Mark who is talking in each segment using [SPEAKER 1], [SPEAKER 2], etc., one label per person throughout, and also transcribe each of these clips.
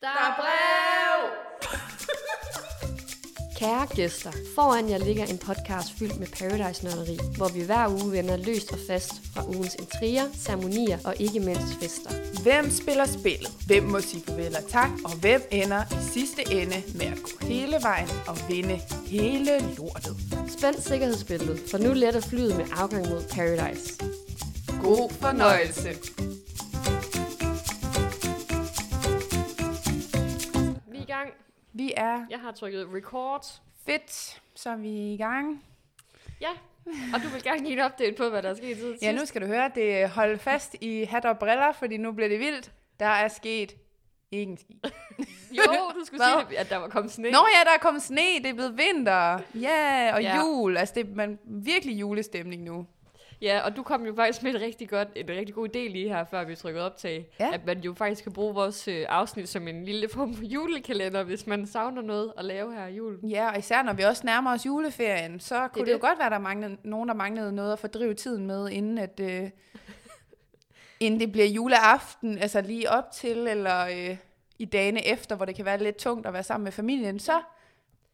[SPEAKER 1] Der er brev!
[SPEAKER 2] Kære gæster, foran jer ligger en podcast fyldt med paradise nørderi, hvor vi hver uge vender løst og fast fra ugens intriger, ceremonier og ikke mindst fester.
[SPEAKER 3] Hvem spiller spillet? Hvem må sige farvel og tak? Og hvem ender i sidste ende med at gå hele vejen og vinde hele lortet?
[SPEAKER 2] Spænd sikkerhedsbæltet, for nu letter flyet med afgang mod paradise.
[SPEAKER 3] God fornøjelse!
[SPEAKER 2] Vi er i gang.
[SPEAKER 3] Vi er
[SPEAKER 2] Jeg har trykket record.
[SPEAKER 3] fedt, så er vi i gang.
[SPEAKER 2] Ja, og du vil gerne give en update på, hvad der er sket siden
[SPEAKER 3] Ja, nu skal du høre, det er hold fast i hat og briller, fordi nu bliver det vildt. Der er sket ikke en skid.
[SPEAKER 2] Jo, du skulle
[SPEAKER 3] Hvad?
[SPEAKER 2] sige, at der var kommet sne.
[SPEAKER 3] Nå ja, der er kommet sne, det er blevet vinter. Ja, yeah, og
[SPEAKER 2] Ja.
[SPEAKER 3] yeah. jul. Altså, det er man, virkelig julestemning nu.
[SPEAKER 2] Ja, og du kom jo faktisk med et rigtig godt, en rigtig god idé lige her, før vi trykkede optag.
[SPEAKER 3] Ja.
[SPEAKER 2] At man jo faktisk kan bruge vores øh, afsnit som en lille form for julekalender, hvis man savner noget at lave her i julen.
[SPEAKER 3] Ja, og især når vi også nærmer os juleferien, så kunne det, det jo
[SPEAKER 2] det.
[SPEAKER 3] godt være, der manglede, nogen, der manglede noget at fordrive tiden med, inden, at, øh, inden det bliver juleaften, altså lige op til, eller øh, i dagene efter, hvor det kan være lidt tungt at være sammen med familien. Så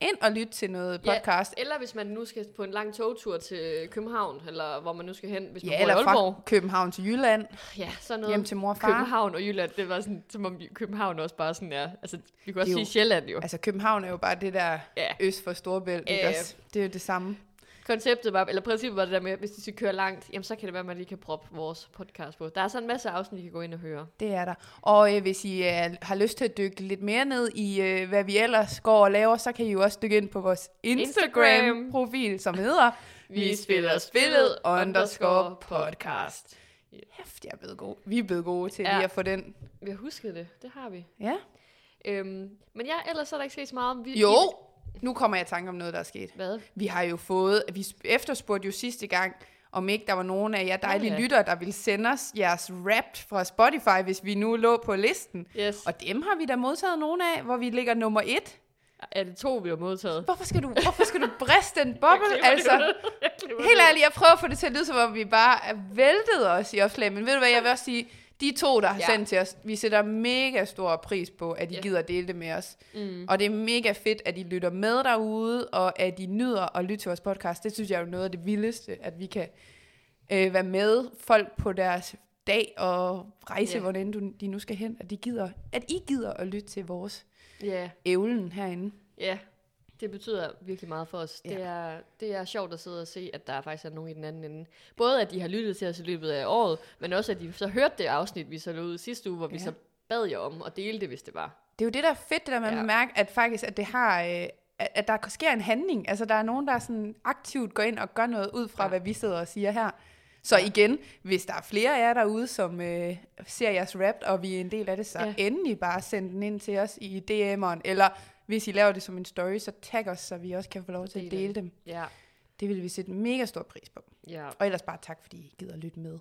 [SPEAKER 3] ind og lyt til noget
[SPEAKER 2] Ja,
[SPEAKER 3] podcast.
[SPEAKER 2] Eller hvis man nu skal på en lang togtur til København, eller hvor man nu skal hen, hvis man
[SPEAKER 3] Ja,
[SPEAKER 2] bor i
[SPEAKER 3] eller
[SPEAKER 2] Aalborg.
[SPEAKER 3] fra København til Jylland,
[SPEAKER 2] Ja, sådan noget.
[SPEAKER 3] hjem til mor og far.
[SPEAKER 2] København og Jylland, det var sådan, som om vi- København også bare sådan er, altså vi kunne også
[SPEAKER 3] Det er
[SPEAKER 2] sige
[SPEAKER 3] jo-
[SPEAKER 2] Sjælland jo.
[SPEAKER 3] Altså København er jo bare det der
[SPEAKER 2] Ja.
[SPEAKER 3] øst for Storebælt, ikke
[SPEAKER 2] Ja.
[SPEAKER 3] også? Det er jo det samme.
[SPEAKER 2] Konceptet var, eller princippet var det der med, at hvis de skal køre langt, jamen så kan det være, at man lige kan proppe vores podcast på. Der er sådan en masse afsnit, I kan gå ind og høre.
[SPEAKER 3] Det er der. Og øh, hvis I øh, har lyst til at dykke lidt mere ned i, øh, hvad vi ellers går og laver, så kan I jo også dykke ind på vores Instagram-profil, som hedder
[SPEAKER 2] podcast.
[SPEAKER 3] Hæft, jeg er blevet gode. Vi er blevet gode til
[SPEAKER 2] Ja.
[SPEAKER 3] ja. lige at få den.
[SPEAKER 2] Vi har husket det, det har vi.
[SPEAKER 3] Ja.
[SPEAKER 2] Øhm, men ja, ellers er der ikke set så meget om... Vi,
[SPEAKER 3] Jo, nu kommer jeg i tanke om noget, der er sket.
[SPEAKER 2] Hvad?
[SPEAKER 3] Vi har jo fået, vi sp- efterspurgte jo sidste gang, om ikke der var nogen af jer dejlige
[SPEAKER 2] ja.
[SPEAKER 3] lyttere, der ville sende os jeres rap fra Spotify, hvis vi nu lå på listen.
[SPEAKER 2] Yes. Og
[SPEAKER 3] Og dem har vi da modtaget nogle af, hvor vi ligger nummer et.
[SPEAKER 2] er det to, vi har modtaget?
[SPEAKER 3] Hvorfor skal du, hvorfor skal du briste den boble?
[SPEAKER 2] Jeg
[SPEAKER 3] altså,
[SPEAKER 2] glemmer det ud. Jeg glemmer
[SPEAKER 3] helt
[SPEAKER 2] det ud.
[SPEAKER 3] ærligt, jeg prøver at få det til at lyde, som om vi bare er væltet os i opslag. Men ved du hvad, jeg vil også sige, de to, der har
[SPEAKER 2] Ja.
[SPEAKER 3] ja. sendt til os, vi sætter mega stor pris på, at I
[SPEAKER 2] Ja.
[SPEAKER 3] gider at dele det med os.
[SPEAKER 2] Mm.
[SPEAKER 3] Og det er mega fedt, at I lytter med derude, og at I nyder at lytte til vores podcast. Det synes jeg er jo noget af det vildeste, at vi kan øh, være med folk på deres dag og rejse,
[SPEAKER 2] Ja.
[SPEAKER 3] yeah. hvordan du, de nu skal hen. At, de gider, at I gider at lytte til vores
[SPEAKER 2] Ja,
[SPEAKER 3] evlen herinde.
[SPEAKER 2] ja. Det betyder virkelig meget for os. Det,
[SPEAKER 3] Ja.
[SPEAKER 2] er, det er sjovt at sidde og se, at der faktisk er nogen i den anden ende. Både at de har lyttet til os i løbet af året, men også at de så hørte det afsnit, vi så lå ud sidste uge, hvor ja. vi
[SPEAKER 3] Ja.
[SPEAKER 2] så bad jer om at dele det, hvis det var.
[SPEAKER 3] Det er jo det, der er fedt, det der man
[SPEAKER 2] Ja.
[SPEAKER 3] ja. mærker, at faktisk, at det har... Øh, at at der sker en handling. Altså, der er nogen, der sådan aktivt går ind og gør noget ud fra,
[SPEAKER 2] Ja.
[SPEAKER 3] ja. hvad vi sidder og siger her. Så
[SPEAKER 2] Ja.
[SPEAKER 3] ja. igen, hvis der er flere af jer derude, som øh, ser jeres rap, og vi er en del af det, så
[SPEAKER 2] Ja.
[SPEAKER 3] ja. endelig bare send den ind til os i DM'eren. Eller hvis I laver det som en story, så tag os, så vi også kan få lov til at
[SPEAKER 2] Del
[SPEAKER 3] dele
[SPEAKER 2] det.
[SPEAKER 3] dem.
[SPEAKER 2] Ja,
[SPEAKER 3] Det vil vi sætte mega stor pris på.
[SPEAKER 2] ja.
[SPEAKER 3] Og ellers bare tak, fordi I gider at lytte med.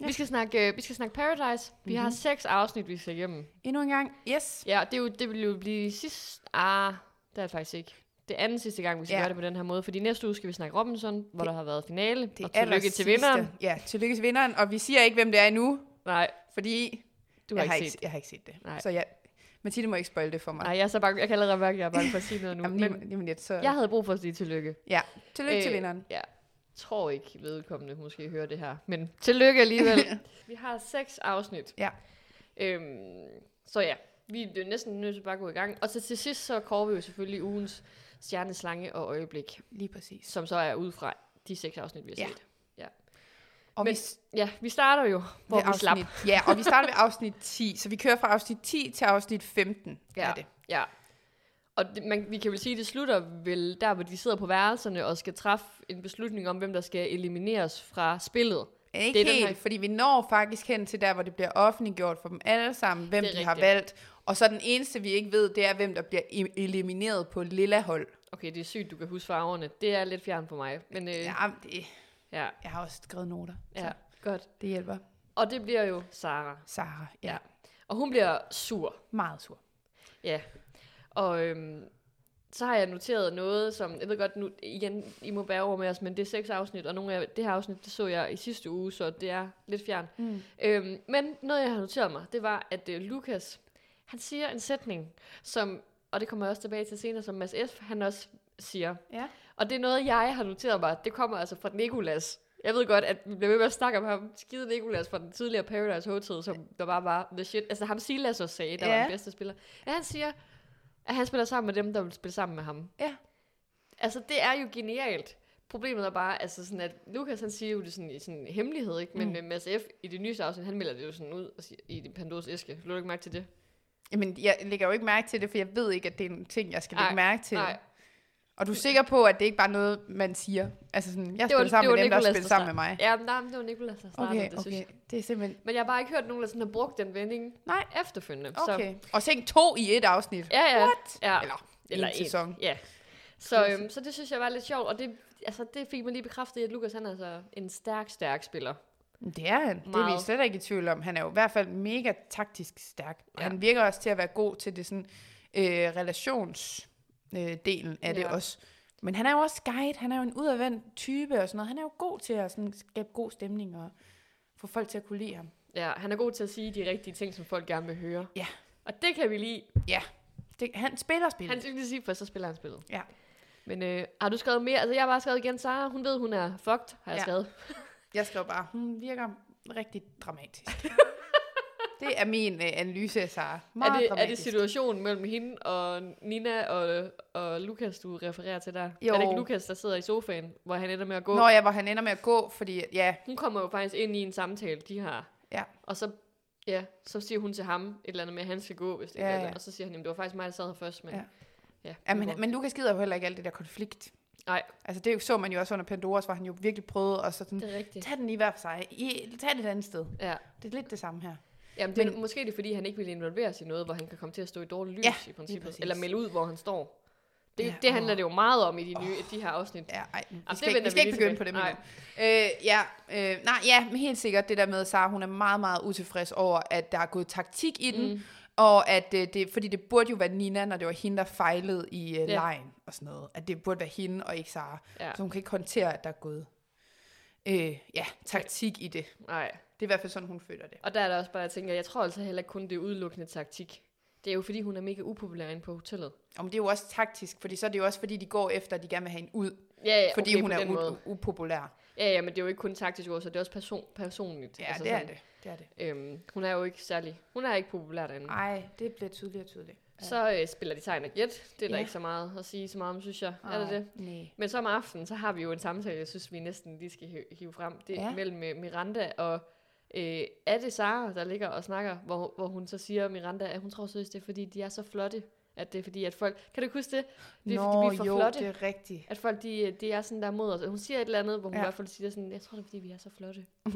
[SPEAKER 2] Ja. Vi, skal snakke, øh, vi skal snakke Paradise. Vi mm-hmm. har seks afsnit, vi skal igennem.
[SPEAKER 3] Endnu en gang, yes.
[SPEAKER 2] Ja, det, er jo, det vil jo blive sidst... Ah, det er det faktisk ikke. Det er anden sidste gang, vi skal ja.
[SPEAKER 3] Ja.
[SPEAKER 2] gøre det på den her måde, fordi næste uge skal vi snakke Robinson, det, hvor der har været finale. Det og
[SPEAKER 3] aller
[SPEAKER 2] tillykke til
[SPEAKER 3] sidste.
[SPEAKER 2] vinderen.
[SPEAKER 3] Ja, tillykke til vinderen. Og vi siger ikke, hvem det er endnu,
[SPEAKER 2] Nej,
[SPEAKER 3] fordi
[SPEAKER 2] du har
[SPEAKER 3] jeg
[SPEAKER 2] ikke set.
[SPEAKER 3] Jeg har ikke set det.
[SPEAKER 2] Nej.
[SPEAKER 3] Nej. Så jeg, Mathilde må ikke spoil det for mig.
[SPEAKER 2] Nej, jeg er så bange. Jeg kan allerede mærke, at jeg er bange for at sige noget nu.
[SPEAKER 3] Jamen,
[SPEAKER 2] Jamen,
[SPEAKER 3] lige,
[SPEAKER 2] men
[SPEAKER 3] lige om lidt, så...
[SPEAKER 2] jeg havde brug for at sige tillykke.
[SPEAKER 3] Ja, tillykke øh, til
[SPEAKER 2] Øh,
[SPEAKER 3] vinderen.
[SPEAKER 2] Ja. Tror ikke vedkommende måske hører det her, men tillykke alligevel. vi har seks afsnit.
[SPEAKER 3] Ja.
[SPEAKER 2] Øhm, så ja, vi er jo næsten nødt til bare at gå i gang. Og så til sidst så kårer vi jo selvfølgelig ugens stjerneslange og øjeblik,
[SPEAKER 3] Lige præcis.
[SPEAKER 2] som så er ud fra de seks afsnit, vi har
[SPEAKER 3] Ja.
[SPEAKER 2] set.
[SPEAKER 3] Og
[SPEAKER 2] Men
[SPEAKER 3] vi, s-
[SPEAKER 2] Ja, vi starter jo, hvor
[SPEAKER 3] ved
[SPEAKER 2] vi slap.
[SPEAKER 3] afsnit, Ja, og vi starter ved afsnit 10, så vi kører fra afsnit 10 til afsnit 15.
[SPEAKER 2] Ja,
[SPEAKER 3] Er det.
[SPEAKER 2] ja. Og det, man, vi kan vel sige, at det slutter vel der, hvor de sidder på værelserne og skal træffe en beslutning om, hvem der skal elimineres fra spillet.
[SPEAKER 3] Ikke
[SPEAKER 2] Det er
[SPEAKER 3] det
[SPEAKER 2] den
[SPEAKER 3] helt,
[SPEAKER 2] her-
[SPEAKER 3] fordi vi når faktisk hen til der, hvor det bliver offentliggjort for dem alle sammen, hvem de
[SPEAKER 2] Det er
[SPEAKER 3] har
[SPEAKER 2] rigtigt.
[SPEAKER 3] valgt. Og så den eneste, vi ikke ved, det er, hvem der bliver i- elimineret på lilla hold.
[SPEAKER 2] Okay, det er sygt, du kan huske farverne. Det er lidt fjern for mig. Men øh, ja.
[SPEAKER 3] Ja, men det,
[SPEAKER 2] ja,
[SPEAKER 3] jeg har også skrevet noter,
[SPEAKER 2] ja,
[SPEAKER 3] ja.
[SPEAKER 2] godt.
[SPEAKER 3] så det hjælper.
[SPEAKER 2] Og det bliver jo Sara.
[SPEAKER 3] Sara, ja,
[SPEAKER 2] Ja.
[SPEAKER 3] ja.
[SPEAKER 2] Og hun bliver sur.
[SPEAKER 3] meget sur.
[SPEAKER 2] Ja. Og øhm, så har jeg noteret noget, som, jeg ved godt, nu igen, I må bære over med os, men det er seks afsnit, og nogle af det her afsnit, det så jeg i sidste uge, så det er lidt fjern.
[SPEAKER 3] Mm.
[SPEAKER 2] Øhm, men noget, jeg har noteret mig, det var, at øh, Lukas, han siger en sætning, som, og det kommer jeg også tilbage til senere, som Mads F., han også siger.
[SPEAKER 3] Ja.
[SPEAKER 2] Og det er noget, jeg har noteret mig, det kommer altså fra Nikolas. Jeg ved godt, at vi bliver ved med at snakke om ham. Skide Nikolas fra den tidligere Paradise Hotel, som der bare var the shit. Altså ham Silas også sagde, der ja.
[SPEAKER 3] Ja.
[SPEAKER 2] var den bedste spiller. Ja, han siger, at han spiller sammen med dem, der vil spille sammen med ham.
[SPEAKER 3] Ja.
[SPEAKER 2] Altså, det er jo genialt. Problemet er bare, altså sådan, at Lukas, han siger jo det sådan i sådan en hemmelighed, ikke? Men
[SPEAKER 3] Mm.
[SPEAKER 2] mm. Mads F. i det nyeste afsnit, han melder det jo sådan ud og siger, i din Pandoras æske. Lå du ikke mærke til det?
[SPEAKER 3] Jamen, jeg lægger jo ikke mærke til det, for jeg ved ikke, at det er en ting, jeg skal lægge
[SPEAKER 2] Nej,
[SPEAKER 3] mærke til.
[SPEAKER 2] Nej,
[SPEAKER 3] Og du er sikker på, at det ikke bare er noget, man siger? Altså sådan, jeg
[SPEAKER 2] det var,
[SPEAKER 3] spiller sammen
[SPEAKER 2] det var
[SPEAKER 3] med dem, der
[SPEAKER 2] Nicolas,
[SPEAKER 3] spiller sammen med mig.
[SPEAKER 2] Ja, men nej, men det var Nikolas, der startede
[SPEAKER 3] Okay,
[SPEAKER 2] det, synes
[SPEAKER 3] okay.
[SPEAKER 2] jeg.
[SPEAKER 3] Det er simpelthen...
[SPEAKER 2] Men jeg har bare ikke hørt nogen, der sådan har brugt den vending
[SPEAKER 3] Nej.
[SPEAKER 2] efterfølgende. Så,
[SPEAKER 3] Okay. Og tænk to i et afsnit.
[SPEAKER 2] ja, ja.
[SPEAKER 3] What?
[SPEAKER 2] Ja.
[SPEAKER 3] Eller
[SPEAKER 2] Eller
[SPEAKER 3] en
[SPEAKER 2] en.
[SPEAKER 3] sæson.
[SPEAKER 2] Ja. Så, øhm, så det synes jeg var lidt sjovt, og det, altså, det fik mig lige bekræftet, i, at Lukas han er altså en stærk, stærk spiller.
[SPEAKER 3] Men Det er han. Det er vi
[SPEAKER 2] Meget.
[SPEAKER 3] slet ikke i tvivl om. Han er jo i hvert fald mega taktisk stærk. Og
[SPEAKER 2] Ja.
[SPEAKER 3] han virker også til at være god til det sådan øh, relationsdelen øh, delen af det
[SPEAKER 2] Ja.
[SPEAKER 3] også. Men han er jo også guide. Han er jo en udadvendt type og sådan noget. Han er jo god til at sådan skabe god stemning og få folk til at kunne lide ham.
[SPEAKER 2] Ja, han er god til at sige de rigtige ting, som folk gerne vil høre.
[SPEAKER 3] Ja.
[SPEAKER 2] Og det kan vi lide.
[SPEAKER 3] Det, han spiller spillet.
[SPEAKER 2] Han skal lige sige, for så spiller han spillet.
[SPEAKER 3] Ja.
[SPEAKER 2] Men øh, har du skrevet mere? Altså, jeg har bare skrevet igen, Sara, hun ved, hun er fucked, har jeg
[SPEAKER 3] Ja.
[SPEAKER 2] ja. skrevet.
[SPEAKER 3] Jeg skrev bare, hun virker rigtig dramatisk. det er min øh, analyse af Sara. Meget
[SPEAKER 2] Er det, er det
[SPEAKER 3] dramatisk.
[SPEAKER 2] situationen mellem hende og Nina og, og Lukas, du refererer til der?
[SPEAKER 3] Jo.
[SPEAKER 2] Er det ikke Lukas, der sidder i sofaen, hvor han ender med at gå?
[SPEAKER 3] Nå ja, hvor han ender med at gå, fordi ja,
[SPEAKER 2] Hun kommer jo faktisk ind i en samtale, de har.
[SPEAKER 3] Ja.
[SPEAKER 2] Og så, ja, så siger hun til ham et eller andet med, at han skal gå, hvis det
[SPEAKER 3] Ja,
[SPEAKER 2] ja, er
[SPEAKER 3] ja.
[SPEAKER 2] det. Og så siger han, at det var faktisk mig, der sad her først. Men,
[SPEAKER 3] Ja.
[SPEAKER 2] ja. Ja,
[SPEAKER 3] ja men, men Lukas gider jo heller ikke alt det der konflikt.
[SPEAKER 2] Nej.
[SPEAKER 3] Altså det så man jo også under Pandoras, hvor han jo virkelig prøvede at sådan,
[SPEAKER 2] det er rigtigt.
[SPEAKER 3] tag den i hver for sig, I, tag det et andet sted.
[SPEAKER 2] Ja.
[SPEAKER 3] Det er lidt det samme her.
[SPEAKER 2] Jamen, det er,
[SPEAKER 3] Men-
[SPEAKER 2] måske er det fordi, han ikke vil involvere sig i noget, hvor han kan komme til at stå i dårligt lys
[SPEAKER 3] Ja,
[SPEAKER 2] i
[SPEAKER 3] lige
[SPEAKER 2] princippet.
[SPEAKER 3] præcis.
[SPEAKER 2] Eller melde ud, hvor han står. Det,
[SPEAKER 3] Ja,
[SPEAKER 2] ja, det handler
[SPEAKER 3] åh.
[SPEAKER 2] det jo meget om i de, nye, de her afsnit.
[SPEAKER 3] Ja, ej, vi
[SPEAKER 2] det
[SPEAKER 3] skal, ikke,
[SPEAKER 2] vender
[SPEAKER 3] vi skal
[SPEAKER 2] vi
[SPEAKER 3] ikke
[SPEAKER 2] lige
[SPEAKER 3] begynde på det
[SPEAKER 2] tilbage.
[SPEAKER 3] med. Øh, ja, øh, nej, ja, men helt sikkert det der med, at Sara, hun er meget, meget utilfreds over, at der er gået taktik i den, mm. og at øh, det, fordi det burde jo være Nina, når det var hende, der fejlede i øh,
[SPEAKER 2] Ja.
[SPEAKER 3] lejen og sådan noget. At det burde være hende og ikke Sara.
[SPEAKER 2] Ja.
[SPEAKER 3] Så hun kan ikke håndtere, at der er gået øh, ja, taktik i det.
[SPEAKER 2] Nej.
[SPEAKER 3] Det er i hvert fald sådan, hun føler det.
[SPEAKER 2] Og der er der også bare, jeg tænker, jeg tror altså heller ikke kun, det er udelukkende taktik. Det er jo fordi, hun er mega upopulær inde på hotellet.
[SPEAKER 3] Om det er jo også taktisk, fordi så er det jo også, fordi de går efter, at de gerne vil have hende ud,
[SPEAKER 2] Ja, ja,
[SPEAKER 3] fordi
[SPEAKER 2] okay,
[SPEAKER 3] hun
[SPEAKER 2] på
[SPEAKER 3] er
[SPEAKER 2] den måde. Altså,
[SPEAKER 3] u- upopulær.
[SPEAKER 2] Ja, ja, men det er jo ikke kun taktisk også, det er også person, personligt.
[SPEAKER 3] Ja, det er
[SPEAKER 2] altså sådan,
[SPEAKER 3] det. det er det.
[SPEAKER 2] Øhm, hun er jo ikke særlig, hun er ikke populær derinde.
[SPEAKER 3] Ej, det bliver tydeligere og tydeligere.
[SPEAKER 2] Så øh, spiller de tegn og gæt. Det er der
[SPEAKER 3] Ja.
[SPEAKER 2] ikke så meget at sige så meget om, synes jeg. Er det det?
[SPEAKER 3] Nej.
[SPEAKER 2] Men så om aftenen, så har vi jo en samtale, jeg synes, vi næsten lige skal hi- hive frem. Det er
[SPEAKER 3] Ja.
[SPEAKER 2] ja. mellem øh, Miranda og... Øh, er det Sara, der ligger og snakker, hvor, hvor hun så siger, Miranda, at hun tror seriøst, det er fordi, de er så flotte. At det er fordi, at folk... Kan du ikke huske det? Det er
[SPEAKER 3] Nå,
[SPEAKER 2] fordi, vi er for
[SPEAKER 3] jo,
[SPEAKER 2] flotte.
[SPEAKER 3] det er rigtigt.
[SPEAKER 2] At folk, de, øh, de er sådan der mod os. Hun siger et eller andet, hvor hun
[SPEAKER 3] Ja.
[SPEAKER 2] ja. i hvert fald siger sådan, jeg tror det er, fordi vi er så flotte.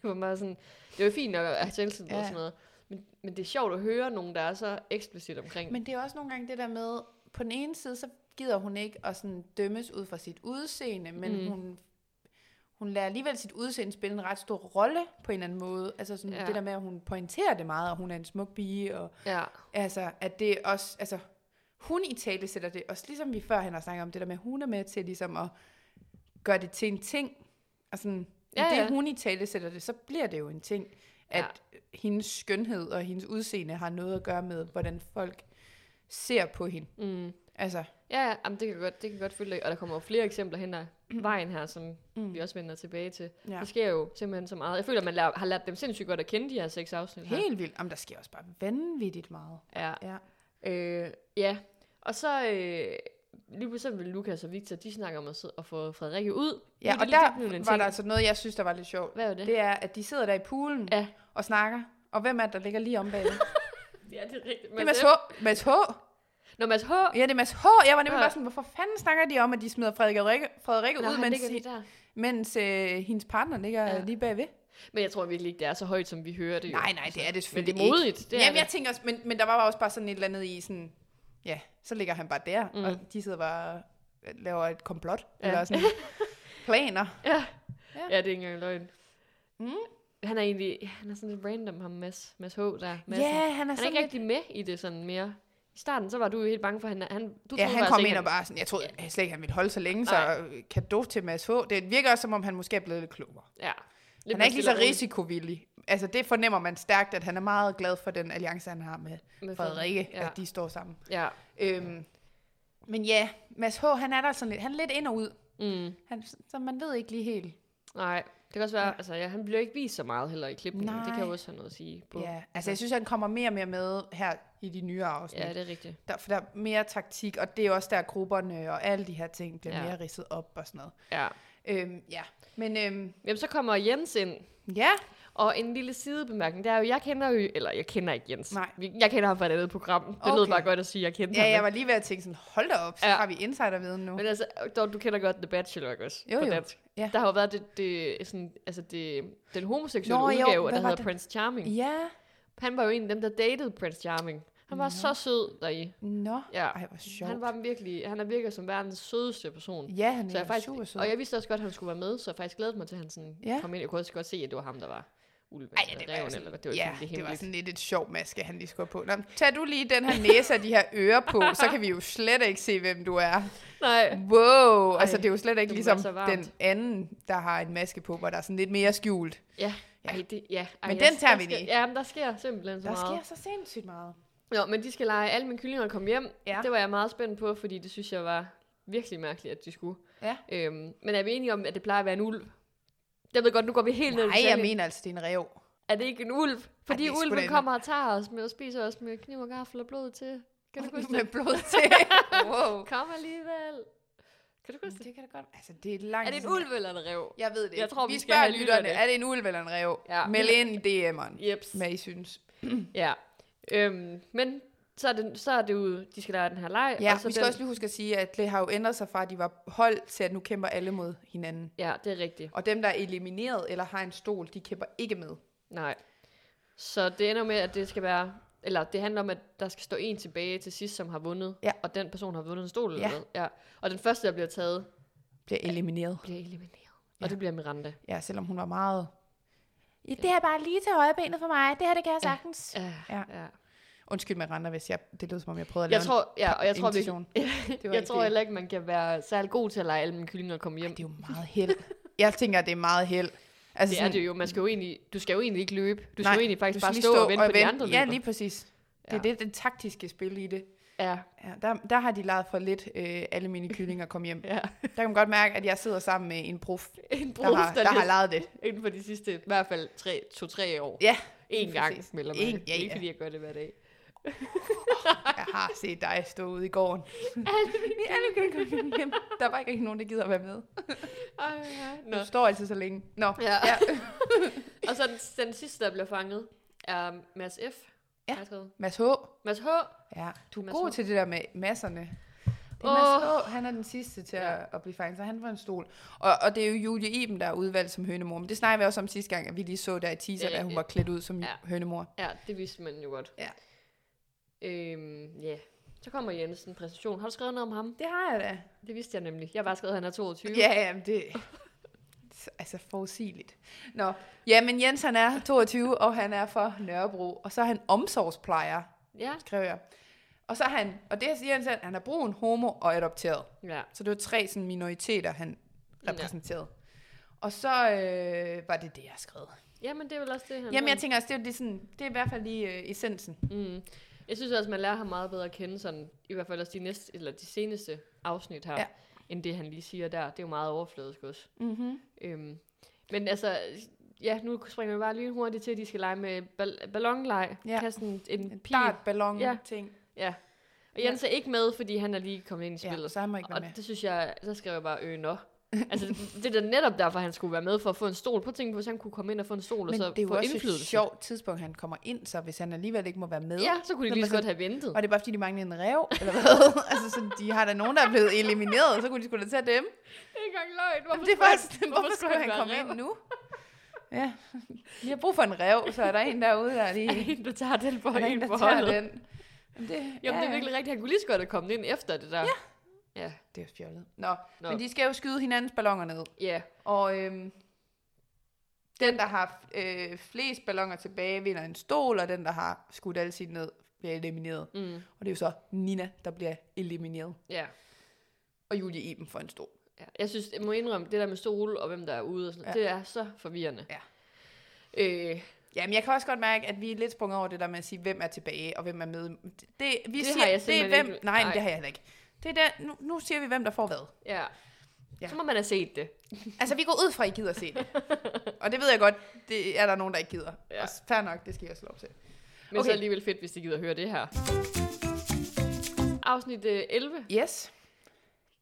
[SPEAKER 2] hvor man er sådan, det er jo fint nok at have selvtillid ja.
[SPEAKER 3] Ja.
[SPEAKER 2] og sådan noget. Men, men det er sjovt at høre nogen, der er så eksplicit omkring. Men,
[SPEAKER 3] Men det er også nogle gange det der med, på den ene side, så gider hun ikke at sådan dømmes ud fra sit udseende, men mm.
[SPEAKER 2] Mm.
[SPEAKER 3] hun, hun lader alligevel sit udseende spille en ret stor rolle på en eller anden måde. Altså sådan ja.
[SPEAKER 2] Ja.
[SPEAKER 3] det der med, at hun pointerer det meget, og hun er en smuk pige, og
[SPEAKER 2] ja,
[SPEAKER 3] altså, at det også, altså, hun i tale sætter det, også ligesom vi førhen har snakket om det der med, hun er med til ligesom at gøre det til en ting, og sådan, ja,
[SPEAKER 2] Ja,
[SPEAKER 3] det
[SPEAKER 2] ja.
[SPEAKER 3] hun i tale sætter det, så bliver det jo en ting, at hendes skønhed og hendes udseende har noget at gøre med, hvordan folk ser på hende.
[SPEAKER 2] mm,
[SPEAKER 3] Altså,
[SPEAKER 2] ja, ja jamen, det kan godt, det kan godt følge. Og der kommer jo flere eksempler hen ad vejen her, som
[SPEAKER 3] Mm.
[SPEAKER 2] mm. vi også vender tilbage til. Ja.
[SPEAKER 3] ja.
[SPEAKER 2] Det sker jo simpelthen så meget. Jeg føler, at man lærer, har lært dem sindssygt godt at kende, de her seks afsnit her.
[SPEAKER 3] helt vildt. Jamen, der sker også bare vanvittigt meget.
[SPEAKER 2] Ja.
[SPEAKER 3] Ja.
[SPEAKER 2] Øh, ja. Og så øh, lige pludselig vil Lukas og Victor, de snakker om at, sidde og få Frederikke ud. Nu
[SPEAKER 3] Ja,
[SPEAKER 2] er det
[SPEAKER 3] og
[SPEAKER 2] lige- det er
[SPEAKER 3] der
[SPEAKER 2] blevet en
[SPEAKER 3] var
[SPEAKER 2] ting.
[SPEAKER 3] der altså noget, jeg synes, der var lidt sjovt.
[SPEAKER 2] Hvad er det?
[SPEAKER 3] Det er, at de sidder der i poolen
[SPEAKER 2] Ja.
[SPEAKER 3] og snakker, og hvem er det, der ligger lige om bagved?
[SPEAKER 2] Ja, det er rigtigt.
[SPEAKER 3] Det
[SPEAKER 2] Mads
[SPEAKER 3] er Mads
[SPEAKER 2] H.
[SPEAKER 3] H. Mads H.
[SPEAKER 2] Nå, Mads H.
[SPEAKER 3] Ja, det er Mads H. Jeg var nemlig
[SPEAKER 2] Ja.
[SPEAKER 3] bare sådan, hvorfor fanden snakker de om, at de smider Frederikke, Frederikke
[SPEAKER 2] Nå,
[SPEAKER 3] ud,
[SPEAKER 2] han
[SPEAKER 3] mens,
[SPEAKER 2] ligger lige der.
[SPEAKER 3] mens øh, hendes partner ligger ja.
[SPEAKER 2] Ja.
[SPEAKER 3] lige bagved?
[SPEAKER 2] Men jeg tror virkelig ikke, det er så højt, som vi hører det. jo. altså,
[SPEAKER 3] Nej, nej, det er det
[SPEAKER 2] Men det
[SPEAKER 3] selvfølgelig
[SPEAKER 2] er modigt. Det
[SPEAKER 3] ikke.
[SPEAKER 2] er
[SPEAKER 3] Jamen, jeg
[SPEAKER 2] det.
[SPEAKER 3] tænker også, men, men der var også bare sådan et eller andet i sådan, ja, så ligger han bare der, mm.
[SPEAKER 2] Mm.
[SPEAKER 3] og de sidder bare og laver et komplot, ja.
[SPEAKER 2] Ja.
[SPEAKER 3] eller sådan planer.
[SPEAKER 2] Ja.
[SPEAKER 3] Ja.
[SPEAKER 2] ja. det er ikke engang løgn.
[SPEAKER 3] Mm.
[SPEAKER 2] Han er egentlig, ja, han er sådan lidt random, ham Mads, Mads H. der. Madsen.
[SPEAKER 3] Ja, han er
[SPEAKER 2] han er
[SPEAKER 3] sådan
[SPEAKER 2] ikke
[SPEAKER 3] lidt,
[SPEAKER 2] rigtig med i det sådan mere. I starten, så var du jo helt bange for, at han... han du
[SPEAKER 3] ja,
[SPEAKER 2] troede
[SPEAKER 3] han
[SPEAKER 2] faktisk
[SPEAKER 3] kom
[SPEAKER 2] ikke,
[SPEAKER 3] ind og
[SPEAKER 2] han-
[SPEAKER 3] bare sådan, jeg troede slet ikke, han ville holde så længe,
[SPEAKER 2] Nej.
[SPEAKER 3] så kado til Mads H. Det virker også, som om han måske er blevet lidt klogere.
[SPEAKER 2] Ja.
[SPEAKER 3] Lidt han er
[SPEAKER 2] mere
[SPEAKER 3] ikke lige
[SPEAKER 2] stille
[SPEAKER 3] så
[SPEAKER 2] og roligt
[SPEAKER 3] risikovillig. Altså, det fornemmer man stærkt, at han er meget glad for den alliance, han har med
[SPEAKER 2] med
[SPEAKER 3] Frederikke, ja.
[SPEAKER 2] Ja.
[SPEAKER 3] at de står sammen.
[SPEAKER 2] ja.
[SPEAKER 3] Øhm, men ja, Mads H., han er der sådan lidt, han er lidt ind og ud.
[SPEAKER 2] Mm.
[SPEAKER 3] Han, så man ved ikke lige helt.
[SPEAKER 2] Nej, det kan også være, ja. altså ja, han bliver ikke vist så meget heller i klippen. Det kan
[SPEAKER 3] Nej.
[SPEAKER 2] jo også have noget at sige på.
[SPEAKER 3] Ja, altså jeg synes, han kommer mere og mere med her i de nye afsnit.
[SPEAKER 2] ja det er rigtigt.
[SPEAKER 3] Der, for der er mere taktik, og det er også der, grupperne og alle de her ting bliver
[SPEAKER 2] Ja.
[SPEAKER 3] mere ridset op og sådan noget.
[SPEAKER 2] Ja.
[SPEAKER 3] Øhm, ja, men øhm,
[SPEAKER 2] Jamen, så kommer Jens ind,
[SPEAKER 3] ja,
[SPEAKER 2] og en lille sidebemærkning, det er jo, jeg kender jo, eller jeg kender ikke Jens.
[SPEAKER 3] Nej.
[SPEAKER 2] Vi- Jeg kender ham fra et andet program. Det okay. lød
[SPEAKER 3] Okay.
[SPEAKER 2] bare godt at sige, at jeg kendte ham.
[SPEAKER 3] ja,
[SPEAKER 2] ikke?
[SPEAKER 3] jeg var lige ved at tænke sådan, hold da op, så
[SPEAKER 2] Ja.
[SPEAKER 3] har vi insiderviden nu.
[SPEAKER 2] Men altså, dog, du kender godt The Bachelor ikke også?
[SPEAKER 3] Jo,
[SPEAKER 2] på
[SPEAKER 3] jo.
[SPEAKER 2] Dansk.
[SPEAKER 3] Ja.
[SPEAKER 2] Der har jo været det, det, sådan, altså det, den homoseksuelle
[SPEAKER 3] Nå, jo,
[SPEAKER 2] udgave,
[SPEAKER 3] hvad
[SPEAKER 2] der
[SPEAKER 3] var
[SPEAKER 2] hedder
[SPEAKER 3] det?
[SPEAKER 2] Prince Charming.
[SPEAKER 3] Ja,
[SPEAKER 2] Han var jo en af dem, der datede Prince Charming. Han var
[SPEAKER 3] Nå.
[SPEAKER 2] så sød deri.
[SPEAKER 3] nå,
[SPEAKER 2] Ja.
[SPEAKER 3] ej, hvor sjovt.
[SPEAKER 2] Han var virkelig, han er virkelig som verdens sødeste person.
[SPEAKER 3] ja, han
[SPEAKER 2] Så
[SPEAKER 3] er
[SPEAKER 2] jeg faktisk,
[SPEAKER 3] super sød.
[SPEAKER 2] og jeg vidste også godt, at han skulle være med, så jeg faktisk glædede mig til, at han sådan
[SPEAKER 3] Ja.
[SPEAKER 2] kom ind. Jeg kunne også godt se, at det var ham, der var ulven.
[SPEAKER 3] Ej, ja,
[SPEAKER 2] eller
[SPEAKER 3] det var,
[SPEAKER 2] ræven,
[SPEAKER 3] sådan,
[SPEAKER 2] eller, hvad- det var,
[SPEAKER 3] ja,
[SPEAKER 2] sådan,
[SPEAKER 3] det var
[SPEAKER 2] hemmelige.
[SPEAKER 3] sådan lidt et sjov maske, han lige skulle have på. Nå, men tag du lige den her næse og de her ører på, så kan vi jo slet ikke se, hvem du er.
[SPEAKER 2] Nej,
[SPEAKER 3] Wow, Ej,
[SPEAKER 2] Ej,
[SPEAKER 3] altså det er jo slet
[SPEAKER 2] det
[SPEAKER 3] ikke
[SPEAKER 2] må
[SPEAKER 3] ligesom
[SPEAKER 2] være så varmt.
[SPEAKER 3] den anden, der har en maske på, hvor der er sådan lidt mere skjult.
[SPEAKER 2] ja.
[SPEAKER 3] Ja.
[SPEAKER 2] Ej, det, ja. Ej,
[SPEAKER 3] Men
[SPEAKER 2] ja,
[SPEAKER 3] den tager
[SPEAKER 2] der
[SPEAKER 3] vi
[SPEAKER 2] sker-
[SPEAKER 3] lige.
[SPEAKER 2] Ja, men der sker simpelthen så
[SPEAKER 3] Der
[SPEAKER 2] meget.
[SPEAKER 3] sker så sindssygt meget.
[SPEAKER 2] Nå, men de skal lege alle mine kyllinger kom hjem.
[SPEAKER 3] Ja.
[SPEAKER 2] Det var jeg meget spændt på, fordi det synes jeg var virkelig mærkeligt, at de skulle.
[SPEAKER 3] Ja.
[SPEAKER 2] Øhm, men er vi enige om, at det plejer at være en ulv? Jeg ved godt, nu går vi helt ned i
[SPEAKER 3] Nej, jeg
[SPEAKER 2] detaljen.
[SPEAKER 3] mener altså, det er en rev.
[SPEAKER 2] Er det ikke en ulv? Fordi
[SPEAKER 3] det er sgu da
[SPEAKER 2] ulven
[SPEAKER 3] en-
[SPEAKER 2] kommer og tager os med og spiser os med kniv og gaffel og blod til. Kan du ikke huske
[SPEAKER 3] Med
[SPEAKER 2] det?
[SPEAKER 3] blod til. wow.
[SPEAKER 2] Kom alligevel. Kan du ikke huske det?
[SPEAKER 3] Det kan da godt. Altså, det er langt.
[SPEAKER 2] Er det en
[SPEAKER 3] siden-
[SPEAKER 2] ulv eller en rev?
[SPEAKER 3] Jeg ved det.
[SPEAKER 2] Jeg
[SPEAKER 3] ikke.
[SPEAKER 2] tror,
[SPEAKER 3] vi,
[SPEAKER 2] vi skal
[SPEAKER 3] spørger
[SPEAKER 2] have
[SPEAKER 3] lytterne,
[SPEAKER 2] lytterne.
[SPEAKER 3] er det en ulv eller en rev?
[SPEAKER 2] Ja.
[SPEAKER 3] Meld ind i DM'eren,
[SPEAKER 2] Jeps.
[SPEAKER 3] hvad I synes.
[SPEAKER 2] Ja. Øhm, men så er, det, så er det jo, de skal lege den her leg.
[SPEAKER 3] Ja,
[SPEAKER 2] og så
[SPEAKER 3] vi skal
[SPEAKER 2] den,
[SPEAKER 3] også lige huske at sige, at det har jo ændret sig fra, at de var hold til, at nu kæmper alle mod hinanden.
[SPEAKER 2] Ja, det er rigtigt.
[SPEAKER 3] Og dem, der er elimineret eller har en stol, de kæmper ikke med.
[SPEAKER 2] Nej. Så det ender med, at det skal være... Eller det handler om, at der skal stå en tilbage til sidst, som har vundet.
[SPEAKER 3] Ja.
[SPEAKER 2] Og den person har vundet en stol.
[SPEAKER 3] Ja.
[SPEAKER 2] Eller hvad? ja. Og den første, der bliver taget,
[SPEAKER 3] Bliver elimineret.
[SPEAKER 2] bliver elimineret. Og
[SPEAKER 3] Ja.
[SPEAKER 2] det bliver Miranda.
[SPEAKER 3] Ja, selvom hun var meget... Ja,
[SPEAKER 2] det
[SPEAKER 3] her er bare lige til højrebenet for mig. Det her, det kan jeg sagtens.
[SPEAKER 2] Ja.
[SPEAKER 3] Ja.
[SPEAKER 2] ja.
[SPEAKER 3] Undskyld mig, Randa, hvis jeg, det lød som om, jeg prøvede at lave
[SPEAKER 2] Jeg tror, ja, og jeg tror, vi,
[SPEAKER 3] det var
[SPEAKER 2] jeg
[SPEAKER 3] ikke
[SPEAKER 2] tror
[SPEAKER 3] det.
[SPEAKER 2] heller ikke, man kan være særlig god til at lege alle mine kyllinger og komme
[SPEAKER 3] en...
[SPEAKER 2] hjem.
[SPEAKER 3] Det er jo meget held. Jeg tænker, at det er meget held. Altså,
[SPEAKER 2] Det er det jo. Man skal jo egentlig, du skal jo egentlig ikke løbe. Du skal
[SPEAKER 3] Nej,
[SPEAKER 2] jo egentlig faktisk
[SPEAKER 3] skal
[SPEAKER 2] bare
[SPEAKER 3] lige
[SPEAKER 2] stå, og vente på de andre
[SPEAKER 3] Ja,
[SPEAKER 2] løber.
[SPEAKER 3] lige præcis. Det er det, det taktiske spil i det.
[SPEAKER 2] Ja,
[SPEAKER 3] Ja, der, der har de leget for lidt øh, alle mine kyllinger kom hjem.
[SPEAKER 2] ja.
[SPEAKER 3] Der kan man godt mærke, at jeg sidder sammen med en prof,
[SPEAKER 2] En brug,
[SPEAKER 3] der har, der har leget det.
[SPEAKER 2] inden for de sidste, i hvert fald tre- to-tre år.
[SPEAKER 3] Ja,
[SPEAKER 2] En
[SPEAKER 3] lige
[SPEAKER 2] gang,
[SPEAKER 3] præcis.
[SPEAKER 2] melder
[SPEAKER 3] En-
[SPEAKER 2] man.
[SPEAKER 3] ja,
[SPEAKER 2] Ikke
[SPEAKER 3] ja.
[SPEAKER 2] fordi jeg gør det hver dag.
[SPEAKER 3] Jeg har set dig stå ude i gården. Vi alle kan komme hjem. Der var ikke rigtig nogen, der gider at være med.
[SPEAKER 2] Ej, ja. Nå.
[SPEAKER 3] Du står altid så længe. Nå,
[SPEAKER 2] Ja.
[SPEAKER 3] Ja.
[SPEAKER 2] ja. og så den, den sidste, der bliver fanget, er Mads F.
[SPEAKER 3] Ja.
[SPEAKER 2] har jeg skrevet.
[SPEAKER 3] Mads H.
[SPEAKER 2] Mads H.
[SPEAKER 3] Ja, du er
[SPEAKER 2] Mads
[SPEAKER 3] god
[SPEAKER 2] H.
[SPEAKER 3] til det der med masserne. Det er Mads H. Han er den sidste til
[SPEAKER 2] Ja.
[SPEAKER 3] at, at blive fanget, så han får en stol. Og, og det er jo Julie Iben, der er udvalgt som hønemor. Men det snakker vi også om sidste gang, at vi lige så der i teaser,
[SPEAKER 2] Det er
[SPEAKER 3] at hun
[SPEAKER 2] rigtigt.
[SPEAKER 3] var klædt ud som
[SPEAKER 2] Ja.
[SPEAKER 3] ja. hønemor.
[SPEAKER 2] Ja, det vidste man jo godt.
[SPEAKER 3] Ja.
[SPEAKER 2] Øhm, ja. Så kommer Jensen præsentation. Har du skrevet noget om ham?
[SPEAKER 3] Det har jeg da.
[SPEAKER 2] Det vidste jeg nemlig. Jeg har bare skrevet, at han er 22.
[SPEAKER 3] Ja, jamen det... Altså forudsigeligt. Nå, ja, men Jens han er 22, og han er fra Nørrebro, og så er han omsorgsplejer,
[SPEAKER 2] Ja.
[SPEAKER 3] skrev jeg. Og så er han, og det siger han selv, han er brun, homo og adopteret.
[SPEAKER 2] ja.
[SPEAKER 3] Så det var tre sådan, minoriteter, han repræsenterede. Og så øh, var det det, jeg skrev.
[SPEAKER 2] Jamen, det er vel også det, han
[SPEAKER 3] Jamen, jeg tænker også, det er, jo det, sådan, det er i hvert fald lige øh, essensen.
[SPEAKER 2] mm. jeg synes også, man lærer ham meget bedre at kende, sådan, i hvert fald også de, næste, eller de seneste afsnit her,
[SPEAKER 3] Ja.
[SPEAKER 2] ja. end det, han lige siger der. Det er jo meget overfladisk også.
[SPEAKER 3] Mm-hmm.
[SPEAKER 2] Øhm, men altså, ja, nu springer vi bare lige hurtigt til, at de skal lege med bal- ballonleg.
[SPEAKER 3] Ja.
[SPEAKER 2] Ja. Kaste en, en
[SPEAKER 3] En
[SPEAKER 2] pil.
[SPEAKER 3] dart, ballon,
[SPEAKER 2] Ja.
[SPEAKER 3] ting.
[SPEAKER 2] Ja. Og Jens er ikke med, fordi han er lige kommet ind i
[SPEAKER 3] Ja,
[SPEAKER 2] spillet.
[SPEAKER 3] så han må ikke
[SPEAKER 2] og
[SPEAKER 3] være med.
[SPEAKER 2] det synes jeg, så skrev jeg bare, øh, nå. altså, det er da netop derfor, han skulle være med for at få en stol. Prøv at tænke på, hvis han kunne komme ind og få en stol,
[SPEAKER 3] Men
[SPEAKER 2] og så
[SPEAKER 3] det er jo
[SPEAKER 2] få
[SPEAKER 3] også et
[SPEAKER 2] indflydelse.
[SPEAKER 3] sjovt tidspunkt, han kommer ind, så hvis han alligevel ikke må være med,
[SPEAKER 2] Ja, så kunne de
[SPEAKER 3] Når
[SPEAKER 2] lige
[SPEAKER 3] man
[SPEAKER 2] så godt have ventet.
[SPEAKER 3] Var det bare, fordi de manglede en rev, eller hvad? altså, så de har der nogen, der er blevet elimineret, så kunne de skulle da tage dem.
[SPEAKER 2] Det er ikke engang løgn.
[SPEAKER 3] Hvorfor det er bare sådan, hvorfor, hvorfor skulle han komme ind nu? Ja, vi har brug for en rev, så er der en derude, der er lige...
[SPEAKER 2] En, der tager den for
[SPEAKER 3] er der
[SPEAKER 2] en
[SPEAKER 3] en,
[SPEAKER 2] på
[SPEAKER 3] der
[SPEAKER 2] holdet.
[SPEAKER 3] tager den. Jamen, det,
[SPEAKER 2] Jamen, det er virkelig rigtigt. Han kunne lige så godt have kommet ind efter det der. Ja.
[SPEAKER 3] Det er jo fjollet. Nå,
[SPEAKER 2] Nå.
[SPEAKER 3] Nå, men de skal jo skyde hinandens ballonger ned.
[SPEAKER 2] Ja.
[SPEAKER 3] Og øhm, Den, der har øh, flest ballonger tilbage, vinder en stol, og den, der har skudt alle sine ned, bliver elimineret.
[SPEAKER 2] Mm.
[SPEAKER 3] Og det er jo så Nina, der bliver elimineret.
[SPEAKER 2] Ja.
[SPEAKER 3] Og Julie Iben får en stol.
[SPEAKER 2] ja. Jeg synes, jeg må indrømme, det der med stol og hvem der er ude, og sådan, ja. det er så forvirrende.
[SPEAKER 3] Ja.
[SPEAKER 2] Øh,
[SPEAKER 3] Jamen, jeg kan også godt mærke, at vi er lidt sprunget over det der med at sige, hvem er tilbage, og hvem er med. Det, det, vi
[SPEAKER 2] Det
[SPEAKER 3] siger,
[SPEAKER 2] har jeg
[SPEAKER 3] det er
[SPEAKER 2] simpelthen
[SPEAKER 3] hvem,
[SPEAKER 2] ikke-
[SPEAKER 3] Nej,
[SPEAKER 2] nej.
[SPEAKER 3] nej, det har jeg heller ikke. Det er der, nu, nu siger vi, hvem der får hvad.
[SPEAKER 2] ja. ja.
[SPEAKER 3] Ja.
[SPEAKER 2] Så må man have set det.
[SPEAKER 3] Altså, vi går ud fra, at I gider se det. Og det ved jeg godt, det er der nogen, der ikke gider.
[SPEAKER 2] Ja.
[SPEAKER 3] Ja. Og fair nok, det skal jeg slå op til.
[SPEAKER 2] Men okay. så
[SPEAKER 3] Okay.
[SPEAKER 2] alligevel fedt, hvis de gider at høre det her. Afsnit øh, 11.
[SPEAKER 3] Yes.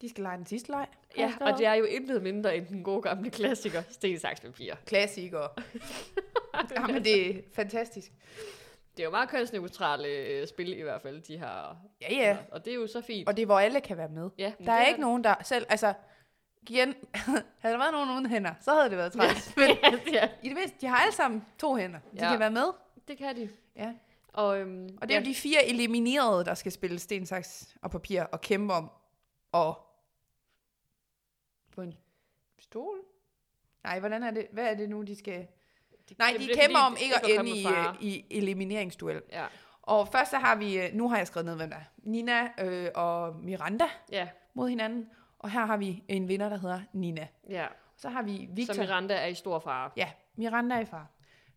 [SPEAKER 3] De skal lege den sidste leg.
[SPEAKER 2] Ja, og det er jo intet mindre end den gode gamle klassiker, Sten, Saks, Papir.
[SPEAKER 3] Klassikere. Jamen, det er fantastisk.
[SPEAKER 2] Det er jo meget kønsneutrale øh, spil i hvert fald, de har.
[SPEAKER 3] Ja, ja.
[SPEAKER 2] Og det er jo så fint.
[SPEAKER 3] Og det er, hvor alle kan være med.
[SPEAKER 2] ja, men
[SPEAKER 3] Der er
[SPEAKER 2] det
[SPEAKER 3] ikke nogen, der selv... Altså, igen, havde der været nogen uden hænder, så havde det været træls. Men
[SPEAKER 2] ja,
[SPEAKER 3] i det mindste, de har alle sammen to hænder. De
[SPEAKER 2] Ja.
[SPEAKER 3] ja. kan være med.
[SPEAKER 2] det kan de.
[SPEAKER 3] Ja.
[SPEAKER 2] Og, øhm,
[SPEAKER 3] Og det er
[SPEAKER 2] ja,
[SPEAKER 3] jo de fire eliminerede, der skal spille sten, saks og papir og kæmpe om og på en stol? Nej, hvordan er det? Hvad er det nu, de skal... Nej,
[SPEAKER 2] det
[SPEAKER 3] de
[SPEAKER 2] bliver
[SPEAKER 3] kæmper
[SPEAKER 2] fordi,
[SPEAKER 3] om
[SPEAKER 2] det
[SPEAKER 3] ikke at
[SPEAKER 2] ikke at
[SPEAKER 3] ende i,
[SPEAKER 2] komme i fare.
[SPEAKER 3] øh, i elimineringsduel.
[SPEAKER 2] Ja,
[SPEAKER 3] Og først så har vi... øh, Nu har jeg skrevet ned, hvem der er. Nina øh, og Miranda
[SPEAKER 2] ja,
[SPEAKER 3] mod hinanden. Og her har vi en vinder, der hedder Nina.
[SPEAKER 2] ja.
[SPEAKER 3] Så har vi
[SPEAKER 2] Victor.
[SPEAKER 3] Victor.
[SPEAKER 2] Så Miranda er i stor fare.
[SPEAKER 3] Ja, Miranda er i far.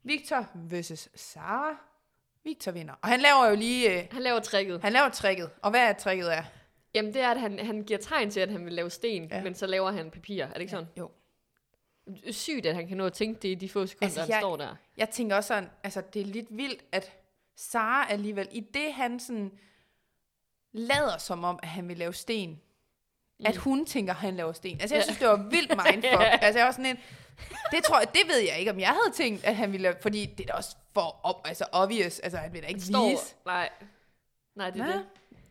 [SPEAKER 3] Victor versus Sara. Victor vinder. Og han laver jo lige... Øh,
[SPEAKER 2] Han laver tricket.
[SPEAKER 3] han laver tricket. Og hvad er tricket er?
[SPEAKER 2] Jamen det er, at han, han giver tegn til, at han vil lave sten, ja.
[SPEAKER 3] Ja.
[SPEAKER 2] men så laver han papir. Er det ikke sådan?
[SPEAKER 3] Jo.
[SPEAKER 2] Sygt, at han kan nå at tænke det i de få sekunder, altså,
[SPEAKER 3] Altså,
[SPEAKER 2] han jeg...
[SPEAKER 3] jeg-
[SPEAKER 2] står der.
[SPEAKER 3] Jeg tænker også sådan, altså det er lidt vildt, at Sara alligevel, i det han sådan lader som om, at han vil lave sten, mm. at hun tænker, at han laver sten. Altså jeg
[SPEAKER 2] Ja.
[SPEAKER 3] ja. synes, det var vildt mindfuck. ja. Altså jeg var sådan en, det tror jeg, det ved jeg ikke, om jeg havde tænkt, at han ville lave, fordi det er da også for op, altså obvious, altså han vil da ikke
[SPEAKER 2] Står.
[SPEAKER 3] vise.
[SPEAKER 2] Nej. Nej, det er
[SPEAKER 3] Nå.
[SPEAKER 2] det.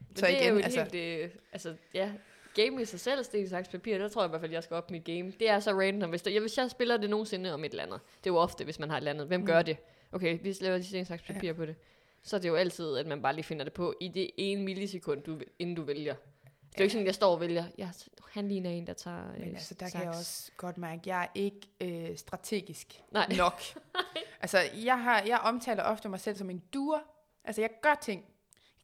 [SPEAKER 2] Men
[SPEAKER 3] Så
[SPEAKER 2] det er
[SPEAKER 3] igen,
[SPEAKER 2] jo et
[SPEAKER 3] altså-
[SPEAKER 2] helt, øh, altså, ja, game i sig selv, sten, saks, papir, der tror jeg i hvert fald, jeg skal op mit game. Det er så random. Hvis, der, ja, hvis jeg spiller det nogensinde om et eller andet, det er jo ofte, hvis man har et eller andet, hvem mm. gør det? Okay, vi laver lige sten, saks, papir ja. på det. Så er det jo altid, at man bare lige finder det på i det ene millisekund, du, inden du vælger. Det er jo ikke sådan, at jeg står og vælger. Ja, han ligner en, der tager øh,
[SPEAKER 3] Men altså, der
[SPEAKER 2] saks.
[SPEAKER 3] kan jeg også godt mærke, at jeg er ikke øh, strategisk
[SPEAKER 2] Nej.
[SPEAKER 3] nok. altså, jeg, har, jeg omtaler ofte mig selv som en duer. Altså, jeg gør ting.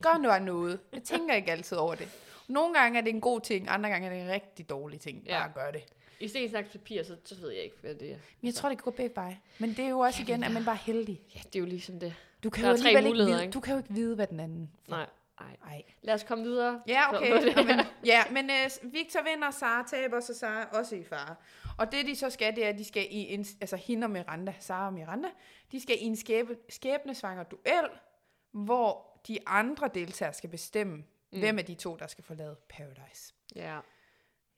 [SPEAKER 3] Gør nu af noget. Jeg tænker ikke altid over det. Nogle gange er det en god ting, andre gange er det en rigtig dårlig ting.
[SPEAKER 2] Ja.
[SPEAKER 3] Bare ja. gør det.
[SPEAKER 2] I sten, saks, papir, så, så ved jeg ikke, hvad det er.
[SPEAKER 3] Men jeg tror, det kan gå begge veje. Men det er jo også igen, at man bare er heldig.
[SPEAKER 2] Ja, det er jo ligesom det.
[SPEAKER 3] Du kan,
[SPEAKER 2] Der
[SPEAKER 3] jo
[SPEAKER 2] er tre
[SPEAKER 3] alligevel ikke
[SPEAKER 2] muligheder,
[SPEAKER 3] vide,
[SPEAKER 2] ikke?
[SPEAKER 3] du kan jo ikke vide, hvad den anden får.
[SPEAKER 2] Nej, nej.
[SPEAKER 3] Ej.
[SPEAKER 2] Lad os komme videre.
[SPEAKER 3] Ja, okay.
[SPEAKER 2] Så-
[SPEAKER 3] Nå, men, ja, men øh, Victor vinder, Sara taber, så Sara også i fare. Og det, de så skal, det er, at de skal i en, altså hende og Miranda, Sara og Miranda, de skal i en skæbe, skæbnesvanger duel, hvor de andre deltagere skal bestemme, mm. hvem af de to, der skal forlade Paradise.
[SPEAKER 2] Ja.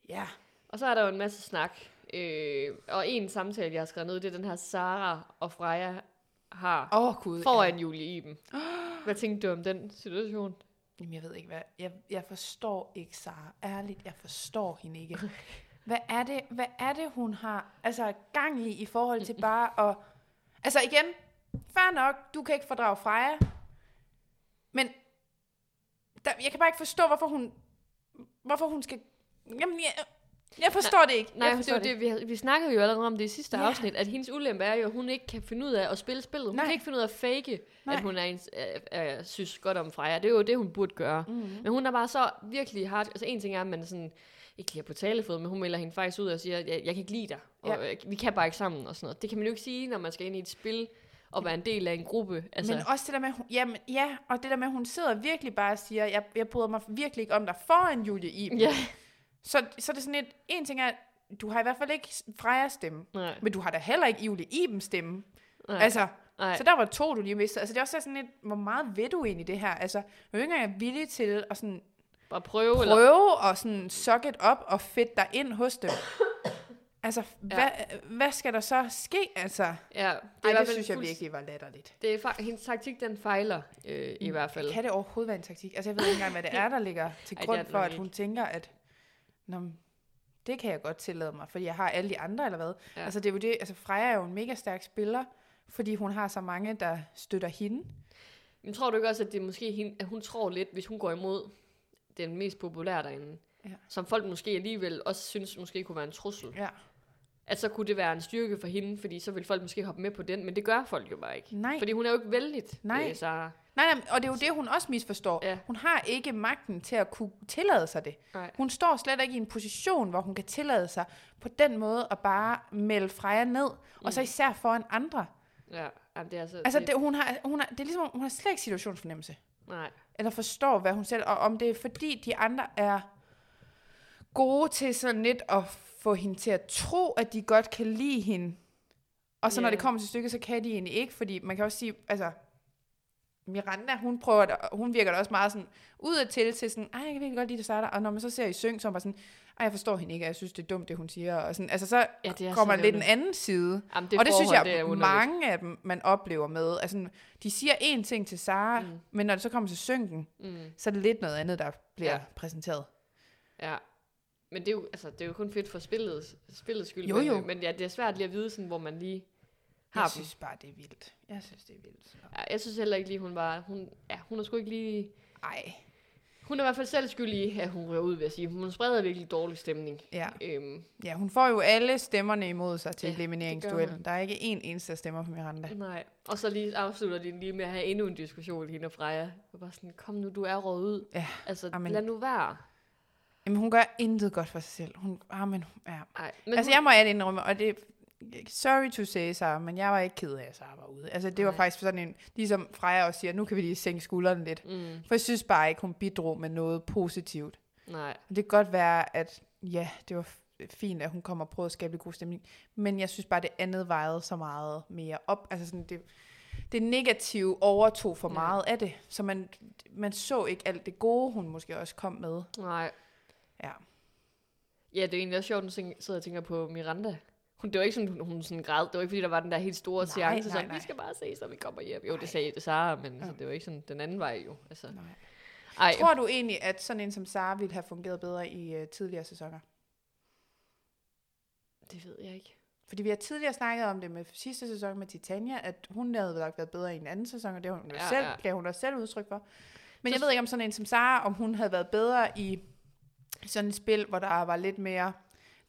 [SPEAKER 3] Ja,
[SPEAKER 2] Og så er der jo en masse snak. Øh, og en samtale, jeg har skrevet ned, det er den her Sara og Freja har
[SPEAKER 3] åh oh, gud.
[SPEAKER 2] foran
[SPEAKER 3] Ja.
[SPEAKER 2] Julie Iben. Hvad tænkte du om den situation?
[SPEAKER 3] Jamen, jeg ved ikke, hvad. Jeg, jeg forstår ikke Sara. Ærligt, jeg forstår hende ikke. Hvad er, det, hvad er det, hun har altså, gang i i forhold til bare at... Altså igen, fair nok, du kan ikke fordrage Freja, men der, jeg kan bare ikke forstå, hvorfor hun, hvorfor hun skal... Jamen, jeg, jeg forstår nej, det ikke.
[SPEAKER 2] Nej, det,
[SPEAKER 3] jeg forstår
[SPEAKER 2] var det, vi, vi snakkede jo allerede om det i sidste
[SPEAKER 3] Ja.
[SPEAKER 2] ja. afsnit, at hendes ulempe er jo, at hun ikke kan finde ud af at spille spillet. Hun Nej.
[SPEAKER 3] Nej.
[SPEAKER 2] kan ikke finde ud af at fake, Nej.
[SPEAKER 3] Nej.
[SPEAKER 2] at hun er en, øh, øh, synes godt om Freja. Det er jo det, hun burde gøre. Mm-hmm.
[SPEAKER 3] Mm.
[SPEAKER 2] Men hun er bare så virkelig hard. Altså en ting er, at man sådan, ikke lige er på talefod, men hun melder hende faktisk ud og siger, jeg, jeg kan ikke lide dig, og ja. vi kan bare ikke sammen og sådan noget. Det kan man jo ikke sige, når man skal ind i et spil og være en del af en gruppe. Altså,
[SPEAKER 3] Men også det der med, hun, jamen, ja, og det der med, at hun sidder virkelig bare og siger, jeg, jeg bryder mig virkelig ikke om dig foran Julie Iben.
[SPEAKER 2] ja,
[SPEAKER 3] Så, så er det sådan et, en ting er, du har i hvert fald ikke Frejas stemme,
[SPEAKER 2] nej,
[SPEAKER 3] men du har da heller ikke Julie Ibens stemme.
[SPEAKER 2] nej, altså,
[SPEAKER 3] Altså,
[SPEAKER 2] nej.
[SPEAKER 3] så der var to, du lige mistede. Altså, det er også sådan lidt, hvor meget ved du egentlig det her? Altså, du er jo ikke engang villig til at sådan
[SPEAKER 2] Bare prøve, prøve. Eller,
[SPEAKER 3] prøve og sådan suck it op og fedt dig ind hos dem. Altså, ja. hvad, hvad skal der så ske? Altså, det,
[SPEAKER 2] ja, det, er i
[SPEAKER 3] Ej,
[SPEAKER 2] hvert
[SPEAKER 3] det
[SPEAKER 2] fald
[SPEAKER 3] synes jeg
[SPEAKER 2] fulds-
[SPEAKER 3] virkelig var latterligt.
[SPEAKER 2] Det er, fa- hendes taktik, den fejler øh, i hvert fald.
[SPEAKER 3] Mm, Kan det overhovedet være en taktik? Altså, jeg ved ikke engang, hvad det er, der ligger til
[SPEAKER 2] Ej, det
[SPEAKER 3] grund
[SPEAKER 2] er
[SPEAKER 3] Ej,
[SPEAKER 2] det
[SPEAKER 3] for,
[SPEAKER 2] nok
[SPEAKER 3] at hun tænker, at Nå, men det kan jeg godt tillade mig, fordi jeg har alle de andre, eller hvad?
[SPEAKER 2] Ja.
[SPEAKER 3] Ja. Altså, det er jo det, altså, Freja er jo en mega stærk spiller, fordi hun har så mange, der støtter hende.
[SPEAKER 2] Men tror du ikke også, at det er måske hende, at hun tror lidt, hvis hun går imod den mest populære derinde,
[SPEAKER 3] Ja.
[SPEAKER 2] som folk måske alligevel også synes måske kunne være en trussel,
[SPEAKER 3] Ja.
[SPEAKER 2] at så kunne det være en styrke for hende, fordi så vil folk måske hoppe med på den, men det gør folk jo bare ikke.
[SPEAKER 3] Nej.
[SPEAKER 2] Fordi hun er jo ikke vældig,
[SPEAKER 3] Nej.
[SPEAKER 2] øh, Sarah.
[SPEAKER 3] Nej, nej, og det er jo det, hun også misforstår.
[SPEAKER 2] Ja.
[SPEAKER 3] Hun har ikke magten til at kunne tillade sig det.
[SPEAKER 2] Nej.
[SPEAKER 3] Hun står slet ikke i en position, hvor hun kan tillade sig på den måde at bare melde Freja ned, mm. og så især foran andre.
[SPEAKER 2] Ja, jamen, det er altså...
[SPEAKER 3] Altså, det, hun har, hun har, det er ligesom, hun har slet ikke situationsfornemmelse,
[SPEAKER 2] Nej.
[SPEAKER 3] eller forstår, hvad hun selv, og om det er fordi, de andre er gode til sådan lidt at få hende til at tro, at de godt kan lide hende. Og så yeah. når
[SPEAKER 2] Ja.
[SPEAKER 3] det kommer til stykket, så kan de egentlig ikke, fordi man kan også sige, altså, Miranda, hun prøver, da- hun virker da også meget sådan ud til, til sådan, ej, jeg kan virkelig godt lide det, Sarah. Og når man så ser i syng, så er man bare sådan, ej, jeg forstår hende ikke, og jeg synes, det er dumt, det hun siger. Og sådan, altså, så
[SPEAKER 2] Ja, det er
[SPEAKER 3] kommer
[SPEAKER 2] så
[SPEAKER 3] lidt en
[SPEAKER 2] ærgerligt.
[SPEAKER 3] anden side.
[SPEAKER 2] Jamen,
[SPEAKER 3] Det og det synes
[SPEAKER 2] forhold,
[SPEAKER 3] jeg,
[SPEAKER 2] det er underligt.
[SPEAKER 3] mange af dem, man oplever med. Altså, de siger én ting til Sara, mm.
[SPEAKER 2] Mm.
[SPEAKER 3] men når det så kommer til synken,
[SPEAKER 2] Mm,
[SPEAKER 3] så er det lidt noget andet, der bliver ja.
[SPEAKER 2] Ja.
[SPEAKER 3] præsenteret.
[SPEAKER 2] ja. Men det er, jo, altså, det er jo kun fedt for spillet, spillets skyld.
[SPEAKER 3] Jo,
[SPEAKER 2] men,
[SPEAKER 3] jo.
[SPEAKER 2] øh, Men ja, det er svært lige at vide, sådan, hvor man lige har
[SPEAKER 3] Jeg
[SPEAKER 2] dem.
[SPEAKER 3] synes bare, det er vildt. Jeg synes, det er vildt.
[SPEAKER 2] Ja, jeg synes heller ikke lige, hun var... Hun, ja, hun er sgu ikke lige...
[SPEAKER 3] Ej,
[SPEAKER 2] Hun er i hvert fald selv skyldig i, at hun rører ud, vil jeg sige. Hun spreder virkelig dårlig stemning.
[SPEAKER 3] ja.
[SPEAKER 2] Øhm,
[SPEAKER 3] ja. hun får jo alle stemmerne imod sig til
[SPEAKER 2] Ja,
[SPEAKER 3] ja,
[SPEAKER 2] det gør
[SPEAKER 3] elimineringsduellen. Der er ikke én eneste, der stemmer på Miranda.
[SPEAKER 2] nej. Og så lige afslutter de lige med at have endnu en diskussion, hende og Freja. Og bare sådan, kom nu, du er røget ud.
[SPEAKER 3] Ja,
[SPEAKER 2] altså,
[SPEAKER 3] amen.
[SPEAKER 2] lad nu være.
[SPEAKER 3] Jamen, hun gør intet godt for sig selv. Hun, ah, men, ja.
[SPEAKER 2] Ej,
[SPEAKER 3] men altså, hun... jeg må alle indrømme, og det Sorry to say, Sara, men jeg var ikke ked af, at Sara var ude. Altså, det var
[SPEAKER 2] Nej.
[SPEAKER 3] faktisk sådan en... Ligesom Freja også siger, nu kan vi lige sænke skuldrene lidt.
[SPEAKER 2] Mm,
[SPEAKER 3] For jeg synes bare ikke, hun bidrog med noget positivt.
[SPEAKER 2] nej.
[SPEAKER 3] Og det kan godt være, at ja, det var f- fint, at hun kom og prøvede at skabe lidt god stemning. Men jeg synes bare, det andet vejede så meget mere op. Altså sådan, det, det negative overtog for
[SPEAKER 2] Ja.
[SPEAKER 3] meget af det. Så man, man så ikke alt det gode, hun måske også kom med.
[SPEAKER 2] Nej.
[SPEAKER 3] Ja.
[SPEAKER 2] Ja, det er egentlig også sjovt, at sidder jeg og tænker på Miranda. Hun, det var ikke sådan, hun, hun sådan græd. Det var ikke, fordi der var den der helt store
[SPEAKER 3] Nej,
[SPEAKER 2] seance,
[SPEAKER 3] nej,
[SPEAKER 2] sådan,
[SPEAKER 3] nej.
[SPEAKER 2] vi skal bare ses, når vi kommer hjem. Jo,
[SPEAKER 3] Nej.
[SPEAKER 2] det sagde det Sara, men altså,
[SPEAKER 3] Ja.
[SPEAKER 2] det var ikke sådan den anden vej jo. Altså.
[SPEAKER 3] Nej.
[SPEAKER 2] Ej,
[SPEAKER 3] Tror du egentlig, at sådan en som Sara ville have fungeret bedre i øh, tidligere sæsoner?
[SPEAKER 2] det ved jeg ikke.
[SPEAKER 3] Fordi vi har tidligere snakket om det med sidste sæson med Titania, at hun havde nok været bedre i en anden sæson, og det har hun ja,
[SPEAKER 2] Ja,
[SPEAKER 3] selv,
[SPEAKER 2] ja.
[SPEAKER 3] gav hun også selv udtryk for. Men
[SPEAKER 2] Så-
[SPEAKER 3] jeg ved ikke om sådan en som Sara, om hun havde været bedre i sådan et spil, hvor der var lidt mere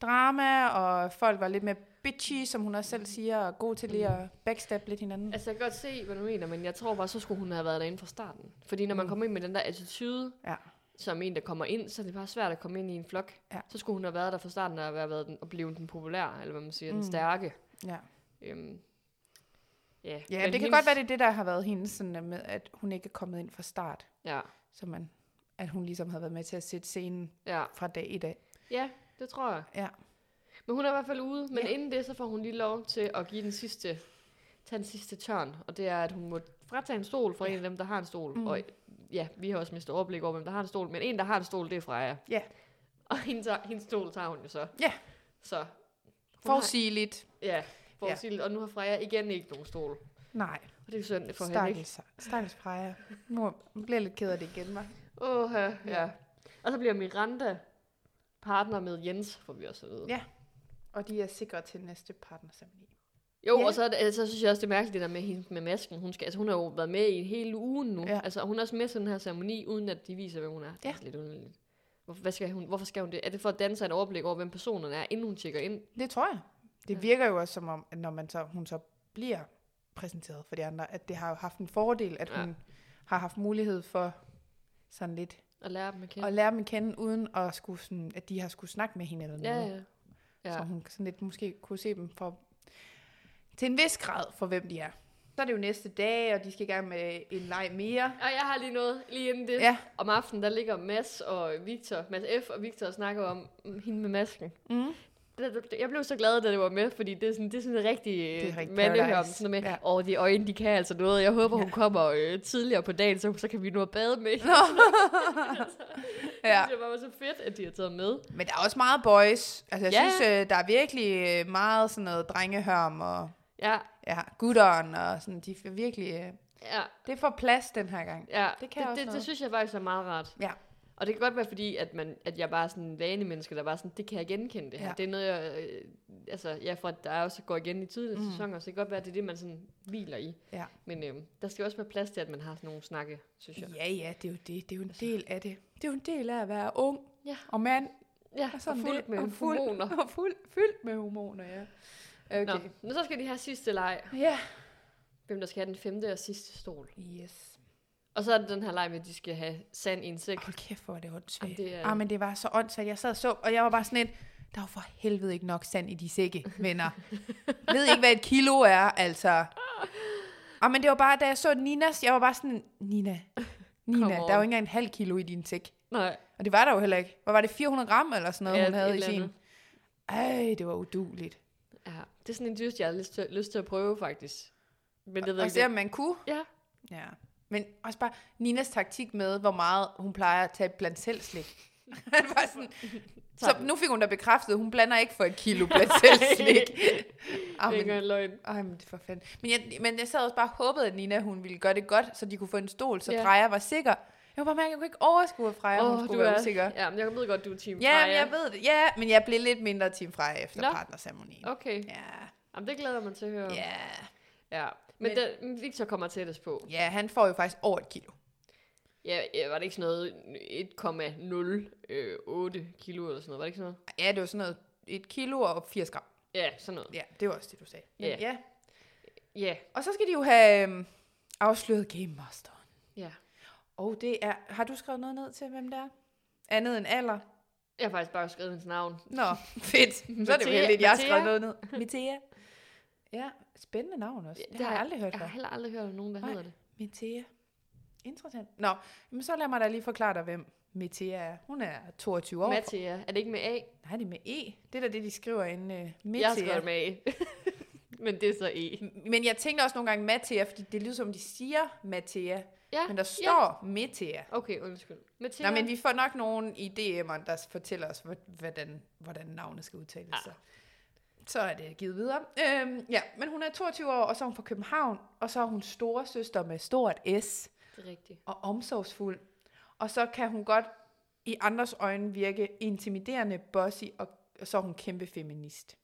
[SPEAKER 3] drama, og folk var lidt mere bitchy, som hun også selv siger, og god til lige at backstab lidt hinanden.
[SPEAKER 2] Altså, jeg kan godt se, hvad du mener, men jeg tror bare, så skulle hun have været derinde fra starten. Fordi når man
[SPEAKER 3] Mm.
[SPEAKER 2] kommer ind med den der attitude,
[SPEAKER 3] Ja.
[SPEAKER 2] som en, der kommer ind, så er det bare svært at komme ind i en flok.
[SPEAKER 3] Ja.
[SPEAKER 2] Så skulle hun have været der fra starten og have været den, og blive den populære, eller hvad man siger, mm.
[SPEAKER 3] Mm.
[SPEAKER 2] den stærke.
[SPEAKER 3] Ja,
[SPEAKER 2] Øhm, ja,
[SPEAKER 3] ja
[SPEAKER 2] men
[SPEAKER 3] det kan
[SPEAKER 2] hendes-
[SPEAKER 3] godt være, det er det, der har været hendes, sådan øh, med, at hun ikke er kommet ind fra start,
[SPEAKER 2] Ja,
[SPEAKER 3] så man, at hun ligesom havde været med til at sætte scenen
[SPEAKER 2] ja.
[SPEAKER 3] fra dag i dag.
[SPEAKER 2] Ja, det tror jeg.
[SPEAKER 3] Ja.
[SPEAKER 2] Men hun er i hvert fald ude, men
[SPEAKER 3] Ja.
[SPEAKER 2] ja. inden det, så får hun lige lov til at give den sidste, tage den sidste tørn, og det er, at hun må fratage en stol fra en af dem, der har en stol.
[SPEAKER 3] Mm.
[SPEAKER 2] Mm. Og ja, vi har også mistet overblik over, hvem der har en stol, men en, der har en stol, det er Freja.
[SPEAKER 3] Ja.
[SPEAKER 2] Og hendes, hendes stol tager hun jo så.
[SPEAKER 3] Ja.
[SPEAKER 2] Så. hun har-
[SPEAKER 3] Forudsigeligt.
[SPEAKER 2] Ja,
[SPEAKER 3] Ja.
[SPEAKER 2] forudsigeligt. Ja. Og nu har Freja igen ikke nogen stol. Og
[SPEAKER 3] Nej.
[SPEAKER 2] det er jo synd for hende, ikke?
[SPEAKER 3] Stakkels, stakkels Freja. Nu bliver jeg lidt ked af det igen, var.
[SPEAKER 2] Åh, ja.
[SPEAKER 3] Ja.
[SPEAKER 2] ja. Og så bliver Miranda partner med Jens, får vi også at vide.
[SPEAKER 3] Ja. Og de er sikre til næste partnersamling.
[SPEAKER 2] Jo,
[SPEAKER 3] Ja.
[SPEAKER 2] ja. og så, er det- altså, så synes jeg også, det er mærkeligt det der med, hende, med masken. Hun, skal, altså, hun har jo været med i en hel uge nu.
[SPEAKER 3] Ja.
[SPEAKER 2] Ja. Altså, og hun er også med til den her ceremoni, uden at de viser, hvem hun er. Det er
[SPEAKER 3] Ja.
[SPEAKER 2] ja. lidt underligt. Hvorfor, hvad skal hun, hvorfor skal hun det? Er det for at danne sig et overblik over, hvem personerne er, inden hun tjekker ind?
[SPEAKER 3] Det tror jeg. Det
[SPEAKER 2] Ja.
[SPEAKER 3] virker jo også som om, at når man så, hun så bliver præsenteret for de andre, at det har jo haft en fordel, at
[SPEAKER 2] Ja.
[SPEAKER 3] hun har haft mulighed for sådan lidt
[SPEAKER 2] Og lære dem at kende?
[SPEAKER 3] at lære dem at kende, uden at, skulle sådan, at de har skulle snakke med hinanden.
[SPEAKER 2] ja, ja.
[SPEAKER 3] Så
[SPEAKER 2] ja.
[SPEAKER 3] hun sådan lidt måske kunne se dem for, til en vis grad for, hvem de er. Så er det jo næste dag, og de skal i gang med en leg mere.
[SPEAKER 2] Og jeg har lige noget, lige inden det.
[SPEAKER 3] Ja.
[SPEAKER 2] Om aftenen, der ligger Mads og Victor, Mads F. og Victor og snakker om mm, hende med masken.
[SPEAKER 3] Mm.
[SPEAKER 2] Det- det- Jeg blev så glad, da det var med, fordi det er sådan, det er sådan en rigtig,
[SPEAKER 3] er
[SPEAKER 2] øh,
[SPEAKER 3] rigtig
[SPEAKER 2] mandehør. om
[SPEAKER 3] paradise.
[SPEAKER 2] Sådan noget med,
[SPEAKER 3] Ja.
[SPEAKER 2] ja. og de øjne, de kan altså noget. Jeg håber, hun kommer øh, tidligere på dagen, så, så kan vi nu at bade med. hende."
[SPEAKER 3] Ja.
[SPEAKER 2] Det synes jeg bare var så fedt, at de har taget med.
[SPEAKER 3] Men der er også meget boys. Altså, jeg ja.
[SPEAKER 2] Ja.
[SPEAKER 3] synes, øh, der er virkelig øh, meget sådan noget drengehørm og
[SPEAKER 2] Ja,
[SPEAKER 3] ja, gutteren og sådan. De er virkelig... Øh,
[SPEAKER 2] ja,
[SPEAKER 3] det får plads den her gang.
[SPEAKER 2] ja.
[SPEAKER 3] Det kan
[SPEAKER 2] det,
[SPEAKER 3] også
[SPEAKER 2] det,
[SPEAKER 3] noget.
[SPEAKER 2] det, synes jeg faktisk er meget rart.
[SPEAKER 3] Ja.
[SPEAKER 2] Og det kan godt være, fordi at, man, at jeg bare er sådan en vanlig menneske, der bare sådan, det kan jeg genkende det her.
[SPEAKER 3] Ja.
[SPEAKER 2] Ja. Det er noget, jeg, øh, altså, ja, for at der også går igen i tidligere
[SPEAKER 3] Mm.
[SPEAKER 2] mm. sæsoner, så det kan godt være, at det er det, man sådan hviler i.
[SPEAKER 3] Ja.
[SPEAKER 2] Men øh, der skal også være plads til, at man har sådan nogle snakke, synes jeg.
[SPEAKER 3] Altså. Ja, ja, det er jo det. Det er jo en del af det. Det er jo en del af at være ung
[SPEAKER 2] Ja.
[SPEAKER 3] og mand.
[SPEAKER 2] Ja,
[SPEAKER 3] Og
[SPEAKER 2] og fuldt
[SPEAKER 3] lidt-
[SPEAKER 2] med
[SPEAKER 3] og fuld-
[SPEAKER 2] hormoner.
[SPEAKER 3] Og fuld, fyldt med hormoner, ja. Okay.
[SPEAKER 2] Okay. Nå, men så skal de have sidste leg.
[SPEAKER 3] Ja.
[SPEAKER 2] Hvem der skal have den femte og sidste stol.
[SPEAKER 3] Yes.
[SPEAKER 2] Og så er det den her leg med, at de skal have sand i en sæk.
[SPEAKER 3] Hold kæft, hvor er det
[SPEAKER 2] Jamen,
[SPEAKER 3] åndssvagt.
[SPEAKER 2] det er-
[SPEAKER 3] Ah, men det var så åndssvagt. Jeg sad og så, og jeg var bare sådan lidt, der var for helvede ikke nok sand i de sække, venner. Jeg ved ikke, hvad et kilo er, altså. Ah, men det var bare, da jeg så Ninas, jeg var bare sådan, Nina, Nina,
[SPEAKER 2] Come
[SPEAKER 3] der er jo
[SPEAKER 2] on."
[SPEAKER 3] ikke engang en halv kilo i din sæk.
[SPEAKER 2] Nej,
[SPEAKER 3] Og det var der jo heller ikke. Hvad var det, 400 gram eller sådan noget,
[SPEAKER 2] Ja,
[SPEAKER 3] ja, hun
[SPEAKER 2] et
[SPEAKER 3] havde i
[SPEAKER 2] eller
[SPEAKER 3] sin?
[SPEAKER 2] andet.
[SPEAKER 3] Ej, det var uduligt.
[SPEAKER 2] ja. det er sådan en dyst, jeg har lyst til, lyst til at prøve, faktisk. Men det ved
[SPEAKER 3] Og
[SPEAKER 2] jeg
[SPEAKER 3] se, om
[SPEAKER 2] ikke.
[SPEAKER 3] man kunne.
[SPEAKER 2] Ja,
[SPEAKER 3] Ja. Men også bare Ninas taktik med, hvor meget hun plejer at tage blandt selv slik. bare sådan, så nu fik hun da bekræftet, at hun blander ikke for et kilo blandt selv slik. Ej,
[SPEAKER 2] det er ikke
[SPEAKER 3] men,
[SPEAKER 2] engang løgn.
[SPEAKER 3] ej, men det er for fanden. Men jeg, men jeg sad også bare og håbede, at Nina hun ville gøre det godt, så de kunne få en stol, så
[SPEAKER 2] Ja.
[SPEAKER 3] Freja var sikker. Jeg kunne bare mærke, at jeg kunne ikke overskue, at Freja oh, hun skulle være usikker.
[SPEAKER 2] Ja, men jeg ved godt, du er team
[SPEAKER 3] Ja,
[SPEAKER 2] Freja.
[SPEAKER 3] men jeg ved det. Ja, men jeg blev lidt mindre Team Freja efter
[SPEAKER 2] Nå.
[SPEAKER 3] partnerceremonien.
[SPEAKER 2] Okay,
[SPEAKER 3] Ja,
[SPEAKER 2] Jamen, det glæder jeg mig til at høre. om.
[SPEAKER 3] ja.
[SPEAKER 2] ja. Men,
[SPEAKER 3] Men-
[SPEAKER 2] den, men Victor kommer tættest på.
[SPEAKER 3] Ja, han får jo faktisk over et kilo.
[SPEAKER 2] Ja, ja var det ikke sådan noget 1,08 kilo eller sådan noget? Var det ikke sådan noget?
[SPEAKER 3] Ja, det var sådan noget, et kilo og 80 gram.
[SPEAKER 2] Ja, sådan noget.
[SPEAKER 3] Ja, det var også det, du sagde. Men
[SPEAKER 2] Ja.
[SPEAKER 3] ja.
[SPEAKER 2] Ja,
[SPEAKER 3] Og så skal de jo have øhm, afsløret Game Masteren.
[SPEAKER 2] ja.
[SPEAKER 3] Og det er, har du skrevet noget ned til, hvem det er? Andet end alder?
[SPEAKER 2] Jeg har faktisk bare skrevet hendes navn.
[SPEAKER 3] Nå, fedt. Så er det jo
[SPEAKER 2] Mathia-
[SPEAKER 3] heldigt, jeg har
[SPEAKER 2] Mathia.
[SPEAKER 3] skrevet noget ned. Mitea. Ja, spændende navn også.
[SPEAKER 2] Ja,
[SPEAKER 3] Det
[SPEAKER 2] det
[SPEAKER 3] har jeg
[SPEAKER 2] har-
[SPEAKER 3] aldrig hørt
[SPEAKER 2] Jeg har
[SPEAKER 3] før.
[SPEAKER 2] heller aldrig hørt om nogen, der
[SPEAKER 3] Nej.
[SPEAKER 2] hedder det.
[SPEAKER 3] Mitea. Interessant. Nå, men så lad mig da lige forklare dig, hvem Mitea er. Hun er 22 år.
[SPEAKER 2] Mathia. Er det ikke med A?
[SPEAKER 3] Nej, det er med E. Det er da det, de skriver inde. Uh,
[SPEAKER 2] Jeg har skrevet med A. men det er så E.
[SPEAKER 3] Men jeg tænkte også nogle gange Mathia, fordi det lyder som, de siger Mathia,
[SPEAKER 2] Ja,
[SPEAKER 3] men der står ja. Metea.
[SPEAKER 2] okay, undskyld. Mathia.
[SPEAKER 3] Nej, men vi får nok nogen i DM'eren, der fortæller os, hvor- hvordan, hvordan navnet skal udtales.
[SPEAKER 2] Ah.
[SPEAKER 3] Ah. Så er det givet videre. Øhm, ja, men hun er 22 år, og så er hun fra København, og så er hun store søster med stort S
[SPEAKER 2] Det er rigtigt.
[SPEAKER 3] og omsorgsfuld. Og så kan hun godt i andres øjne virke intimiderende, bossy, og, og så er hun kæmpe feminist.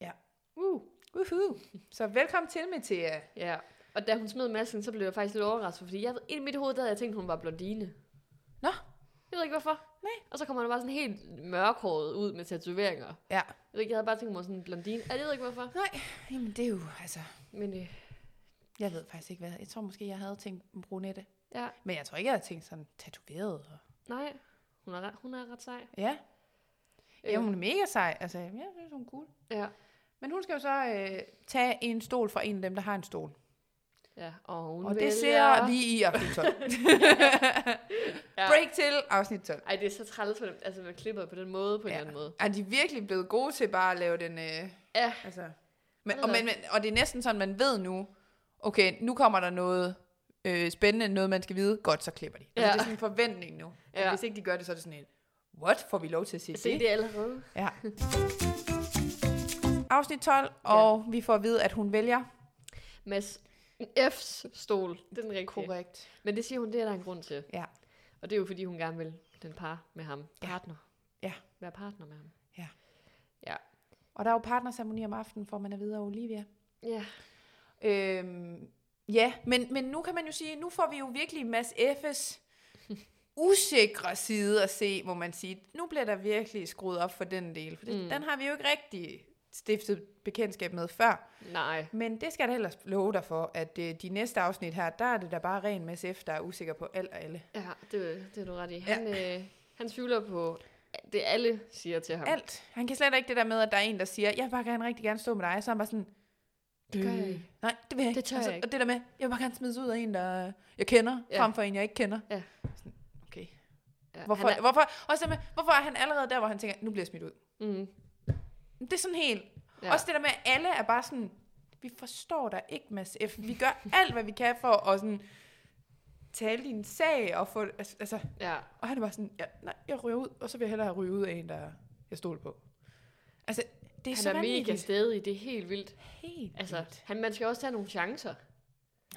[SPEAKER 3] Ja. Uh. Uhu. Så velkommen til, Metea.
[SPEAKER 2] Ja. Og da hun smed masken, så blev jeg faktisk lidt overrasket, fordi jeg, ved- ind i mit hoved der havde jeg tænkt, hun var blondine.
[SPEAKER 3] Nå.
[SPEAKER 2] Jeg ved ikke hvorfor.
[SPEAKER 3] Nej.
[SPEAKER 2] Og så kommer hun bare sådan helt mørkhåret ud med tatoveringer.
[SPEAKER 3] Ja.
[SPEAKER 2] Jeg, ved ikke, jeg havde bare tænkt, hun var sådan en blondine. Ja, Jeg ved ikke hvorfor.
[SPEAKER 3] Nej, jamen det er jo, altså,
[SPEAKER 2] Men øh,
[SPEAKER 3] jeg ved faktisk ikke hvad. Jeg tror måske, jeg havde tænkt brunette.
[SPEAKER 2] ja,
[SPEAKER 3] Men jeg tror ikke, jeg havde tænkt sådan tatoveret. Og...
[SPEAKER 2] nej. Hun er, ret- hun er ret sej.
[SPEAKER 3] Ja.
[SPEAKER 2] Øh,
[SPEAKER 3] ja, hun er mega sej. Altså, jeg synes, hun er cool.
[SPEAKER 2] ja.
[SPEAKER 3] Men hun skal jo så øh, tage en stol fra en af dem, der har en stol.
[SPEAKER 2] Ja, og hun
[SPEAKER 3] Og det
[SPEAKER 2] vælger-
[SPEAKER 3] ser vi i afsnit 12.
[SPEAKER 2] Ja.
[SPEAKER 3] Break til afsnit 12.
[SPEAKER 2] Ej, det er så træls for dem, altså med klippet på den måde, på en
[SPEAKER 3] Ja.
[SPEAKER 2] eller anden måde.
[SPEAKER 3] Er de virkelig blevet gode til bare at lave den... Øh,
[SPEAKER 2] Ja.
[SPEAKER 3] Altså. Men,
[SPEAKER 2] Hold
[SPEAKER 3] og,
[SPEAKER 2] da
[SPEAKER 3] men, men, og det er næsten sådan, man ved nu, okay, nu kommer der noget øh, spændende, noget man skal vide. Godt, så klipper de. Ja.
[SPEAKER 2] Ja.
[SPEAKER 3] Altså, det er sådan en forventning nu.
[SPEAKER 2] Ja.
[SPEAKER 3] Ja. Hvis ikke de gør det, så er det sådan en, what, får vi lov til at se,
[SPEAKER 2] Se det allerede.
[SPEAKER 3] Ja. Afsnit 12, og ja. vi får at vide, at hun vælger.
[SPEAKER 2] Mads F's stol, det er den rigtige.
[SPEAKER 3] Korrekt.
[SPEAKER 2] Men det siger hun, det er der en grund til.
[SPEAKER 3] Ja.
[SPEAKER 2] Og det er jo, fordi hun gerne vil den par med ham.
[SPEAKER 3] Ja.
[SPEAKER 2] Partner.
[SPEAKER 3] Ja.
[SPEAKER 2] Være partner med ham.
[SPEAKER 3] Og der er jo partnerceremoni om aftenen, for man er videre Olivia.
[SPEAKER 2] Ja,
[SPEAKER 3] Øhm, ja, men, men nu kan man jo sige, nu får vi jo virkelig Mads F.'s usikre side at se, må man sige. Nu bliver der virkelig skruet op for den del, for det,
[SPEAKER 2] Mm.
[SPEAKER 3] mm. den har vi jo ikke rigtig stiftet bekendtskab med før.
[SPEAKER 2] nej.
[SPEAKER 3] Men det skal jeg da ellers love dig for, at øh, de næste afsnit her, der er det da bare ren Mads F., der er usikker på alt og alle.
[SPEAKER 2] Ja, det, det er du ret i. Han, ja. øh, han tvivler på det, alle siger til ham.
[SPEAKER 3] Alt. Han kan slet ikke det der med, at der er en, der siger, jeg vil bare gerne rigtig gerne stå med dig. Så er han bare sådan,
[SPEAKER 2] Det gør jeg
[SPEAKER 3] "Øh,
[SPEAKER 2] ikke."
[SPEAKER 3] Nej, det vil jeg ikke.
[SPEAKER 2] Det tør
[SPEAKER 3] og, så,
[SPEAKER 2] jeg ikke.
[SPEAKER 3] og det der med, jeg vil bare gerne smides ud af en, der jeg kender,
[SPEAKER 2] Ja.
[SPEAKER 3] ja. frem for en, jeg ikke kender.
[SPEAKER 2] Ja.
[SPEAKER 3] Sådan, Okay.
[SPEAKER 2] Ja,
[SPEAKER 3] Hvorfor,
[SPEAKER 2] Han
[SPEAKER 3] er... hvorfor, og så med, hvorfor er han allerede der, hvor han tænker, nu bliver jeg smidt ud?
[SPEAKER 2] er, mm,
[SPEAKER 3] Det er sådan helt.
[SPEAKER 2] ja.
[SPEAKER 3] Ja. Også det der med, at alle er bare sådan, vi forstår dig ikke, Mads F. Vi gør alt, hvad vi kan for at sådan, tale din sag. Og, få, altså,
[SPEAKER 2] ja.
[SPEAKER 3] og han er bare sådan, ja, nej, jeg ryger ud, og så vil jeg hellere ryge ud af en, der jeg stoler på. Altså, det er så
[SPEAKER 2] Han er mega
[SPEAKER 3] vanvittigt.
[SPEAKER 2] stedig, det er helt vildt.
[SPEAKER 3] Helt
[SPEAKER 2] Altså,
[SPEAKER 3] vildt.
[SPEAKER 2] han, man skal også tage nogle chancer.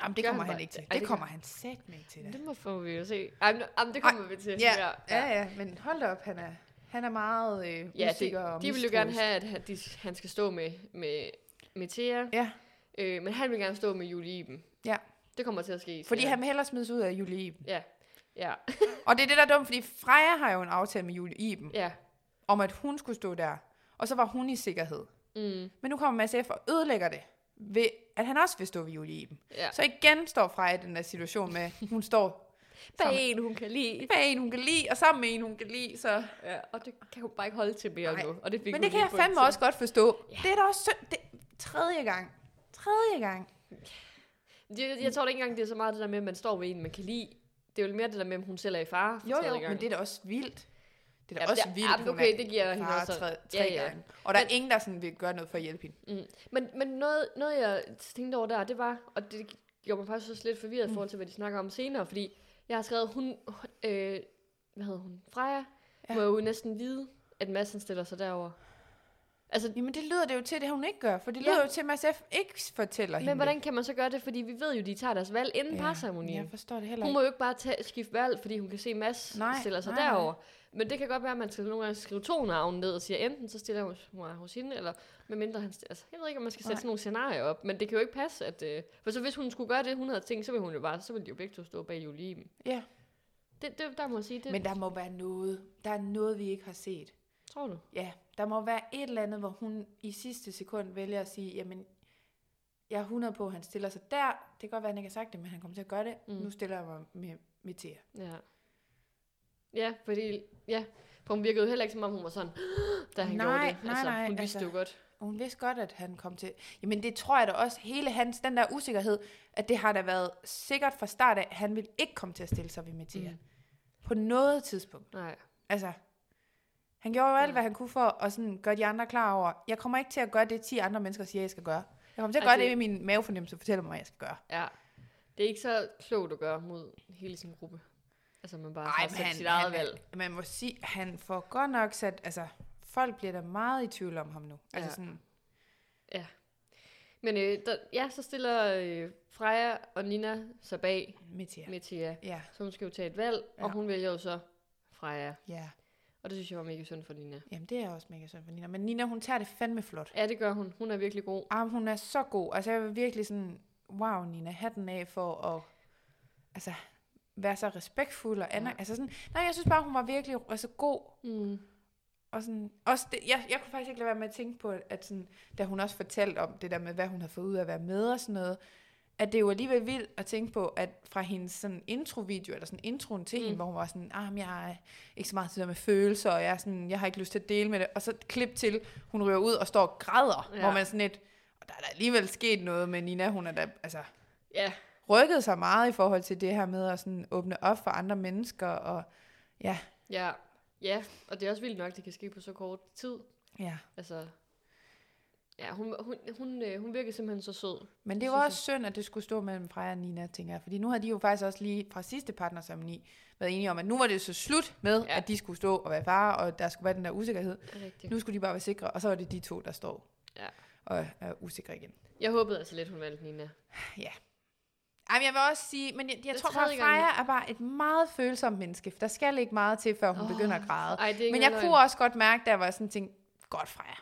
[SPEAKER 3] Jamen, det
[SPEAKER 2] gør
[SPEAKER 3] kommer
[SPEAKER 2] han
[SPEAKER 3] han,
[SPEAKER 2] bare-
[SPEAKER 3] ikke til.
[SPEAKER 2] Ej, det
[SPEAKER 3] Det
[SPEAKER 2] gør-
[SPEAKER 3] kommer han satme ikke til. da.
[SPEAKER 2] Det må få vi jo se. Ej, men, jamen, det kommer vi til.
[SPEAKER 3] Ja, ja, ja, men hold da op, han er, han er meget øh,
[SPEAKER 2] ja
[SPEAKER 3] usikker
[SPEAKER 2] det,
[SPEAKER 3] og
[SPEAKER 2] de vil jo gerne
[SPEAKER 3] mistroisk.
[SPEAKER 2] have, at han, de, han skal stå med, med, med Thea,
[SPEAKER 3] Ja,
[SPEAKER 2] øh, men han vil gerne stå med Julie Iben.
[SPEAKER 3] Ja.
[SPEAKER 2] Det kommer til at ske.
[SPEAKER 3] fordi
[SPEAKER 2] ja.
[SPEAKER 3] han vil hellere smides ud af Julie Iben.
[SPEAKER 2] Ja, ja,
[SPEAKER 3] Og det er det, der er dumt, fordi Freja har jo en aftale med Julie Iben.
[SPEAKER 2] ja.
[SPEAKER 3] om, at hun skulle stå der. Og så var hun i sikkerhed.
[SPEAKER 2] Mm,
[SPEAKER 3] Men nu kommer Mads F. og ødelægger det, ved at han også vil stå ved Julie Iben.
[SPEAKER 2] ja.
[SPEAKER 3] Så igen står Freja i den der situation med, hun står
[SPEAKER 2] Bare
[SPEAKER 3] sammen
[SPEAKER 2] en, hun kan lide.
[SPEAKER 3] bag en, hun kan lide, og sammen med en, hun kan lide. Så.
[SPEAKER 2] Ja, og det kan hun bare ikke holde til mere
[SPEAKER 3] Nej,
[SPEAKER 2] nu. Og det fik
[SPEAKER 3] Men
[SPEAKER 2] hun
[SPEAKER 3] det kan
[SPEAKER 2] lige
[SPEAKER 3] jeg
[SPEAKER 2] på en
[SPEAKER 3] fandme
[SPEAKER 2] tid.
[SPEAKER 3] også godt forstå.
[SPEAKER 2] Ja.
[SPEAKER 3] Det er da også synd. Det, tredje gang. Tredje gang.
[SPEAKER 2] Jeg, jeg tror da ikke engang, det er så meget det der med, at man står ved en, man kan lide. Det er jo mere det der med, om hun selv er i fare for
[SPEAKER 3] Jo,
[SPEAKER 2] tredje
[SPEAKER 3] jo,
[SPEAKER 2] gang.
[SPEAKER 3] men det er da også vildt. Det er da
[SPEAKER 2] Ja,
[SPEAKER 3] også
[SPEAKER 2] det er-
[SPEAKER 3] vildt,
[SPEAKER 2] ja,
[SPEAKER 3] at
[SPEAKER 2] men
[SPEAKER 3] hun
[SPEAKER 2] okay,
[SPEAKER 3] er
[SPEAKER 2] det giver jeg hende
[SPEAKER 3] far
[SPEAKER 2] også.
[SPEAKER 3] tre, tre
[SPEAKER 2] Ja, ja.
[SPEAKER 3] gange. Og der er ingen, der sådan vil gøre noget for at hjælpe hende.
[SPEAKER 2] Mm. Men, men noget, noget, jeg tænkte over der, det var, og det gjorde mig faktisk også lidt forvirret i forhold til, hvad de snakker om senere, fordi jeg har skrevet, hun, øh, hvad hedder hun, Freja,
[SPEAKER 3] Ja.
[SPEAKER 2] ja. må jo næsten vide, at Madsen stiller sig derover. Altså,
[SPEAKER 3] Jamen det lyder det jo til, det hun ikke gør. For det
[SPEAKER 2] Ja.
[SPEAKER 3] lyder jo til, at Mads F. ikke fortæller hende.
[SPEAKER 2] men hvordan kan man så gøre det? Fordi vi ved jo, de tager deres valg inden ja. parceremonien.
[SPEAKER 3] Jeg forstår det heller
[SPEAKER 2] Hun
[SPEAKER 3] ikke.
[SPEAKER 2] må jo ikke bare tage, skifte valg, fordi hun kan se, at Mads
[SPEAKER 3] Nej,
[SPEAKER 2] nej, stiller sig
[SPEAKER 3] nej, nej.
[SPEAKER 2] derover. Men det kan godt være, at man skal nogle gange skrive to navne ned og siger, enten så stiller hun mig hos hende, eller medmindre han stiller altså, Jeg ved ikke, om man skal sætte
[SPEAKER 3] Nej.
[SPEAKER 2] sådan nogle scenarier op, men det kan jo ikke passe, at... Øh, for så hvis hun skulle gøre det, hun havde tænkt, så ville hun jo bare, så ville de jo begge to stå bag Julie Iben.
[SPEAKER 3] Ja.
[SPEAKER 2] Det, det, der må jeg sige, det men,
[SPEAKER 3] Men der må være noget. Der er noget, vi ikke har set.
[SPEAKER 2] tror du.
[SPEAKER 3] Ja, der må være et eller andet, hvor hun i sidste sekund vælger at sige, jamen, jeg er 100 på, at han stiller sig der. Det kan godt være, han ikke har sagt det, men han kommer til at gøre det. Mm.
[SPEAKER 2] Mm.
[SPEAKER 3] Nu stiller jeg mig med, med Thea.
[SPEAKER 2] Ja. Ja, fordi... Ja, for hun virkede jo heller ikke, som om hun var sådan, da han
[SPEAKER 3] Nej,
[SPEAKER 2] gjorde det.
[SPEAKER 3] nej,
[SPEAKER 2] altså,
[SPEAKER 3] nej,
[SPEAKER 2] hun vidste
[SPEAKER 3] altså.
[SPEAKER 2] det jo godt.
[SPEAKER 3] Og hun vidste godt, at han kom til... Jamen det tror jeg da også, hele hans, den der usikkerhed, at det har da været sikkert fra start af, at han ville ikke komme til at stille sig ved Mathias. Mm.
[SPEAKER 2] Mm.
[SPEAKER 3] På noget tidspunkt.
[SPEAKER 2] Nej.
[SPEAKER 3] Altså, han gjorde jo alt,
[SPEAKER 2] Ja.
[SPEAKER 3] hvad han kunne for at sådan gøre de andre klar over, jeg kommer ikke til at gøre det, 10 andre mennesker siger, jeg skal gøre. Jeg kommer til at
[SPEAKER 2] Ej,
[SPEAKER 3] gøre det,
[SPEAKER 2] det-
[SPEAKER 3] det min mavefornemmelse fortæller mig, jeg skal gøre.
[SPEAKER 2] Ja. Det er ikke så klogt at gøre mod hele sin gruppe. Altså, man bare
[SPEAKER 3] Ej,
[SPEAKER 2] har
[SPEAKER 3] men
[SPEAKER 2] sat
[SPEAKER 3] han-
[SPEAKER 2] sit eget
[SPEAKER 3] han er-
[SPEAKER 2] valg.
[SPEAKER 3] Man må sige, han får godt nok sat... Altså, folk bliver da meget i tvivl om ham nu. Altså
[SPEAKER 2] Ja.
[SPEAKER 3] sådan,
[SPEAKER 2] Men øh, der, ja, så stiller øh, Freja og Nina sig bag
[SPEAKER 3] Mathias.
[SPEAKER 2] ja. Metia,
[SPEAKER 3] Ja,
[SPEAKER 2] så hun skal jo tage et valg, ja.
[SPEAKER 3] Ja.
[SPEAKER 2] og hun vælger jo så Freja.
[SPEAKER 3] ja.
[SPEAKER 2] Og det synes jeg var mega synd for Nina.
[SPEAKER 3] Jamen, det er også mega synd for Nina. Men Nina, hun tager det fandme flot.
[SPEAKER 2] Ja, det gør hun. Hun er virkelig god.
[SPEAKER 3] Ah, hun er så god. Altså, jeg vil virkelig sådan, wow, Nina, hatten af for at altså, være så respektfuld og ander. Ja.
[SPEAKER 2] Ja.
[SPEAKER 3] Altså sådan, nej, jeg synes bare, hun var virkelig altså, god.
[SPEAKER 2] Mm.
[SPEAKER 3] Og sådan, også det, jeg, jeg kunne faktisk ikke lade være med at tænke på, at sådan, da hun også fortalte om det der med, hvad hun har fået ud af at være med og sådan noget, at det er jo alligevel vildt at tænke på, at fra hendes sådan introvideo, eller sådan introen til mm.
[SPEAKER 2] Mm.
[SPEAKER 3] hende, hvor hun var sådan, ah, men jeg er ikke så meget til det der med følelser, og jeg, er sådan, jeg har ikke lyst til at dele med det, og så et klip til, hun rører ud og står og græder, ja.
[SPEAKER 2] Ja.
[SPEAKER 3] hvor man sådan lidt, og der er da alligevel sket noget med Nina, hun er da, altså,
[SPEAKER 2] Ja,
[SPEAKER 3] rykket sig meget i forhold til det her med at sådan åbne op for andre mennesker, og
[SPEAKER 2] ja, ja. Og det er også vildt nok, det kan ske på så kort tid.
[SPEAKER 3] ja.
[SPEAKER 2] Altså, ja, hun, hun, hun, øh, hun virker simpelthen så sød.
[SPEAKER 3] Men det
[SPEAKER 2] Det
[SPEAKER 3] var
[SPEAKER 2] synes
[SPEAKER 3] også synd, at det skulle stå mellem Freja og Nina, tænker jeg. Fordi nu har de jo faktisk også lige fra sidste partnersamling været enige om, at nu var det så slut med, ja.
[SPEAKER 2] Ja.
[SPEAKER 3] at de skulle stå og være far, og der skulle være den der usikkerhed.
[SPEAKER 2] Rigtigt.
[SPEAKER 3] Nu skulle de bare være sikre, og så var det de to, der står
[SPEAKER 2] Ja.
[SPEAKER 3] og er usikre igen.
[SPEAKER 2] Jeg håbede altså lidt, hun valgte Nina.
[SPEAKER 3] Ej, men jeg vil også sige, men jeg, jeg
[SPEAKER 2] Det er
[SPEAKER 3] tror bare,
[SPEAKER 2] tredje gang
[SPEAKER 3] Freja er bare et meget følsomt menneske. for Der skal ikke meget til, før hun oh,
[SPEAKER 2] Åh,
[SPEAKER 3] begynder at græde.
[SPEAKER 2] Ej, det er ikke
[SPEAKER 3] Men jeg
[SPEAKER 2] engang
[SPEAKER 3] kunne også godt mærke, da jeg var sådan tænkt, godt Freja,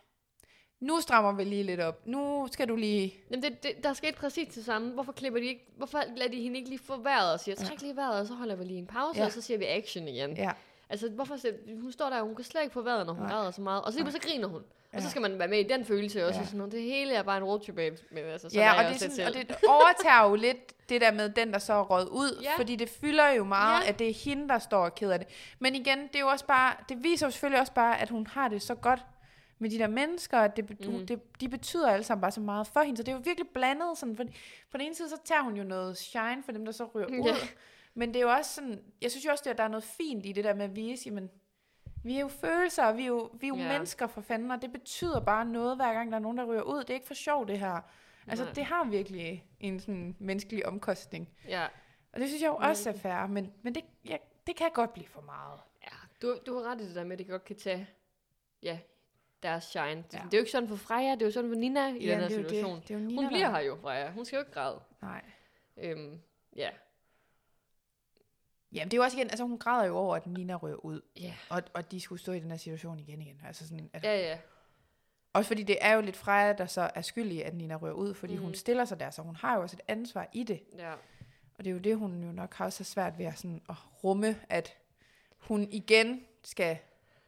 [SPEAKER 3] nu strammer vi lige lidt op. Nu skal du lige...
[SPEAKER 2] Jamen, det, det, der skete præcis det samme. Hvorfor klipper de ikke? Hvorfor lader de hende ikke lige få vejret og siger, træk lige vejret, og så holder vi lige en pause,
[SPEAKER 3] Ja.
[SPEAKER 2] ja. og så siger vi action igen.
[SPEAKER 3] Ja.
[SPEAKER 2] Altså, hvorfor, se- hun står der, hun kan slet ikke få vejret, når hun
[SPEAKER 3] Nej.
[SPEAKER 2] græder så meget. Og så, lige pludselig så griner hun. Og
[SPEAKER 3] Ja.
[SPEAKER 2] så skal man være med i den følelse også.
[SPEAKER 3] Ja.
[SPEAKER 2] Ja. Sådan, noget. det hele er bare en roadtrip. Men altså, sådan
[SPEAKER 3] ja,
[SPEAKER 2] er
[SPEAKER 3] og
[SPEAKER 2] jeg
[SPEAKER 3] det,
[SPEAKER 2] også
[SPEAKER 3] er
[SPEAKER 2] lidt
[SPEAKER 3] sådan, og
[SPEAKER 2] selv.
[SPEAKER 3] det overtager jo lidt det der med den, der så er røget ud, ja.
[SPEAKER 2] Ja.
[SPEAKER 3] fordi det fylder jo meget, ja.
[SPEAKER 2] Ja.
[SPEAKER 3] at det er hende, der står og keder det. Men igen, det, er jo også bare, det viser jo selvfølgelig også bare, at hun har det så godt med de der mennesker, at det, mm.
[SPEAKER 2] Mm.
[SPEAKER 3] det, de betyder alle sammen bare så meget for hende, så det er jo virkelig blandet. Sådan, for, på den ene side, så tager hun jo noget shine for dem, der så ryger ud,
[SPEAKER 2] Ja.
[SPEAKER 3] men det er jo også sådan, jeg synes jo også, at der er noget fint i det der med at vise, jamen, vi er jo følelser, og vi er jo, vi er jo ja.
[SPEAKER 2] Ja.
[SPEAKER 3] mennesker for fanden, og det betyder bare noget, hver gang der er nogen, der ryger ud. Det er ikke for sjov, det her. Altså,
[SPEAKER 2] Nej.
[SPEAKER 3] det har virkelig en sådan menneskelig omkostning.
[SPEAKER 2] Ja.
[SPEAKER 3] Og det synes jeg jo også er fair, men, men det, ja, det kan godt blive for meget.
[SPEAKER 2] ja. Du, du har ret i det der med, at det godt kan tage ja, deres shine. Ja. Det
[SPEAKER 3] Ja.
[SPEAKER 2] er jo ikke sådan for Freja, det er jo sådan for Nina i den her
[SPEAKER 3] det er jo det.
[SPEAKER 2] situation.
[SPEAKER 3] Det er jo Nina,
[SPEAKER 2] Hun
[SPEAKER 3] der-
[SPEAKER 2] bliver her jo, Freja. Hun skal jo ikke græde.
[SPEAKER 3] Nej.
[SPEAKER 2] Øhm, ja.
[SPEAKER 3] Jamen, det er jo også igen, altså hun græder jo over, at Nina rører ud,
[SPEAKER 2] Ja.
[SPEAKER 3] og, og de skulle stå i den her situation igen igen. Altså sådan, at,
[SPEAKER 2] Ja, ja.
[SPEAKER 3] Også fordi det er jo lidt Freja, der så er skyldig, i, at Nina rører ud, fordi mm. hun
[SPEAKER 2] Mhm.
[SPEAKER 3] stiller sig der, så hun har jo også et ansvar i det.
[SPEAKER 2] ja.
[SPEAKER 3] Og det er jo det, hun jo nok har så svært ved at, sådan, at rumme, at hun igen skal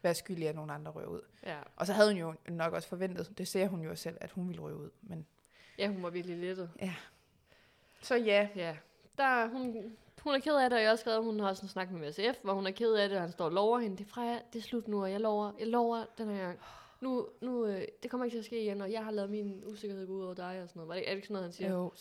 [SPEAKER 3] være skyldig, at nogle andre røg ud.
[SPEAKER 2] Ja.
[SPEAKER 3] Og så havde hun jo nok også forventet, det ser hun jo selv, at hun ville røge ud. Men
[SPEAKER 2] ja, hun var virkelig lettet.
[SPEAKER 3] så ja,
[SPEAKER 2] Ja. Der, hun, hun er ked af det, og jeg har også skrevet, at hun har sådan snakket med MSF, hvor hun er ked af det, og han står og lover hende, det er Freja, det er slut nu, og jeg lover, jeg lover den her gang. Nu, nu, øh, det kommer ikke til at ske igen, og jeg har lavet min usikkerhed gå ud over dig og sådan noget. Var det, er det ikke sådan noget, han siger? Jo.
[SPEAKER 3] jo.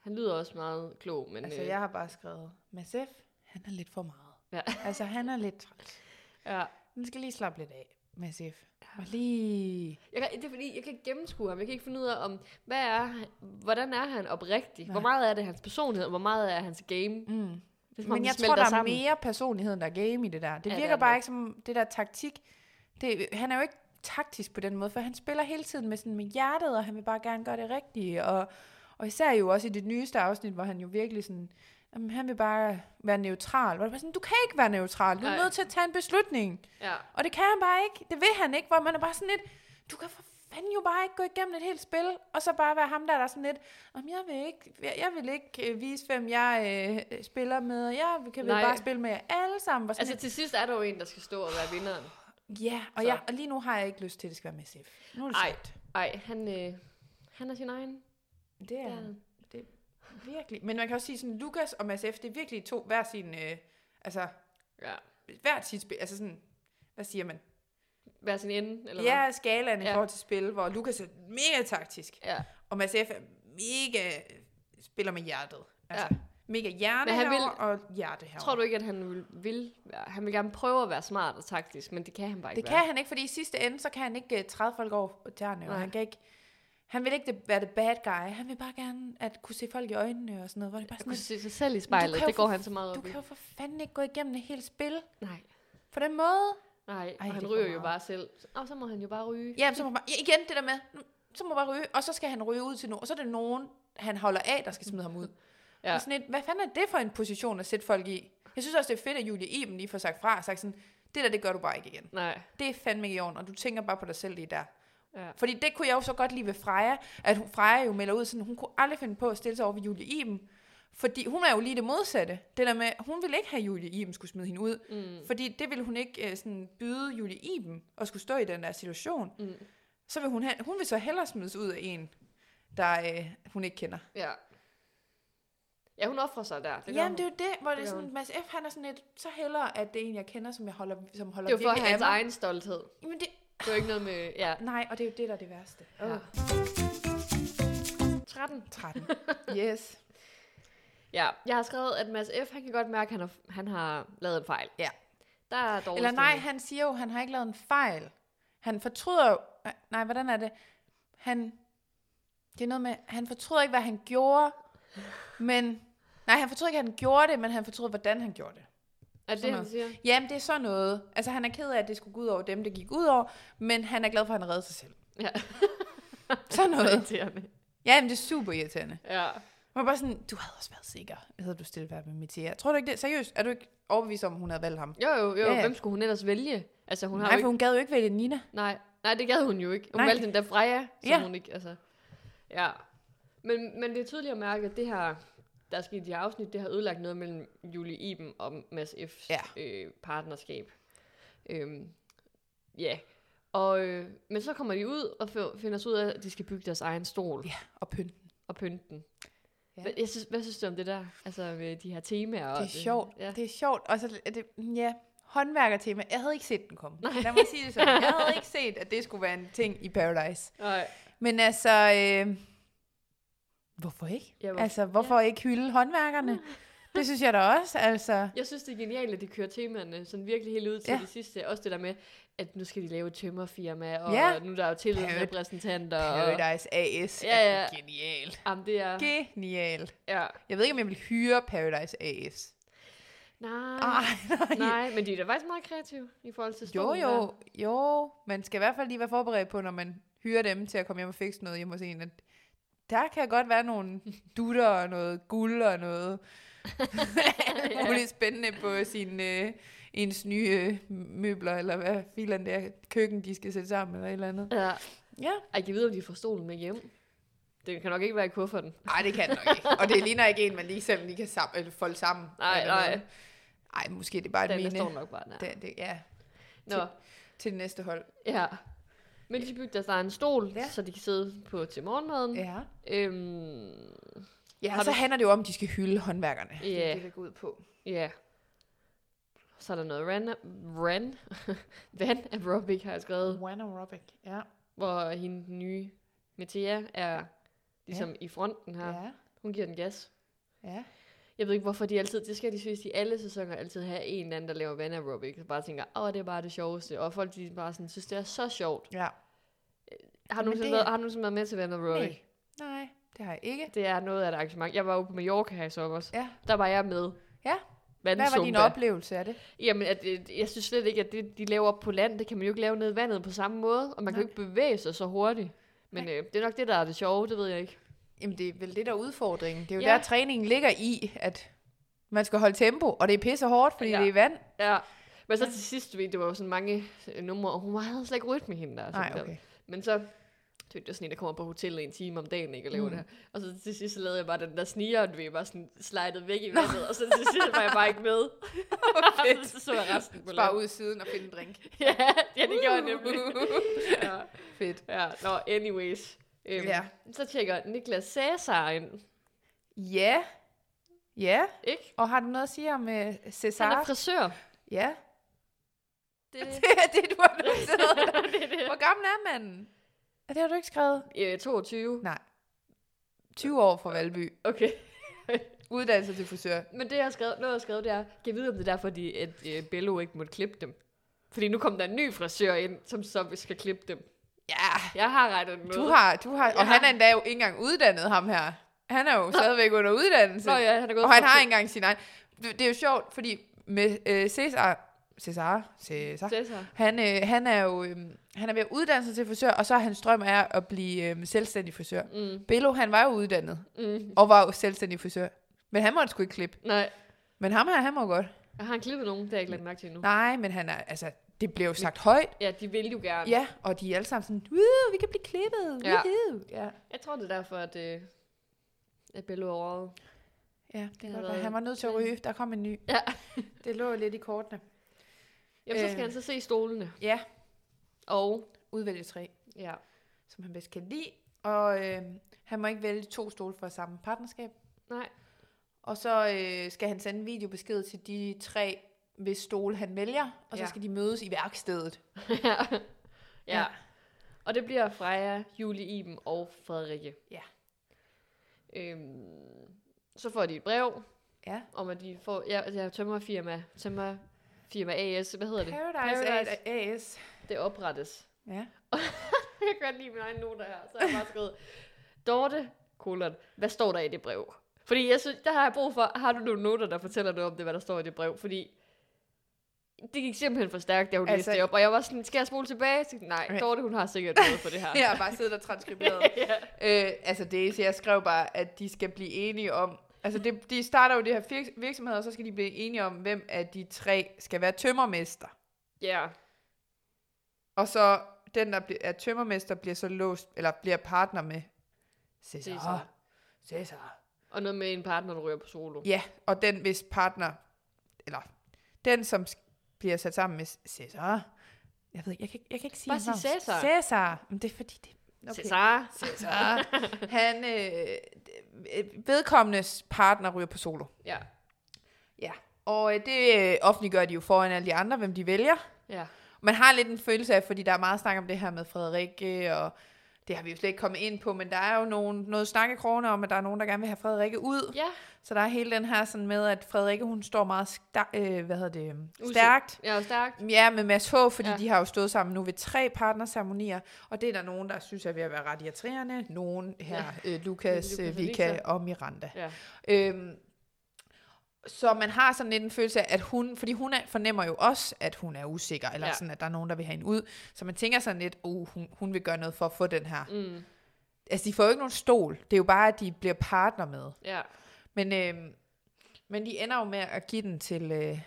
[SPEAKER 2] Han lyder også meget klog, men...
[SPEAKER 3] Altså,
[SPEAKER 2] øh,
[SPEAKER 3] jeg har bare skrevet, Mads F., han er lidt for meget.
[SPEAKER 2] Ja.
[SPEAKER 3] altså, han er lidt træt.
[SPEAKER 2] ja.
[SPEAKER 3] Den skal lige slappe lidt af, Mads F. Og lige...
[SPEAKER 2] Jeg kan, det er fordi, jeg kan ikke gennemskue ham. Jeg kan ikke finde ud af, om, hvad er, han- hvordan er han oprigtig?
[SPEAKER 3] Nej.
[SPEAKER 2] Hvor meget er det hans personlighed, og hvor meget er hans game?
[SPEAKER 3] Mm.
[SPEAKER 2] Det er, som om,
[SPEAKER 3] Men
[SPEAKER 2] de
[SPEAKER 3] jeg tror,
[SPEAKER 2] smelter
[SPEAKER 3] der er
[SPEAKER 2] sammen.
[SPEAKER 3] mere personlighed, end der er game i det der. Det
[SPEAKER 2] Ja,
[SPEAKER 3] ja,
[SPEAKER 2] det
[SPEAKER 3] virker
[SPEAKER 2] er
[SPEAKER 3] det bare
[SPEAKER 2] det.
[SPEAKER 3] ikke som det der taktik. Det, han er jo ikke taktisk på den måde, for han spiller hele tiden med, sådan med hjertet, og han vil bare gerne gøre det rigtige. Og, og især jo også i det nyeste afsnit, hvor han jo virkelig sådan, jamen, han vil bare være neutral. Hvor det bare sådan, du kan ikke være neutral, du er
[SPEAKER 2] Nej.
[SPEAKER 3] nødt til at tage en beslutning.
[SPEAKER 2] Ja.
[SPEAKER 3] Og det kan han bare ikke. Det vil han ikke, hvor man er bare sådan lidt, du kan for fanden jo bare ikke gå igennem et helt spil, og så bare være ham der, der er sådan lidt, om jeg vil ikke, jeg, jeg vil ikke øh, vise, hvem jeg øh, øh, spiller med, og jeg kan vel
[SPEAKER 2] Nej.
[SPEAKER 3] bare spille med jer alle sammen. Hvor sådan
[SPEAKER 2] Altså til sidst er der jo en, der skal stå og være vinderen.
[SPEAKER 3] lidt, ja, og,
[SPEAKER 2] så-
[SPEAKER 3] jeg, og lige nu har jeg ikke lyst til, at det skal være med SF. Nu er det
[SPEAKER 2] Ej,
[SPEAKER 3] slut.
[SPEAKER 2] Ej, han, øh, han er sin egen.
[SPEAKER 3] Det
[SPEAKER 2] Ja.
[SPEAKER 3] er
[SPEAKER 2] Ja.
[SPEAKER 3] virkelig. Men man kan også sige sådan, Lukas og Mads F, det er virkelig to hver sin, øh, altså
[SPEAKER 2] ja.
[SPEAKER 3] hvert sit spil, altså sådan, hvad siger man?
[SPEAKER 2] Hver sin ende, eller hvad?
[SPEAKER 3] Ja, skalaen i
[SPEAKER 2] Ja.
[SPEAKER 3] forhold til spil, hvor Lukas er mega taktisk.
[SPEAKER 2] Ja.
[SPEAKER 3] Og Mads F. er mega spiller med hjertet. Altså, ja. Mega hjerne
[SPEAKER 2] Men han
[SPEAKER 3] herovre
[SPEAKER 2] vil-
[SPEAKER 3] og hjerte herovre.
[SPEAKER 2] Tror du ikke, at han vil, vil være? Han vil gerne prøve at være smart og taktisk, men det kan han bare
[SPEAKER 3] det
[SPEAKER 2] ikke
[SPEAKER 3] kan han ikke, fordi i sidste ende, så kan han ikke øh, træde folk over på tæerne.
[SPEAKER 2] Nej.
[SPEAKER 3] Og han, kan ikke, han vil ikke det- være det bad guy. Han vil bare gerne at kunne se folk i øjnene og sådan noget. Hvor det bare
[SPEAKER 2] Jeg
[SPEAKER 3] sådan,
[SPEAKER 2] kunne se
[SPEAKER 3] lidt,
[SPEAKER 2] sig selv i
[SPEAKER 3] kan
[SPEAKER 2] spejlet,
[SPEAKER 3] jo
[SPEAKER 2] det går
[SPEAKER 3] for-
[SPEAKER 2] han så meget
[SPEAKER 3] du
[SPEAKER 2] op i.
[SPEAKER 3] kan jo for fanden ikke gå igennem et helt spil
[SPEAKER 2] Nej,
[SPEAKER 3] på den måde.
[SPEAKER 2] nej,
[SPEAKER 3] Ej,
[SPEAKER 2] og
[SPEAKER 3] det
[SPEAKER 2] han
[SPEAKER 3] er
[SPEAKER 2] ryger
[SPEAKER 3] for
[SPEAKER 2] jo
[SPEAKER 3] meget.
[SPEAKER 2] bare selv. Og så må han jo bare ryge.
[SPEAKER 3] Ja, men så må man, ja, igen det der med, mm, så må man bare ryge, og så skal han ryge ud til nogen, og så er det nogen, han holder af, der skal smide ham ud.
[SPEAKER 2] Ja.
[SPEAKER 3] ja. sådan et, hvad fanden er det for en position at sætte folk i? Jeg synes også, det er fedt, at Julie Iben lige får sagt fra og sagt sådan, det der, det gør du bare ikke igen.
[SPEAKER 2] Nej,
[SPEAKER 3] det er fandme ikke i orden, og du tænker bare på dig selv lige der.
[SPEAKER 2] Ja.
[SPEAKER 3] Fordi det kunne jeg jo så godt lide ved Freja, at hun, Freja jo melder ud sådan, hun kunne aldrig finde på at stille sig over ved Julie Iben, fordi hun er jo lige det modsatte. Det der med, hun ville ikke have at Julie Iben skulle smide hende ud,
[SPEAKER 2] mm,
[SPEAKER 3] fordi det ville hun ikke øh, sådan byde Julie Iben at skulle stå i den der situation.
[SPEAKER 2] mm,
[SPEAKER 3] Så vil hun, have, hun vil så hellere smides ud af en, der øh, hun ikke kender.
[SPEAKER 2] ja. Ja, hun offrer sig der. gør
[SPEAKER 3] Jamen
[SPEAKER 2] hun.
[SPEAKER 3] det er jo det, hvor det,
[SPEAKER 2] Det
[SPEAKER 3] er
[SPEAKER 2] gør
[SPEAKER 3] sådan, Mads F. han er sådan lidt, så hellere, at det er en, jeg kender, som jeg holder, som holder
[SPEAKER 2] det er jo for
[SPEAKER 3] virkelig af
[SPEAKER 2] hans
[SPEAKER 3] mig.
[SPEAKER 2] egen stolthed.
[SPEAKER 3] Jamen det,
[SPEAKER 2] Det er jo ikke noget med... Ja.
[SPEAKER 3] nej, og det er jo det, der er det værste.
[SPEAKER 2] ja.
[SPEAKER 3] Åh.
[SPEAKER 2] 13.
[SPEAKER 3] 13. Yes.
[SPEAKER 2] Ja, jeg har skrevet, at Mads F. han kan godt mærke, at han har, han har lavet en fejl.
[SPEAKER 3] Ja.
[SPEAKER 2] Der er dårlig
[SPEAKER 3] Eller nej,
[SPEAKER 2] stemning.
[SPEAKER 3] han siger jo, han har ikke lavet en fejl. Han fortryder jo... Nej, hvordan er det? Han... Det er noget med, han fortryder ikke, hvad han gjorde, men... Nej, han fortryder ikke, at han gjorde det, men han fortryder, hvordan han gjorde det.
[SPEAKER 2] er det, det,
[SPEAKER 3] sådan
[SPEAKER 2] han siger?
[SPEAKER 3] Jamen, det er sådan noget. Altså, han er ked af, at det skulle gå ud over dem, det gik ud over, men han er glad for, at han reddede sig selv.
[SPEAKER 2] Ja.
[SPEAKER 3] sådan noget.
[SPEAKER 2] Irriterende.
[SPEAKER 3] Jamen, det er super irriterende.
[SPEAKER 2] Ja.
[SPEAKER 3] Man er bare sådan, du havde også været sikker, havde du stillet været med Mitya. Tror du ikke det? Seriøst, er du ikke overbevist om, at hun havde valgt ham?
[SPEAKER 2] Jo, jo, jo.
[SPEAKER 3] Ja, ja.
[SPEAKER 2] Hvem skulle hun ellers vælge? Altså, hun har
[SPEAKER 3] Nej,
[SPEAKER 2] jo
[SPEAKER 3] for hun gad jo ikke vælge Nina.
[SPEAKER 2] ikke... Nej. Nej, det gad hun jo ikke. Hun
[SPEAKER 3] Nej.
[SPEAKER 2] valgte den der Freja, som
[SPEAKER 3] Ja.
[SPEAKER 2] hun ikke... Altså. Ja. Men, men det er tydeligt at mærke, at det her, der er sket i de her afsnit, det har ødelagt noget mellem Julie Iben og Mads F's
[SPEAKER 3] Ja.
[SPEAKER 2] øh, partnerskab. Øhm, ja. Og, øh, men så kommer de ud og f- finder så ud af, at de skal bygge deres egen stol.
[SPEAKER 3] Ja, og pynt.
[SPEAKER 2] og pynte den.
[SPEAKER 3] Ja.
[SPEAKER 2] Ja. Jeg synes, hvad synes du om det der? Altså med de her temaer? og
[SPEAKER 3] Det er sjovt.
[SPEAKER 2] Ja.
[SPEAKER 3] Det er sjovt. Og så, er det, ja, håndværkertema. Jeg havde ikke set den komme.
[SPEAKER 2] Nej.
[SPEAKER 3] Lad mig sige det sådan. Jeg havde ikke set, at det skulle være en ting i Paradise.
[SPEAKER 2] Nej.
[SPEAKER 3] Men altså, øh, hvorfor ikke?
[SPEAKER 2] Ja, hvorfor-
[SPEAKER 3] hvorfor? Altså, hvorfor ja. ikke hylde håndværkerne? Det synes jeg da også, altså.
[SPEAKER 2] Jeg synes, det er genialt, at de kører temaerne sådan virkelig helt ud til
[SPEAKER 3] Ja.
[SPEAKER 2] det sidste. Også det der med, at nu skal de lave et tømmerfirma, og
[SPEAKER 3] Ja.
[SPEAKER 2] nu er der jo tillidsrepræsentanter. Og,
[SPEAKER 3] Paradise AS
[SPEAKER 2] Ja, ja.
[SPEAKER 3] er genial.
[SPEAKER 2] jamen, det er...
[SPEAKER 3] Genial.
[SPEAKER 2] Ja.
[SPEAKER 3] Jeg ved ikke, om jeg vil hyre Paradise AS.
[SPEAKER 2] Nej,
[SPEAKER 3] Ej, nej.
[SPEAKER 2] nej, men de er da faktisk meget kreative i forhold til
[SPEAKER 3] Jo,
[SPEAKER 2] stolen
[SPEAKER 3] jo,
[SPEAKER 2] der.
[SPEAKER 3] jo. Man skal i hvert fald lige være forberedt på, når man hyrer dem til at komme hjem og fikse noget hjemme hos en, at der kan godt være nogle dutter og noget guld og noget alt muligt spændende på sin, øh, ens nye øh, møbler, eller hvad filan der køkken, de skal sætte sammen, eller et eller andet.
[SPEAKER 2] Ja.
[SPEAKER 3] Ja.
[SPEAKER 2] Ej, kan vide, om de får stolen med hjem? Det kan nok ikke være i kufferten.
[SPEAKER 3] Nej, det kan det nok ikke. Og det ligner ikke en, man lige selv lige kan sam- eller folde sammen.
[SPEAKER 2] Nej,
[SPEAKER 3] eller
[SPEAKER 2] nej.
[SPEAKER 3] noget. Ej, måske det er bare et
[SPEAKER 2] Den der
[SPEAKER 3] mine.
[SPEAKER 2] står nok bare der.
[SPEAKER 3] Det, det, ja.
[SPEAKER 2] Nå,
[SPEAKER 3] til det næste hold.
[SPEAKER 2] Ja. Men de bygger sig en stol,
[SPEAKER 3] Ja.
[SPEAKER 2] ja. så de kan sidde på til morgenmaden. Ja.
[SPEAKER 3] Ja.
[SPEAKER 2] Øhm,
[SPEAKER 3] Ja,
[SPEAKER 2] Mm. Har
[SPEAKER 3] og så
[SPEAKER 2] du-
[SPEAKER 3] handler det jo om, at de skal hylde håndværkerne. Det
[SPEAKER 2] Ja.
[SPEAKER 3] er det, det går ud på.
[SPEAKER 2] ja. Så er der noget ran, ran, van aerobic, har jeg skrevet,
[SPEAKER 3] One aerobic. Ja.
[SPEAKER 2] hvor hende den nye Metea er ligesom ja. i fronten her. Ja.
[SPEAKER 3] Ja.
[SPEAKER 2] Hun giver den gas.
[SPEAKER 3] Ja.
[SPEAKER 2] Jeg ved ikke, hvorfor de altid, det skal de synes, de alle sæsoner altid have en eller anden, der laver van aerobic, og bare tænker, åh, det er bare det sjoveste, og folk de bare sådan, synes, det er så sjovt.
[SPEAKER 3] ja.
[SPEAKER 2] Har du
[SPEAKER 3] Men
[SPEAKER 2] nogensinde
[SPEAKER 3] det er-
[SPEAKER 2] været, har du nogensinde været med til van aerobic?
[SPEAKER 3] Nej. Nej, det har jeg ikke.
[SPEAKER 2] Det er noget af et arrangement. Jeg var jo på Mallorca her i sommer.
[SPEAKER 3] Ja.
[SPEAKER 2] Der var jeg med.
[SPEAKER 3] Ja.
[SPEAKER 2] Vandsumba.
[SPEAKER 3] Hvad var din oplevelse af det?
[SPEAKER 2] Jamen, at, øh, jeg synes slet ikke, at det, de laver op på land, det kan man jo ikke lave ned i vandet på samme måde. Og man kan jo
[SPEAKER 3] Nej.
[SPEAKER 2] ikke bevæge sig så hurtigt. Men øh, det er nok det, der er det sjove, det ved jeg ikke.
[SPEAKER 3] Jamen, det er vel det, der er udfordringen. Det er jo ja.
[SPEAKER 2] Ja.
[SPEAKER 3] der, træningen ligger i, at man skal holde tempo, og det er pisse hårdt, fordi ja.
[SPEAKER 2] Ja.
[SPEAKER 3] det er i vand.
[SPEAKER 2] Ja. Men så
[SPEAKER 3] Ja.
[SPEAKER 2] til sidst, du ved, det var jo sådan mange øh, numre, og hun havde slet ikke rytme hende der.
[SPEAKER 3] Nej,
[SPEAKER 2] sådan der.
[SPEAKER 3] okay.
[SPEAKER 2] Men så, du ved, det var sådan en, der kommer på hotellet en time om dagen, ikke, og laver
[SPEAKER 3] Mm.
[SPEAKER 2] mm. det her. Og så til sidst, så lavede jeg bare den der sniger, og du ved, bare sådan slidet væk i vandet, og så til sidst var jeg bare ikke med.
[SPEAKER 3] fedt.
[SPEAKER 2] så så jeg resten på land.
[SPEAKER 3] Bare ud i siden og finde en drink.
[SPEAKER 2] ja, ja, det gjorde jeg nemlig. ja.
[SPEAKER 3] Fedt.
[SPEAKER 2] ja, nå, anyways. Øhm,
[SPEAKER 3] Ja.
[SPEAKER 2] ja. Så tjekker Niklas Cæsar ind,
[SPEAKER 3] Ja. Ja.
[SPEAKER 2] ikke?
[SPEAKER 3] Og har du noget at sige om uh, Cesar?
[SPEAKER 2] Han er frisør.
[SPEAKER 3] Ja.
[SPEAKER 2] Det er det.
[SPEAKER 3] Det er det, du har noteret.
[SPEAKER 2] det, er det.
[SPEAKER 3] Hvor gammel er manden? Ja, det har du ikke skrevet.
[SPEAKER 2] Øh, 22.
[SPEAKER 3] Nej. 20 år fra Valby.
[SPEAKER 2] Okay.
[SPEAKER 3] Uddannelse til frisør.
[SPEAKER 2] Men det, jeg har skrevet, noget, jeg har skrevet, det er, kan jeg vide, om det er derfor, de, at øh, Bello ikke måtte klippe dem? Fordi nu kom der en ny frisør ind, som så skal klippe dem.
[SPEAKER 3] Ja.
[SPEAKER 2] Jeg har rettet den
[SPEAKER 3] Du har, du har, og
[SPEAKER 2] Ja.
[SPEAKER 3] han er endda jo ikke engang uddannet, ham her. Han er jo stadigvæk under uddannelse.
[SPEAKER 2] Nå ja, han er gået
[SPEAKER 3] Og han
[SPEAKER 2] fra-
[SPEAKER 3] har ikke engang sin egen... Det, det er jo sjovt, fordi med øh, Cæsar... Cæsar? Cæsar?
[SPEAKER 2] Cæsar.
[SPEAKER 3] Han, øh, han er jo øh, han er ved at uddanne sig til frisør, og så er hans drøm er at blive øh, selvstændig frisør.
[SPEAKER 2] Mm,
[SPEAKER 3] Bello, han var jo uddannet,
[SPEAKER 2] mm,
[SPEAKER 3] og var jo selvstændig frisør. Men han måtte sgu ikke klippe.
[SPEAKER 2] nej,
[SPEAKER 3] Men ham her, han må godt.
[SPEAKER 2] jeg har han klippet nogen, det har jeg ikke lagt mærke til endnu.
[SPEAKER 3] Nej, men han er, altså, det bliver jo sagt højt.
[SPEAKER 2] Ja, de vil jo gerne.
[SPEAKER 3] Ja, og de er alle sammen sådan, "Woo, vi kan blive klippet.
[SPEAKER 2] Ja.
[SPEAKER 3] woohoo." Ja.
[SPEAKER 2] Jeg tror, det er derfor, at, øh, at Bello er overhovedet.
[SPEAKER 3] Ja, det kan
[SPEAKER 2] har
[SPEAKER 3] godt være.
[SPEAKER 2] været
[SPEAKER 3] Han var nødt til at
[SPEAKER 2] sådan.
[SPEAKER 3] ryge. Der kom en ny.
[SPEAKER 2] Ja.
[SPEAKER 3] det lå lidt i kortene.
[SPEAKER 2] Jamen, så
[SPEAKER 3] Øh.
[SPEAKER 2] skal han så se stolene.
[SPEAKER 3] Ja,
[SPEAKER 2] Og,
[SPEAKER 3] udvælge tre,
[SPEAKER 2] ja.
[SPEAKER 3] som han bedst kan lide. Og øh, han må ikke vælge to stole fra samme partnerskab.
[SPEAKER 2] Nej.
[SPEAKER 3] Og så øh, skal han sende en videobesked til de tre, hvis stole han vælger. Og så
[SPEAKER 2] Ja.
[SPEAKER 3] skal de mødes i værkstedet.
[SPEAKER 2] ja.
[SPEAKER 3] Ja.
[SPEAKER 2] ja. Og det bliver Freja, Julie Iben og Frederikke.
[SPEAKER 3] Ja.
[SPEAKER 2] Øhm, så får de et brev
[SPEAKER 3] Ja.
[SPEAKER 2] om, at de får... Ja, altså, jeg tømmer firma. Tømmer firma AS. Hvad hedder det?
[SPEAKER 3] Paradise,
[SPEAKER 2] Paradise.
[SPEAKER 3] AS.
[SPEAKER 2] Det oprettes.
[SPEAKER 3] Ja.
[SPEAKER 2] Jeg kan godt lide min egen noter her. Så har jeg bare skrevet... Dorte, kolon, hvad står der i det brev? Fordi jeg synes, der har jeg brug for... Har du nogle noter, der fortæller noget om det, hvad der står i det brev? Fordi det gik simpelthen for stærkt, da hun
[SPEAKER 3] Altså-
[SPEAKER 2] altså, læste det op. Og jeg var sådan, skal jeg spole tilbage? Så,
[SPEAKER 3] Okay.
[SPEAKER 2] nej, Dorte, hun har sikkert noget for det her.
[SPEAKER 3] Jeg har bare siddet og transkriberet.
[SPEAKER 2] ja.
[SPEAKER 3] øh, altså det, så jeg skrev bare, at de skal blive enige om... Altså det, de starter jo det her fir- virksomhed, og så skal de blive enige om, hvem af de tre skal være tømmermester.
[SPEAKER 2] Ja,
[SPEAKER 3] Og så den, der bli- er tømmermester, bliver så låst, eller bliver partner med Cæsar.
[SPEAKER 2] Cæsar.
[SPEAKER 3] Cæsar.
[SPEAKER 2] og noget med en partner, der ryger på solo.
[SPEAKER 3] Ja, og den, hvis partner, eller den, som sk- bliver sat sammen med Cæsar. Jeg ved ikke, jeg kan, ikke- jeg kan ikke sige
[SPEAKER 2] Bare
[SPEAKER 3] hans
[SPEAKER 2] sig
[SPEAKER 3] navn.
[SPEAKER 2] Cæsar.
[SPEAKER 3] Cæsar. Men det er fordi, det
[SPEAKER 2] Okay. Cesar.
[SPEAKER 3] Cæsar. Han, øh, øh, vedkommendes partner ryger på solo.
[SPEAKER 2] Ja.
[SPEAKER 3] Ja. Og øh, det øh, offentliggør de jo foran alle de andre, hvem de vælger.
[SPEAKER 2] ja.
[SPEAKER 3] Man har lidt en følelse af, fordi der er meget snak om det her med Frederikke, og det har vi jo slet ikke kommet ind på, men der er jo nogen, noget snakkekrone om, at der er nogen, der gerne vil have Frederikke ud.
[SPEAKER 2] Ja.
[SPEAKER 3] Så der er hele den her sådan med, at Frederikke, hun står meget sta- øh, hvad hedder det,
[SPEAKER 2] Usikker.
[SPEAKER 3] stærkt.
[SPEAKER 2] Jeg er stærkt.
[SPEAKER 3] Ja, med Mads H., fordi ja.
[SPEAKER 2] Ja.
[SPEAKER 3] de har jo stået sammen nu ved tre partnerceremonier, og det er der nogen, der synes er ved at være ret irriterende. Nogen her, ja. øh, Lukas,
[SPEAKER 2] Lukas
[SPEAKER 3] øh,
[SPEAKER 2] og
[SPEAKER 3] Vika
[SPEAKER 2] Victor.
[SPEAKER 3] og Miranda.
[SPEAKER 2] Ja.
[SPEAKER 3] Øhm, så man har sådan lidt en følelse af, at hun, fordi hun er, fornemmer jo også, at hun er usikker, eller ja.
[SPEAKER 2] Ja.
[SPEAKER 3] sådan, at der er nogen, der vil have hende ud. Så man tænker sådan lidt, oh, hun, hun vil gøre noget for at få den her.
[SPEAKER 2] Mm.
[SPEAKER 3] Altså, de får jo ikke nogen stol. Det er jo bare, at de bliver partner med.
[SPEAKER 2] Ja.
[SPEAKER 3] Men, øhm, men de ender jo med at give den til, øh,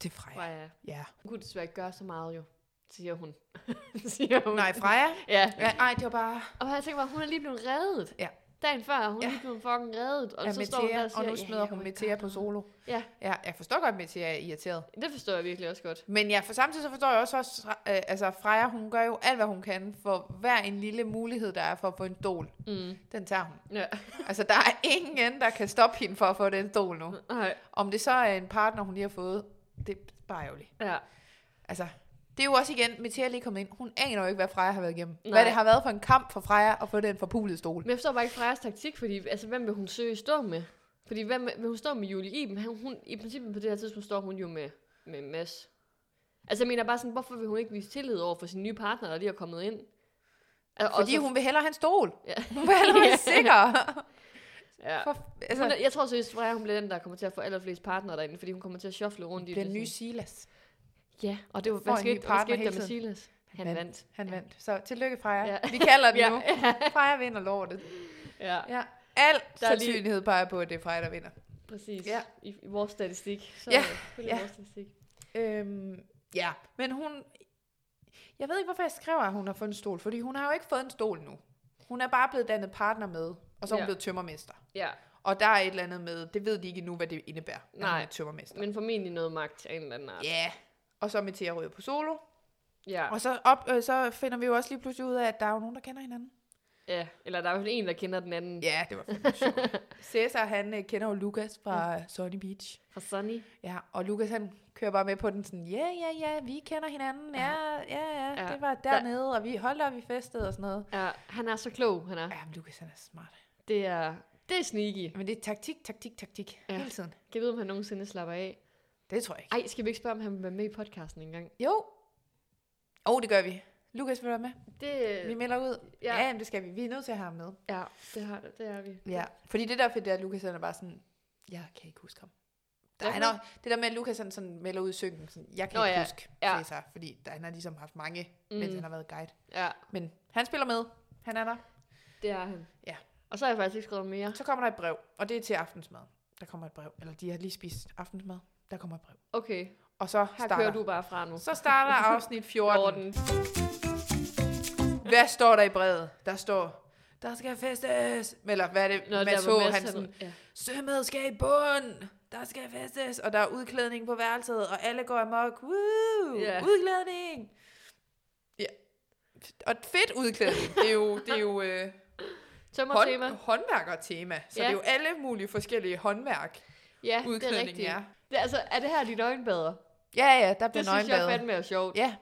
[SPEAKER 3] til Freja. Freja.
[SPEAKER 2] Freja.
[SPEAKER 3] Ja.
[SPEAKER 2] Hun kunne desværre ikke gøre så meget jo, siger hun. siger hun.
[SPEAKER 3] Nej, Freja.
[SPEAKER 2] Ja.
[SPEAKER 3] Ja, ej, det var bare...
[SPEAKER 2] Og jeg tænker bare, hun er lige blevet reddet.
[SPEAKER 3] Ja.
[SPEAKER 2] Dagen før, hun
[SPEAKER 3] Ja.
[SPEAKER 2] ja. lige blevet fucking reddet, og
[SPEAKER 3] Ja,
[SPEAKER 2] så står hun der
[SPEAKER 3] Metea,
[SPEAKER 2] og siger,
[SPEAKER 3] og nu
[SPEAKER 2] "Ja,
[SPEAKER 3] smider
[SPEAKER 2] jeg
[SPEAKER 3] hun
[SPEAKER 2] kunne ikke
[SPEAKER 3] Metea
[SPEAKER 2] gøre
[SPEAKER 3] på solo.
[SPEAKER 2] Ja.
[SPEAKER 3] ja. Jeg forstår godt, at Metea er irriteret.
[SPEAKER 2] noget." Det forstår jeg virkelig også godt.
[SPEAKER 3] Men ja, for samtidig så forstår jeg også, også øh, altså Freja, hun gør jo alt, hvad hun kan for hver en lille mulighed, der er for at få en stol.
[SPEAKER 2] Mm.
[SPEAKER 3] Den tager hun.
[SPEAKER 2] Ja.
[SPEAKER 3] Altså, der er ingen, der kan stoppe hende for at få den stol nu.
[SPEAKER 2] Nej.
[SPEAKER 3] Om det så er en partner, hun lige har fået, det er bare ærgerligt.
[SPEAKER 2] Ja.
[SPEAKER 3] Altså, det er jo også igen, Metea er lige kommet ind. Hun aner jo ikke, hvad Freja har været igennem. Nej.
[SPEAKER 2] Nej.
[SPEAKER 3] Hvad det har været for en kamp for Freja at få den forpulede stol.
[SPEAKER 2] Men jeg forstår bare ikke Frejas taktik, fordi altså, hvem vil hun søge at stå med? Fordi hvem vil hun stå med Julie Iben? Hun, hun, I princippet på det her tidspunkt står hun jo med, med Mads. Altså jeg mener bare sådan, hvorfor vil hun ikke vise tillid over for sin nye partner, der lige er kommet ind? Altså,
[SPEAKER 3] Fordi hun vil hellere have en stol.
[SPEAKER 2] Ja.
[SPEAKER 3] Hun vil hellere være
[SPEAKER 2] Ja.
[SPEAKER 3] sikker.
[SPEAKER 2] Ja.
[SPEAKER 3] For, altså,
[SPEAKER 2] Hun er, jeg tror seriøst, Freja hun bliver den, der kommer til at få allerflest partnere derinde, fordi hun kommer til at shuffle rundt i
[SPEAKER 3] den
[SPEAKER 2] det. sådan.
[SPEAKER 3] nye Silas.
[SPEAKER 2] Ja, og det var,
[SPEAKER 3] Får
[SPEAKER 2] hvad
[SPEAKER 3] en ny
[SPEAKER 2] skete, hvad
[SPEAKER 3] partner
[SPEAKER 2] skete der
[SPEAKER 3] hele
[SPEAKER 2] med Silas? Han
[SPEAKER 3] vandt.
[SPEAKER 2] vandt.
[SPEAKER 3] Han vandt. Så tillykke, Freja.
[SPEAKER 2] Ja.
[SPEAKER 3] Vi kalder den
[SPEAKER 2] Ja.
[SPEAKER 3] nu. Freja vinder lortet.
[SPEAKER 2] Ja,
[SPEAKER 3] Ja.
[SPEAKER 2] Der er
[SPEAKER 3] Al
[SPEAKER 2] lige-
[SPEAKER 3] sandsynlighed peger på, at det er Freja, der vinder.
[SPEAKER 2] præcis.
[SPEAKER 3] Ja.
[SPEAKER 2] Ja. I, I vores statistik. Så
[SPEAKER 3] Ja,
[SPEAKER 2] følger
[SPEAKER 3] ja.
[SPEAKER 2] vores statistik.
[SPEAKER 3] Øhm, ja, men hun... Jeg ved ikke, hvorfor jeg skriver, at hun har fået en stol, fordi hun har jo ikke fået en stol nu. Hun er bare blevet dannet partner med, og så er hun
[SPEAKER 2] Ja.
[SPEAKER 3] blevet tømmermester.
[SPEAKER 2] Ja,
[SPEAKER 3] Og der er et eller andet med, det ved de ikke endnu, hvad det indebærer, at
[SPEAKER 2] Nej.
[SPEAKER 3] hun er tømmermester.
[SPEAKER 2] men formentlig noget magt af en eller anden art.
[SPEAKER 3] Ja, og så med Thea ryger på solo.
[SPEAKER 2] Ja.
[SPEAKER 3] Og så, op, øh, så finder vi jo også lige pludselig ud af, at der er jo nogen, der kender hinanden.
[SPEAKER 2] ja. Eller der er i hvert fald en, der kender den anden
[SPEAKER 3] Ja, det var fandme sjovt. Cæsar, han øh, kender jo Lukas fra øh, Sunny Beach.
[SPEAKER 2] fra Sunny.
[SPEAKER 3] Ja, og Lukas, han kører bare med på den sådan, ja, ja, ja, vi kender hinanden, ja, ja, ja,
[SPEAKER 2] Ja.
[SPEAKER 3] det var dernede, og vi holdt op, vi festede og sådan noget.
[SPEAKER 2] Ja, han er så klog, han er.
[SPEAKER 3] Ja, men Lukas, han er smart.
[SPEAKER 2] Det er, det er sneaky.
[SPEAKER 3] Men det er taktik, taktik, taktik, ja.
[SPEAKER 2] Ja.
[SPEAKER 3] hele tiden.
[SPEAKER 2] Kan vi vide, om han nogensinde slapper af?
[SPEAKER 3] Det tror jeg ikke.
[SPEAKER 2] Ej, skal vi ikke spørge, om han vil være med i podcasten engang?
[SPEAKER 3] Jo. Åh, oh, det gør vi. Lukas vil være med.
[SPEAKER 2] Det,
[SPEAKER 3] Vi melder ud. Øh, Ja,
[SPEAKER 2] ja.
[SPEAKER 3] ja jamen, det skal vi. Vi er nødt til at have ham med.
[SPEAKER 2] ja, det, har, det er vi.
[SPEAKER 3] Ja, fordi det der er fedt, det er, at Lukas han er bare sådan, jeg kan ikke huske ham. Der,
[SPEAKER 2] Hvad
[SPEAKER 3] han
[SPEAKER 2] for
[SPEAKER 3] er, det der med, at Lukas han sådan melder ud i synken, sådan, jeg kan
[SPEAKER 2] Nå
[SPEAKER 3] ikke
[SPEAKER 2] ja,
[SPEAKER 3] huske
[SPEAKER 2] ja.
[SPEAKER 3] Cæsar, fordi der, han har ligesom haft mange, mm. mens
[SPEAKER 2] Mm.
[SPEAKER 3] han har været guide.
[SPEAKER 2] Ja,
[SPEAKER 3] Men han spiller med, han er der.
[SPEAKER 2] det er han.
[SPEAKER 3] Ja.
[SPEAKER 2] Og så har jeg faktisk ikke skrevet mere.
[SPEAKER 3] Så kommer der et brev, og det er til aftensmad. Der kommer et brev, eller de har lige spist aftensmad, der kommer et brev.
[SPEAKER 2] Okay,
[SPEAKER 3] Og så
[SPEAKER 2] her
[SPEAKER 3] starter,
[SPEAKER 2] kører du bare fra nu.
[SPEAKER 3] så starter afsnit 14.
[SPEAKER 2] 14.
[SPEAKER 3] Hvad står der i brevet? Der står, der skal festes, eller hvad er det,
[SPEAKER 2] Nå,
[SPEAKER 3] Nå, Mads
[SPEAKER 2] der var
[SPEAKER 3] H.
[SPEAKER 2] Mads,
[SPEAKER 3] Hansen,
[SPEAKER 2] han, ja.
[SPEAKER 3] Sømmet skal i bund! Der skal festes! Og der er udklædning på værelset, og alle går amok. Woo!
[SPEAKER 2] Ja.
[SPEAKER 3] Udklædning! Ja. Og et fedt udklædning. Det er jo, det er jo øh,
[SPEAKER 2] Tømmertema.
[SPEAKER 3] hånd, håndværkertema. Så
[SPEAKER 2] Ja.
[SPEAKER 3] det er jo alle mulige forskellige håndværk,
[SPEAKER 2] Ja, det er
[SPEAKER 3] udklædningen
[SPEAKER 2] rigtigt.
[SPEAKER 3] er.
[SPEAKER 2] Det, er altså, er det her de nøgenbader?
[SPEAKER 3] Ja, ja, der
[SPEAKER 2] Det
[SPEAKER 3] bliver
[SPEAKER 2] synes jeg
[SPEAKER 3] nøgenbadet.
[SPEAKER 2] fandme er sjovt,
[SPEAKER 3] Ja,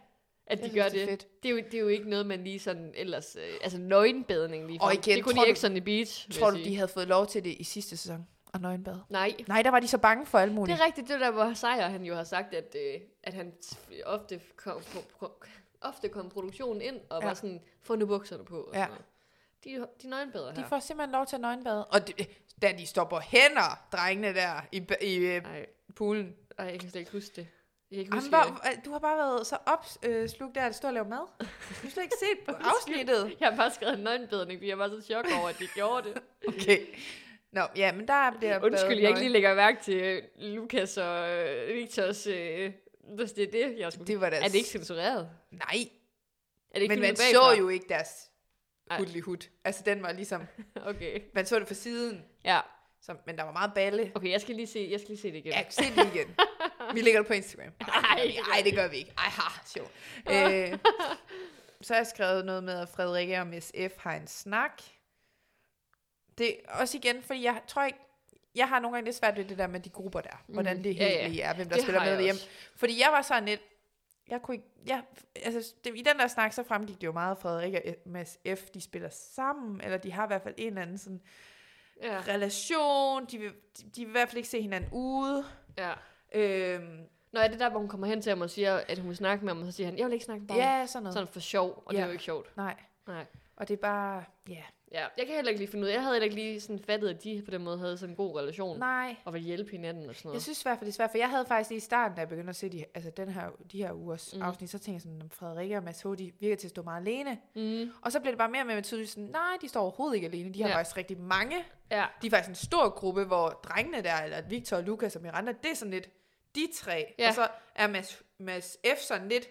[SPEAKER 2] at de
[SPEAKER 3] jeg
[SPEAKER 2] gør
[SPEAKER 3] synes,
[SPEAKER 2] det.
[SPEAKER 3] er fedt.
[SPEAKER 2] Det er, jo, det er jo ikke noget, man lige sådan ellers... Øh, altså nøgenbadning lige
[SPEAKER 3] Og igen,
[SPEAKER 2] Det kunne
[SPEAKER 3] tror
[SPEAKER 2] de
[SPEAKER 3] du-
[SPEAKER 2] ikke sådan i beach, vil
[SPEAKER 3] Tror
[SPEAKER 2] jeg
[SPEAKER 3] du,
[SPEAKER 2] sige.
[SPEAKER 3] de havde fået lov til det i sidste sæson? Og nøgenbade?
[SPEAKER 2] Nej.
[SPEAKER 3] Nej, der var de så bange for alt
[SPEAKER 2] Det
[SPEAKER 3] muligt.
[SPEAKER 2] er rigtigt, det der, hvor Sejer han jo har sagt, at, øh, at han s- ofte kom, kom, kom, ofte kom produktionen ind og
[SPEAKER 3] Ja.
[SPEAKER 2] ja. var sådan, få nu bukserne på. Og
[SPEAKER 3] Ja.
[SPEAKER 2] ja. De, de er nøgenbedre her.
[SPEAKER 3] De får simpelthen lov til at nøgenbade. Og det, da de står på hænder, drengene der, i, ba- i øh,
[SPEAKER 2] Ej,
[SPEAKER 3] poolen.
[SPEAKER 2] ej, jeg kan slet ikke huske det. Jeg kan ikke
[SPEAKER 3] Jamen,
[SPEAKER 2] huske
[SPEAKER 3] hvor, hvor- du har bare været så opslugt der, at stå og lave mad. Du har slet ikke set på afsnittet.
[SPEAKER 2] øh, Jeg har bare skrevet nøgenbedning, fordi jeg var så i chok over, at de gjorde det.
[SPEAKER 3] Okay. Nå, ja, men der bliver
[SPEAKER 2] Undskyld, jeg
[SPEAKER 3] badet
[SPEAKER 2] ikke lige
[SPEAKER 3] nøgen.
[SPEAKER 2] lægger mærke til øh, Lukas og øh, Victors... Øh, hvis det er det, jeg skulle...
[SPEAKER 3] Det var deres...
[SPEAKER 2] er det ikke censureret?
[SPEAKER 3] Nej,
[SPEAKER 2] Er det ikke
[SPEAKER 3] men man
[SPEAKER 2] filmet
[SPEAKER 3] så
[SPEAKER 2] bagfra?
[SPEAKER 3] jo ikke deres
[SPEAKER 2] Ej.
[SPEAKER 3] hudlig hud. Altså, den var ligesom...
[SPEAKER 2] Okay.
[SPEAKER 3] Man så det fra siden,
[SPEAKER 2] Ja.
[SPEAKER 3] så, men der var meget balle.
[SPEAKER 2] Okay, jeg skal lige se, jeg skal lige se det igen.
[SPEAKER 3] Ja, se det igen. Vi lægger det på Instagram.
[SPEAKER 2] Ej,
[SPEAKER 3] Nej, det gør vi ikke. Ej, ha, sjov. Øh, så har jeg skrevet noget med, at Frederikke og Miss F. har en snak. Det er også igen, fordi jeg tror ikke, jeg har nogle gange lidt svært ved det der med de grupper der. Hvordan
[SPEAKER 2] Mm,
[SPEAKER 3] det
[SPEAKER 2] ja, ja.
[SPEAKER 3] helt ja, er, hvem der
[SPEAKER 2] Det
[SPEAKER 3] spiller
[SPEAKER 2] har
[SPEAKER 3] med
[SPEAKER 2] jeg
[SPEAKER 3] hjem.
[SPEAKER 2] også.
[SPEAKER 3] Fordi jeg var sådan lidt, jeg kunne ikke, ja, altså, det, i den der snak, så fremgik det jo meget, at Frederikke og Mads F, de spiller sammen, eller de har i hvert fald en eller anden sådan
[SPEAKER 2] Ja,
[SPEAKER 3] relation, de vil, de, de vil i hvert fald ikke se hinanden ude.
[SPEAKER 2] ja.
[SPEAKER 3] Øhm,
[SPEAKER 2] Nå, er det der, hvor hun kommer hen til ham og siger, at hun vil snakke med ham, og så siger han, jeg vil ikke snakke med dig.
[SPEAKER 3] ja, sådan noget.
[SPEAKER 2] Sådan for sjov, og ja. det
[SPEAKER 3] Ja.
[SPEAKER 2] er jo ikke sjovt.
[SPEAKER 3] Nej.
[SPEAKER 2] Nej.
[SPEAKER 3] Og det er bare, ja.
[SPEAKER 2] Ja, jeg kan heller ikke lige finde ud af, jeg havde heller ikke lige sådan fattet, at de på den måde havde sådan en god relation, Nej.
[SPEAKER 3] Nej.
[SPEAKER 2] og ville hjælpe hinanden og sådan
[SPEAKER 3] Jeg
[SPEAKER 2] noget.
[SPEAKER 3] synes i hvert fald, det er svært, for jeg havde faktisk lige i starten, da jeg begyndte at se de, altså den her, de her ugers mm.
[SPEAKER 2] Mm.
[SPEAKER 3] afsnit, så tænkte jeg sådan, om Frederikke og Mads H, de virker til at stå meget alene.
[SPEAKER 2] Mm.
[SPEAKER 3] Og så blev det bare mere og mere tydeligt sådan, nej, de står overhovedet ikke alene. De har ja.
[SPEAKER 2] Ja.
[SPEAKER 3] faktisk rigtig mange.
[SPEAKER 2] Ja,
[SPEAKER 3] De er faktisk en stor gruppe, hvor drengene der, eller Victor, Lukas og Miranda, det er sådan lidt de tre.
[SPEAKER 2] Ja.
[SPEAKER 3] Og så er Mads, Mads F sådan lidt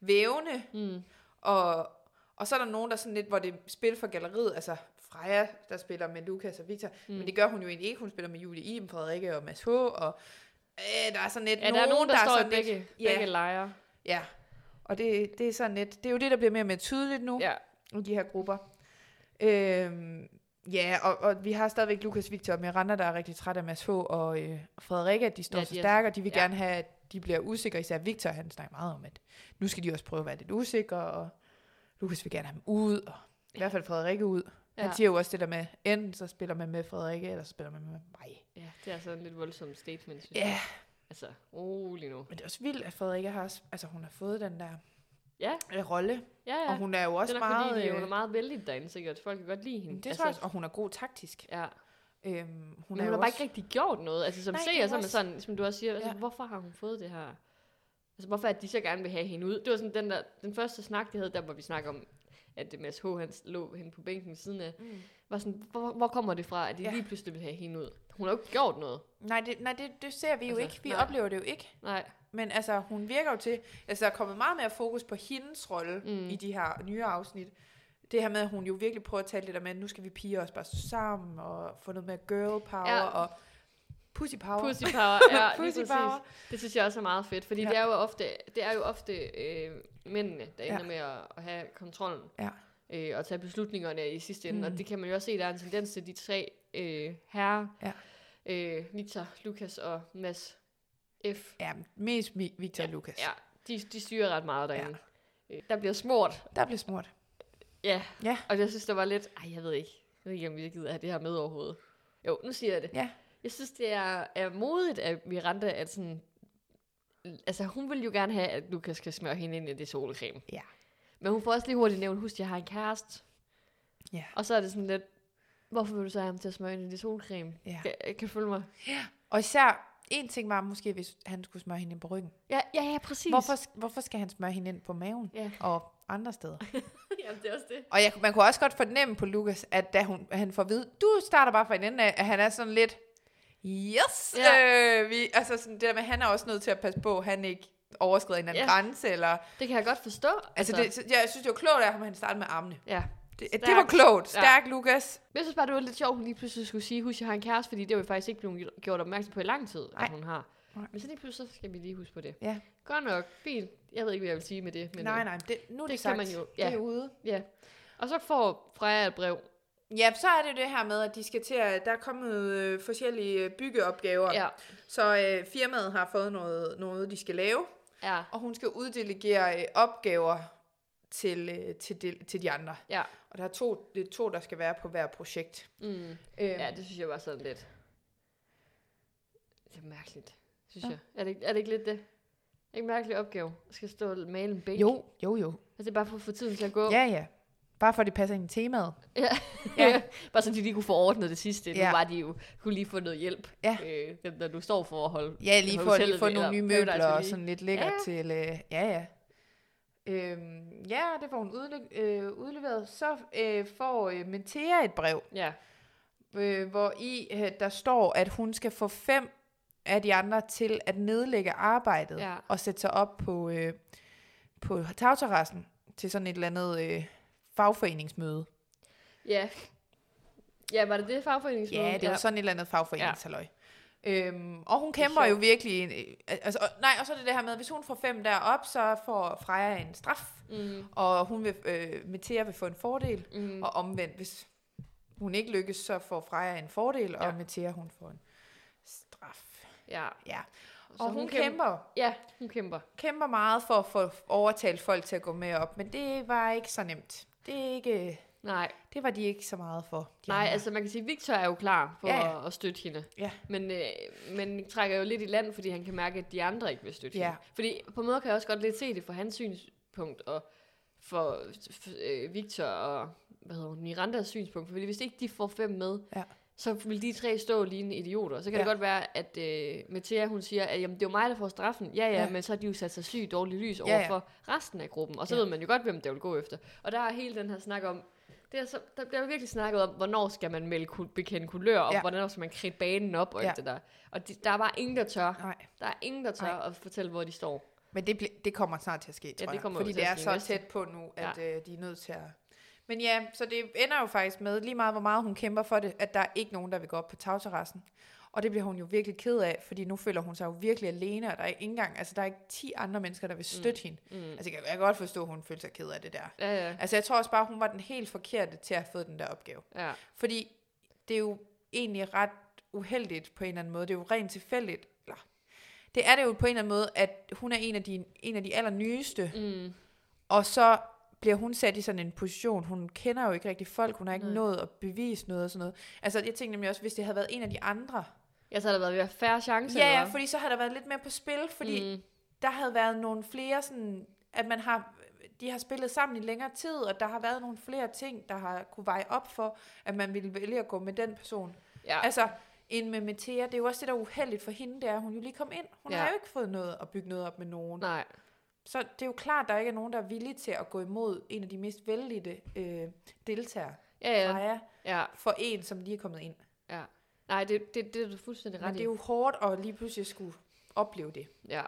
[SPEAKER 3] vævende,
[SPEAKER 2] mm.
[SPEAKER 3] og, og så er der nogen, der sådan lidt, hvor det er spil for galleriet, altså Freja, der spiller med Lukas og Victor. Mm. Men det gør hun jo egentlig ikke. Hun spiller med Julie Iben, Frederikke og Mads H. Og øh, der er sådan lidt
[SPEAKER 2] Ja, der er nogen, der, der står
[SPEAKER 3] sådan
[SPEAKER 2] i
[SPEAKER 3] lidt-
[SPEAKER 2] begge,
[SPEAKER 3] ja.
[SPEAKER 2] begge lejre.
[SPEAKER 3] Ja, og det, det er sådan lidt, det er jo det, der bliver mere og mere tydeligt nu,
[SPEAKER 2] Ja.
[SPEAKER 3] i de her grupper. Øhm, ja, og, og vi har stadigvæk Lukas, Victor og Miranda, der er rigtig træt af Mads H. og øh, Frederikke, at de står
[SPEAKER 2] Ja,
[SPEAKER 3] ja,
[SPEAKER 2] de
[SPEAKER 3] så
[SPEAKER 2] er-
[SPEAKER 3] stærke, og de vil
[SPEAKER 2] ja.
[SPEAKER 3] ja. gerne have, at de bliver usikre. Især Victor, han snakker meget om, at nu skal de også prøve at være lidt usikre, og Lukas vil gerne have dem ud, og i hvert fald Frederikke ud.
[SPEAKER 2] Ja.
[SPEAKER 3] Ja. Han siger jo også det der med, enten så spiller man med Frederikke, eller så spiller man med mig.
[SPEAKER 2] ja, det er sådan en lidt voldsom statement, synes jeg.
[SPEAKER 3] Ja,
[SPEAKER 2] Altså, rolig nu.
[SPEAKER 3] men det er også vildt, at Frederikke har, også- altså hun har fået den der
[SPEAKER 2] Ja,
[SPEAKER 3] øh, rolle,
[SPEAKER 2] ja, ja.
[SPEAKER 3] og hun er jo også
[SPEAKER 2] det er nok
[SPEAKER 3] meget...
[SPEAKER 2] fordi, de, hun
[SPEAKER 3] øh,
[SPEAKER 2] er meget vældig derinde, sikkert. Folk kan godt lide hende.
[SPEAKER 3] Det tror jeg også, og hun er god taktisk.
[SPEAKER 2] Ja.
[SPEAKER 3] Øhm, hun,
[SPEAKER 2] Altså- Hun, hun
[SPEAKER 3] er jo
[SPEAKER 2] har bare ikke
[SPEAKER 3] også,
[SPEAKER 2] rigtig gjort noget. Altså, som
[SPEAKER 3] Nej, det
[SPEAKER 2] seer,
[SPEAKER 3] er
[SPEAKER 2] så er man
[SPEAKER 3] også-
[SPEAKER 2] sådan, som du også siger, altså,
[SPEAKER 3] Ja.
[SPEAKER 2] hvorfor har hun fået det her? Altså, hvorfor at de så gerne vil have hende ud? Det var sådan den der, den første snak, de havde, der hvor vi snakker om, at øh, Mads H. han lå hende på bænken ved siden af,
[SPEAKER 3] Mm.
[SPEAKER 2] var sådan, hvor, hvor kommer det fra, at de
[SPEAKER 3] Ja.
[SPEAKER 2] lige pludselig vil have hende ud? Hun har jo ikke gjort noget.
[SPEAKER 3] Nej, det, nej det, det ser vi jo
[SPEAKER 2] Altså,
[SPEAKER 3] ikke. Vi
[SPEAKER 2] nej.
[SPEAKER 3] oplever det jo ikke.
[SPEAKER 2] Nej.
[SPEAKER 3] Men altså, hun virker jo til... Altså, der er kommet meget mere fokus på hendes rolle
[SPEAKER 2] Mm.
[SPEAKER 3] mm. i de her nye afsnit. Det her med, at hun jo virkelig prøver at tale det der med, at nu skal vi piger også bare stå sammen, og få noget mere girl power,
[SPEAKER 2] Ja.
[SPEAKER 3] ja. og pussy power.
[SPEAKER 2] Pussy power, ja,
[SPEAKER 3] Pussy
[SPEAKER 2] lige
[SPEAKER 3] power.
[SPEAKER 2] præcis. Det synes jeg også er meget fedt, fordi ja.
[SPEAKER 3] Ja.
[SPEAKER 2] det er jo ofte, det er jo ofte øh, mændene, der ender
[SPEAKER 3] Ja.
[SPEAKER 2] med at, at have kontrollen
[SPEAKER 3] Ja.
[SPEAKER 2] øh, og tage beslutningerne i sidste ende. Mm.
[SPEAKER 3] Mm.
[SPEAKER 2] Og det kan man jo også se, der er en tendens til de tre øh, herrer,
[SPEAKER 3] Ja.
[SPEAKER 2] øh, Victor, Lukas og Mads F.
[SPEAKER 3] Ja, mest Mi- Victor ja. Lukas.
[SPEAKER 2] Ja, de, de styrer ret meget derinde. Ja. Øh, der bliver smurt,
[SPEAKER 3] Der blev smurt.
[SPEAKER 2] og jeg synes, der var lidt, ej, jeg ved ikke, jeg ved ikke, om vi gider have det her med overhovedet. Jo, nu siger jeg det.
[SPEAKER 3] Ja.
[SPEAKER 2] Jeg synes, det er, er modigt af Miranda, at sådan, altså hun vil jo gerne have, at Lukas skal smøre hende ind i det solcreme.
[SPEAKER 3] Ja.
[SPEAKER 2] Men hun får også lige hurtigt nævnt, husk, jeg har en kæreste.
[SPEAKER 3] Ja.
[SPEAKER 2] Og så er det sådan lidt, hvorfor vil du så have ham til at smøre ind i det solcreme?
[SPEAKER 3] Ja.
[SPEAKER 2] Kan, kan du følge mig?
[SPEAKER 3] Og især, en ting var måske, hvis han skulle smøre hende ind på ryggen.
[SPEAKER 2] Ja, ja, ja, præcis.
[SPEAKER 3] Hvorfor, hvorfor skal han smøre hende ind på maven?
[SPEAKER 2] Ja.
[SPEAKER 3] Og andre steder.
[SPEAKER 2] Jamen, det er også det.
[SPEAKER 3] Og jeg, man kunne også godt fornemme på Lukas, at da hun, han får at vide, du starter bare fra en ende af, at han er sådan lidt, yes,
[SPEAKER 2] Ja.
[SPEAKER 3] ja. øh, vi, altså sådan det der med, han er også nødt til at passe på, at han ikke overskrider en eller anden
[SPEAKER 2] Ja.
[SPEAKER 3] ja. grænse, eller,
[SPEAKER 2] Det kan jeg godt forstå.
[SPEAKER 3] altså, det, så jeg synes det var klogt af ham, at han startede med armene.
[SPEAKER 2] Ja.
[SPEAKER 3] Det,
[SPEAKER 2] Stærkt.
[SPEAKER 3] det var klogt.
[SPEAKER 2] Ja.
[SPEAKER 3] Stærk, ja. Lukas.
[SPEAKER 2] Men jeg synes bare, det var lidt sjovt, at hun lige pludselig skulle sige, husk, jeg har en kæreste, fordi det var vi faktisk ikke blevet gjort opmærksom på i lang tid,
[SPEAKER 3] Nej.
[SPEAKER 2] at hun har.
[SPEAKER 3] Nej.
[SPEAKER 2] Men så lige pludselig så skal vi lige huske på det.
[SPEAKER 3] Ja.
[SPEAKER 2] Godt nok, fint. Jeg ved ikke, hvad jeg vil sige med det. Men,
[SPEAKER 3] Men, nej,
[SPEAKER 2] øh,
[SPEAKER 3] nej, det, nu er det,
[SPEAKER 2] det kan
[SPEAKER 3] sagt.
[SPEAKER 2] man jo, ja.
[SPEAKER 3] Det er ude.
[SPEAKER 2] Ja. Og så får Freja et brev.
[SPEAKER 3] Ja, så er det jo det her med, at de skal til at, der er kommet øh, forskellige øh, byggeopgaver,
[SPEAKER 2] Ja.
[SPEAKER 3] så øh, firmaet har fået noget, noget, de skal lave,
[SPEAKER 2] Ja.
[SPEAKER 3] Og hun skal uddelegere øh, opgaver til, øh, til, de, til de andre.
[SPEAKER 2] Ja.
[SPEAKER 3] Og der er to, det er to, der skal være på hver projekt.
[SPEAKER 2] Mm.
[SPEAKER 3] Øh,
[SPEAKER 2] ja, det synes jeg var sådan lidt... Det er mærkeligt, synes
[SPEAKER 3] Ja.
[SPEAKER 2] jeg. Er det, ikke- er det ikke lidt det? Er det ikke en mærkelig opgave? Jeg skal stå og male en bænk.
[SPEAKER 3] Jo, jo, jo.
[SPEAKER 2] Altså, det er bare for at få tiden til at gå.
[SPEAKER 3] Ja, ja. Bare for, at det passer ind i temaet.
[SPEAKER 2] Ja. Bare så de lige kunne få ordnet det sidste. Ja.
[SPEAKER 3] Ja.
[SPEAKER 2] Nu var de jo, kunne lige få noget hjælp,
[SPEAKER 3] Ja.
[SPEAKER 2] øh, dem, der du står for at holde.
[SPEAKER 3] Ja, lige for
[SPEAKER 2] Altså Hotellet
[SPEAKER 3] at få
[SPEAKER 2] eller
[SPEAKER 3] nogle nye
[SPEAKER 2] Paradise
[SPEAKER 3] møbler og
[SPEAKER 2] Hotel.
[SPEAKER 3] sådan lidt lækkert
[SPEAKER 2] Ja.
[SPEAKER 3] ja. til... Øh, ja, ja. Øhm, ja, det får hun udle- øh, udleveret. Så øh, får øh, Mentea et brev,
[SPEAKER 2] Ja,
[SPEAKER 3] øh, hvor i øh, der står, at hun skal få fem af de andre til at nedlægge arbejdet
[SPEAKER 2] Ja.
[SPEAKER 3] og sætte sig op på, øh, på tagterrassen til sådan et eller andet øh, fagforeningsmøde.
[SPEAKER 2] ja. Ja, var det det fagforeningsmål?
[SPEAKER 3] Ja, det er jo sådan et eller andet fagforeningshalløj. Øhm, og hun
[SPEAKER 2] Det er
[SPEAKER 3] kæmper jo
[SPEAKER 2] sjovt.
[SPEAKER 3] virkelig... En, øh, altså, og, nej, og så er det det her med, at hvis hun får fem derop, så får Freja en straf,
[SPEAKER 2] Mm,
[SPEAKER 3] og hun vil, øh, Metea vil få en fordel,
[SPEAKER 2] mm.
[SPEAKER 3] og omvendt, hvis hun ikke lykkes, så får Freja en fordel,
[SPEAKER 2] Ja.
[SPEAKER 3] og Metea hun får en straf.
[SPEAKER 2] Ja.
[SPEAKER 3] Ja,
[SPEAKER 2] Så
[SPEAKER 3] og hun, hun kæmper,
[SPEAKER 2] Ja, hun kæmper.
[SPEAKER 3] kæmper meget for at få overtalt folk til at gå med op, men det var ikke så nemt. Det, er ikke,
[SPEAKER 2] Nej,
[SPEAKER 3] det var de ikke så meget for. De
[SPEAKER 2] nej,
[SPEAKER 3] andre.
[SPEAKER 2] altså man kan sige, at Victor er jo klar for
[SPEAKER 3] Ja,
[SPEAKER 2] ja,
[SPEAKER 3] ja.
[SPEAKER 2] ja. at støtte hende.
[SPEAKER 3] Ja.
[SPEAKER 2] Men, øh, men trækker jo lidt i land, fordi han kan mærke, at de andre ikke vil støtte
[SPEAKER 3] Ja.
[SPEAKER 2] hende. Fordi på en måde kan jeg også godt lidt se det fra hans synspunkt, og for, for øh, Victor og hvad hedder hun, Mirandas synspunkt. Fordi hvis ikke de får fem med,
[SPEAKER 3] Ja.
[SPEAKER 2] så vil de tre stå lignende idioter. Så kan ja. det
[SPEAKER 3] Ja.
[SPEAKER 2] godt være, at øh, Mathia, hun siger, at jamen, det er jo mig, der får straffen. Ja, ja, ja,
[SPEAKER 3] Ja.
[SPEAKER 2] men så har de jo sat sig sygt dårligt lys over
[SPEAKER 3] Ja,
[SPEAKER 2] ja,
[SPEAKER 3] ja.
[SPEAKER 2] ja. for resten af gruppen. Og så ja.
[SPEAKER 3] Ja.
[SPEAKER 2] ved man jo godt, hvem der vil gå efter. Og der er hele den her snak om, det er så, der bliver virkelig snakket om, hvornår skal man melde ku- bekende kulør, og ja.
[SPEAKER 3] Ja.
[SPEAKER 2] hvornår skal man kridte banen op, og ja.
[SPEAKER 3] Ja.
[SPEAKER 2] alt det der. Og de, der er bare ingen, der tør.
[SPEAKER 3] Nej,
[SPEAKER 2] Der er ingen, der tør
[SPEAKER 3] Nej.
[SPEAKER 2] at fortælle, hvor de står.
[SPEAKER 3] men det, ble, det kommer snart til at ske, tror
[SPEAKER 2] det
[SPEAKER 3] jeg.
[SPEAKER 2] kommer jo
[SPEAKER 3] fordi
[SPEAKER 2] til
[SPEAKER 3] det
[SPEAKER 2] at
[SPEAKER 3] er
[SPEAKER 2] ske
[SPEAKER 3] så
[SPEAKER 2] næste.
[SPEAKER 3] tæt på nu, at ja. øh, de er nødt til at Men ja, så det ender jo faktisk med, lige meget hvor meget hun kæmper for det, at der er ikke nogen, der vil gå op på tagterrassen. Og det bliver hun jo virkelig ked af, fordi nu føler hun sig jo virkelig alene, og der er ikke engang, altså der er ikke 10 andre mennesker, der vil støtte mm. hende.
[SPEAKER 2] Mm.
[SPEAKER 3] Altså jeg kan jeg kan godt forstå, at hun føler sig ked af det der.
[SPEAKER 2] Ja, ja.
[SPEAKER 3] Altså jeg tror også bare, hun var den helt forkerte til at have fået den der opgave.
[SPEAKER 2] ja.
[SPEAKER 3] Fordi det er jo egentlig ret uheldigt på en eller anden måde. Det er jo rent tilfældigt. Eller, det er det jo på en eller anden måde, at hun er en af de, en af de allernyeste,
[SPEAKER 2] Mm.
[SPEAKER 3] og så bliver hun sat i sådan en position. Hun kender jo ikke rigtig folk, hun har ikke
[SPEAKER 2] Nej.
[SPEAKER 3] Nej. nået at bevise noget og sådan noget. Altså jeg tænkte nemlig også, hvis det havde været en af de andre.
[SPEAKER 2] Jeg så har der været ved at færre chancer.
[SPEAKER 3] Ja, ja,
[SPEAKER 2] eller hvad?
[SPEAKER 3] fordi så havde der været lidt mere på spil, fordi
[SPEAKER 2] mm.
[SPEAKER 3] der havde været nogle flere sådan, at man har, de har spillet sammen i længere tid, og der har været nogle flere ting, der har kunne veje op for, at man ville vælge at gå med den person.
[SPEAKER 2] ja.
[SPEAKER 3] Altså, en med Metea, det er jo også det, der er uheldigt for hende, det er, at hun jo lige kom ind. Hun
[SPEAKER 2] Ja.
[SPEAKER 3] ja. har jo ikke fået noget at bygge noget op med nogen.
[SPEAKER 2] nej.
[SPEAKER 3] Så det er jo klart, der ikke er nogen, der er villige til at gå imod en af de mest vældige øh, deltagere,
[SPEAKER 2] Ja, ja.
[SPEAKER 3] Freja,
[SPEAKER 2] ja.
[SPEAKER 3] for en, som lige er kommet ind.
[SPEAKER 2] Nej, det, det, det er du fuldstændig ret
[SPEAKER 3] Men det er
[SPEAKER 2] i.
[SPEAKER 3] jo hårdt at lige pludselig skulle opleve det.
[SPEAKER 2] Ja. ja,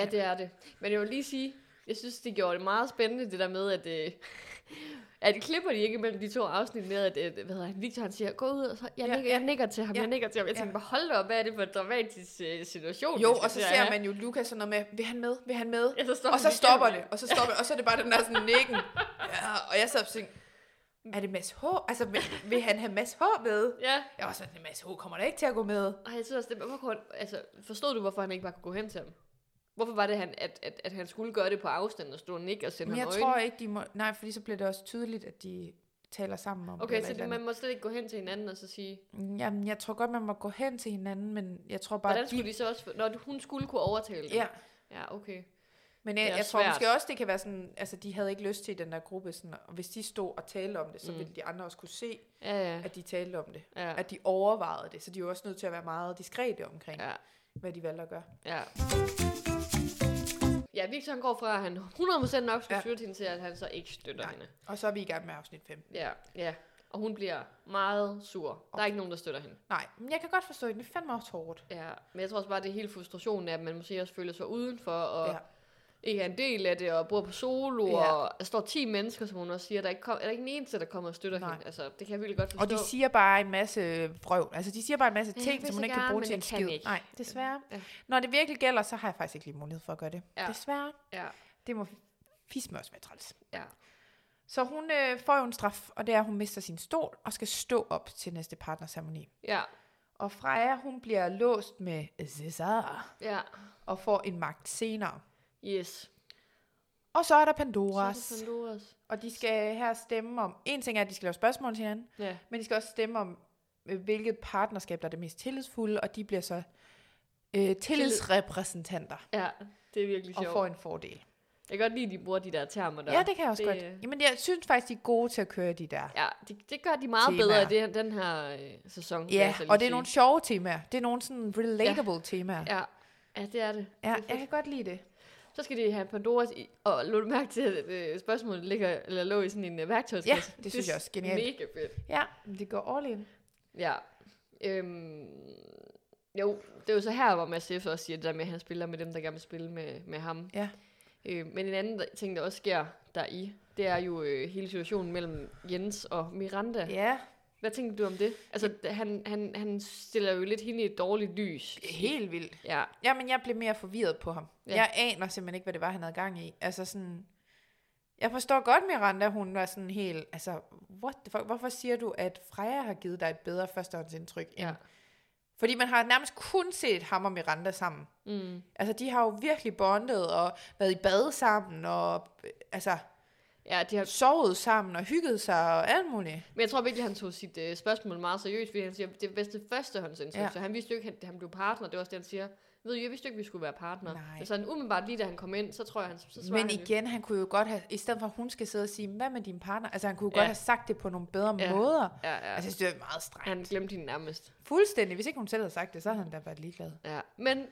[SPEAKER 3] Ja.
[SPEAKER 2] det er det. Men jeg vil lige sige, jeg synes, det gjorde det meget spændende, det der med, at, øh, at klipper de ikke mellem de to afsnit med, at øh, hvad hedder han, Victor han siger, gå ud, og så jeg,
[SPEAKER 3] Ja,
[SPEAKER 2] nikker, jeg nikker til ham,
[SPEAKER 3] ja,
[SPEAKER 2] jeg nikker til ham. Jeg
[SPEAKER 3] ja.
[SPEAKER 2] tænkte bare, hold da op, hvad er det for en dramatisk øh, situation?
[SPEAKER 3] Jo,
[SPEAKER 2] vi skal
[SPEAKER 3] og så
[SPEAKER 2] til at
[SPEAKER 3] ser
[SPEAKER 2] have?"
[SPEAKER 3] man jo Lukas sådan noget med, vil han med, vil han med?
[SPEAKER 2] Ja, så stopper
[SPEAKER 3] Og så
[SPEAKER 2] de
[SPEAKER 3] stopper
[SPEAKER 2] igen.
[SPEAKER 3] det, og så stopper det, og så er det bare den der sådan nikken. Ja, og jeg sad og tænkte, er det Mads H? Altså, vil, vil han have Mads H med?
[SPEAKER 2] Ja,
[SPEAKER 3] Jeg var sådan, Mads H kommer da ikke til at gå med.
[SPEAKER 2] og jeg synes også, det, hvorfor, kunne han- altså, forstod du, hvorfor han ikke bare kunne gå hen til ham? Hvorfor var det, han, at, at, at han skulle gøre det på afstand og stå og nikke og sende
[SPEAKER 3] Men jeg
[SPEAKER 2] ham
[SPEAKER 3] tror ikke, de må... Nej, fordi så bliver det også tydeligt, at de taler sammen om
[SPEAKER 2] Okay,
[SPEAKER 3] eller
[SPEAKER 2] så
[SPEAKER 3] et
[SPEAKER 2] det,
[SPEAKER 3] eller
[SPEAKER 2] man må slet ikke gå hen til hinanden og så sige,
[SPEAKER 3] andet. Jamen, jeg tror godt, man må gå hen til hinanden, men jeg tror bare...
[SPEAKER 2] hvordan skulle de så også, få- når hun skulle kunne overtale dem?
[SPEAKER 3] Ja,
[SPEAKER 2] Ja, okay.
[SPEAKER 3] men
[SPEAKER 2] Det
[SPEAKER 3] jeg,
[SPEAKER 2] er
[SPEAKER 3] jeg tror
[SPEAKER 2] svært.
[SPEAKER 3] måske også, det kan være sådan... Altså, de havde ikke lyst til i den der gruppe, sådan, og hvis de stod og talte om det, så
[SPEAKER 2] Mm.
[SPEAKER 3] ville de andre også kunne se,
[SPEAKER 2] Ja, ja.
[SPEAKER 3] at de talte om det.
[SPEAKER 2] Ja.
[SPEAKER 3] At de overvejede det, så de er jo også nødt til at være meget diskrete omkring,
[SPEAKER 2] Ja,
[SPEAKER 3] hvad de valgte at gøre.
[SPEAKER 2] ja. Ja, Victor han går fra, at han 100% nok skulle ja.
[SPEAKER 3] Ja.
[SPEAKER 2] støtte hende til, at han så ikke støtter Nej.
[SPEAKER 3] Nej.
[SPEAKER 2] hende.
[SPEAKER 3] Og så er vi i gang med afsnit 5.
[SPEAKER 2] Ja, ja. Og hun bliver meget sur. Der er ikke nogen, der støtter hende.
[SPEAKER 3] Nej, men jeg kan godt forstå, det Det er fandme også hårdt.
[SPEAKER 2] Ja, men jeg tror også bare, det er hele frustrationen af, at man måske også føler sig udenfor, og ja.
[SPEAKER 3] Ja.
[SPEAKER 2] ikke er en del af det, og bor på solo, ja.
[SPEAKER 3] Ja.
[SPEAKER 2] og der står 10 mennesker, som hun også siger, der er ikke, kom, er der ikke en eneste, der kommer og støtter Nej.
[SPEAKER 3] Nej.
[SPEAKER 2] hende. Altså, det kan jeg virkelig godt forstå.
[SPEAKER 3] Og de siger bare en masse vrøvl. Altså, de siger bare en masse
[SPEAKER 2] Ja,
[SPEAKER 3] ting,
[SPEAKER 2] jeg
[SPEAKER 3] som
[SPEAKER 2] vil
[SPEAKER 3] man
[SPEAKER 2] så
[SPEAKER 3] ikke kan
[SPEAKER 2] gerne,
[SPEAKER 3] bruge
[SPEAKER 2] men
[SPEAKER 3] til
[SPEAKER 2] jeg kan
[SPEAKER 3] en skid.
[SPEAKER 2] ikke.
[SPEAKER 3] Nej, desværre.
[SPEAKER 2] Ja.
[SPEAKER 3] Ja. Når det virkelig gælder, så har jeg faktisk ikke lige mulighed for at gøre det.
[SPEAKER 2] Ja.
[SPEAKER 3] Ja. Desværre.
[SPEAKER 2] Ja,
[SPEAKER 3] Det må fisk mig også være træls.
[SPEAKER 2] ja.
[SPEAKER 3] Så hun øh, får jo en straf, og det er, at hun mister sin stol og skal stå op til næste partnerceremoni.
[SPEAKER 2] Ja,
[SPEAKER 3] Og Freja, hun bliver låst med Cesar
[SPEAKER 2] ja.
[SPEAKER 3] og får en magt senere.
[SPEAKER 2] Yes.
[SPEAKER 3] Og så er der
[SPEAKER 2] Så er
[SPEAKER 3] Pandoras,
[SPEAKER 2] det Pandoras.
[SPEAKER 3] og de skal her stemme om... En ting er, at de skal lave spørgsmål til hinanden,
[SPEAKER 2] Ja.
[SPEAKER 3] Men de skal også stemme om, øh, hvilket partnerskab, der er det mest tillidsfulde, og de bliver så øh, tillidsrepræsentanter
[SPEAKER 2] ja, det er virkelig
[SPEAKER 3] og
[SPEAKER 2] sjovt.
[SPEAKER 3] får en fordel.
[SPEAKER 2] Jeg kan godt lide, at de bruger de der termer der.
[SPEAKER 3] Ja, det kan jeg også
[SPEAKER 2] det- øh,
[SPEAKER 3] det... øh, godt. Jamen, jeg synes faktisk, de er gode til at køre de der.
[SPEAKER 2] Ja, det, det gør de meget
[SPEAKER 3] Temaer.
[SPEAKER 2] bedre i det, den her øh, sæson. vil jeg
[SPEAKER 3] Ja,
[SPEAKER 2] så lige
[SPEAKER 3] og det er
[SPEAKER 2] sige.
[SPEAKER 3] nogle sjove temaer. Det er nogle sådan relatable ja. temaer.
[SPEAKER 2] Ja, ja, det er det.
[SPEAKER 3] Ja,
[SPEAKER 2] det er
[SPEAKER 3] jeg
[SPEAKER 2] fedt.
[SPEAKER 3] kan godt lide det.
[SPEAKER 2] Så skal de have Pandoras i, og lå du mærke til, at øh, spørgsmålet ligger, eller lå i sådan en øh, værktøjskasse?
[SPEAKER 3] Ja, det synes jeg også. Genialt.
[SPEAKER 2] Mega fedt.
[SPEAKER 3] Ja, men det går all in.
[SPEAKER 2] Ja. Øhm, jo, det er jo så her, hvor Mads F. også siger det der med, at han spiller med dem, der gerne vil spille med, med ham.
[SPEAKER 3] Ja.
[SPEAKER 2] Øh, men en anden ting, der også sker der i, det er jo øh, hele situationen mellem Jens og Miranda.
[SPEAKER 3] Ja,
[SPEAKER 2] Hvad tænker du om det? Altså, d- han, han, han stiller jo lidt hende i et dårligt lys.
[SPEAKER 3] helt vildt.
[SPEAKER 2] Ja,
[SPEAKER 3] Jamen, jeg blev mere forvirret på ham.
[SPEAKER 2] Ja.
[SPEAKER 3] Ja. Jeg aner simpelthen ikke, hvad det var, han havde gang i. Altså sådan... Jeg forstår godt, Miranda, hun var sådan helt... Altså, what the fuck? Hvorfor siger du, at Freja har givet dig et bedre førstehåndsindtryk? end-
[SPEAKER 2] ja.
[SPEAKER 3] Fordi man har nærmest kun set ham og Miranda sammen.
[SPEAKER 2] Mm.
[SPEAKER 3] Altså, de har jo virkelig bondet og været i bad sammen og... øh, Altså,
[SPEAKER 2] Ja, de har,
[SPEAKER 3] sovet sammen og hygget sig og alt muligt.
[SPEAKER 2] men jeg tror virkelig, han tog sit øh, spørgsmål meget seriøst, fordi han siger, det er bedste førstehåndsindtryk, ja.
[SPEAKER 3] Ja.
[SPEAKER 2] så han vidste jo ikke, at han blev partner, det var også det, han siger. Ved I, jeg vidste jo ikke, vi skulle være partner.
[SPEAKER 3] Nej.
[SPEAKER 2] Altså, han, umiddelbart lige da han kom ind, så tror jeg, han så svarer han
[SPEAKER 3] Men
[SPEAKER 2] jo.
[SPEAKER 3] igen, han kunne jo godt have... I stedet for, at hun skal sidde og sige, hvad med din partner? Altså, han kunne jo
[SPEAKER 2] Ja.
[SPEAKER 3] godt have sagt det på nogle bedre
[SPEAKER 2] Ja.
[SPEAKER 3] måder.
[SPEAKER 2] Ja, ja.
[SPEAKER 3] Altså,
[SPEAKER 2] Altså,
[SPEAKER 3] jeg synes, det er meget strengt.
[SPEAKER 2] han glemte hende nærmest.
[SPEAKER 3] Fuldstændig. Hvis ikke hun selv havde sagt det, så havde han da været ligeglad.
[SPEAKER 2] Ja. Men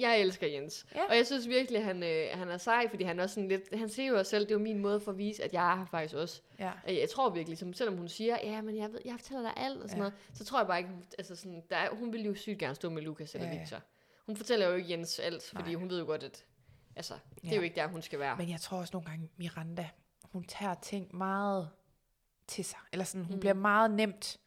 [SPEAKER 2] jeg elsker Jens.
[SPEAKER 3] Ja.
[SPEAKER 2] Og jeg synes virkelig, han, øh, han er sej, fordi han er sådan lidt... Han siger jo også selv, det er jo min måde for at vise, at jeg er her faktisk også.
[SPEAKER 3] Ja.
[SPEAKER 2] Øh, Jeg tror virkelig, som selvom hun siger, ja, men jeg, ved, jeg fortæller dig alt og sådan ja.
[SPEAKER 3] Ja.
[SPEAKER 2] noget, så tror jeg bare ikke, hun, altså sådan, der er, hun ville jo sygt gerne stå med Lukas eller ja,
[SPEAKER 3] Ja,
[SPEAKER 2] ja.
[SPEAKER 3] ja.
[SPEAKER 2] Victor. Hun fortæller jo ikke Jens alt, fordi
[SPEAKER 3] Nej.
[SPEAKER 2] hun ved jo godt, at altså, det er
[SPEAKER 3] Ja.
[SPEAKER 2] jo ikke der, hun skal være.
[SPEAKER 3] Men jeg tror også nogle gange, Miranda, hun tager ting meget til sig. Eller sådan, hun
[SPEAKER 2] Mm.
[SPEAKER 3] mm. bliver meget nemt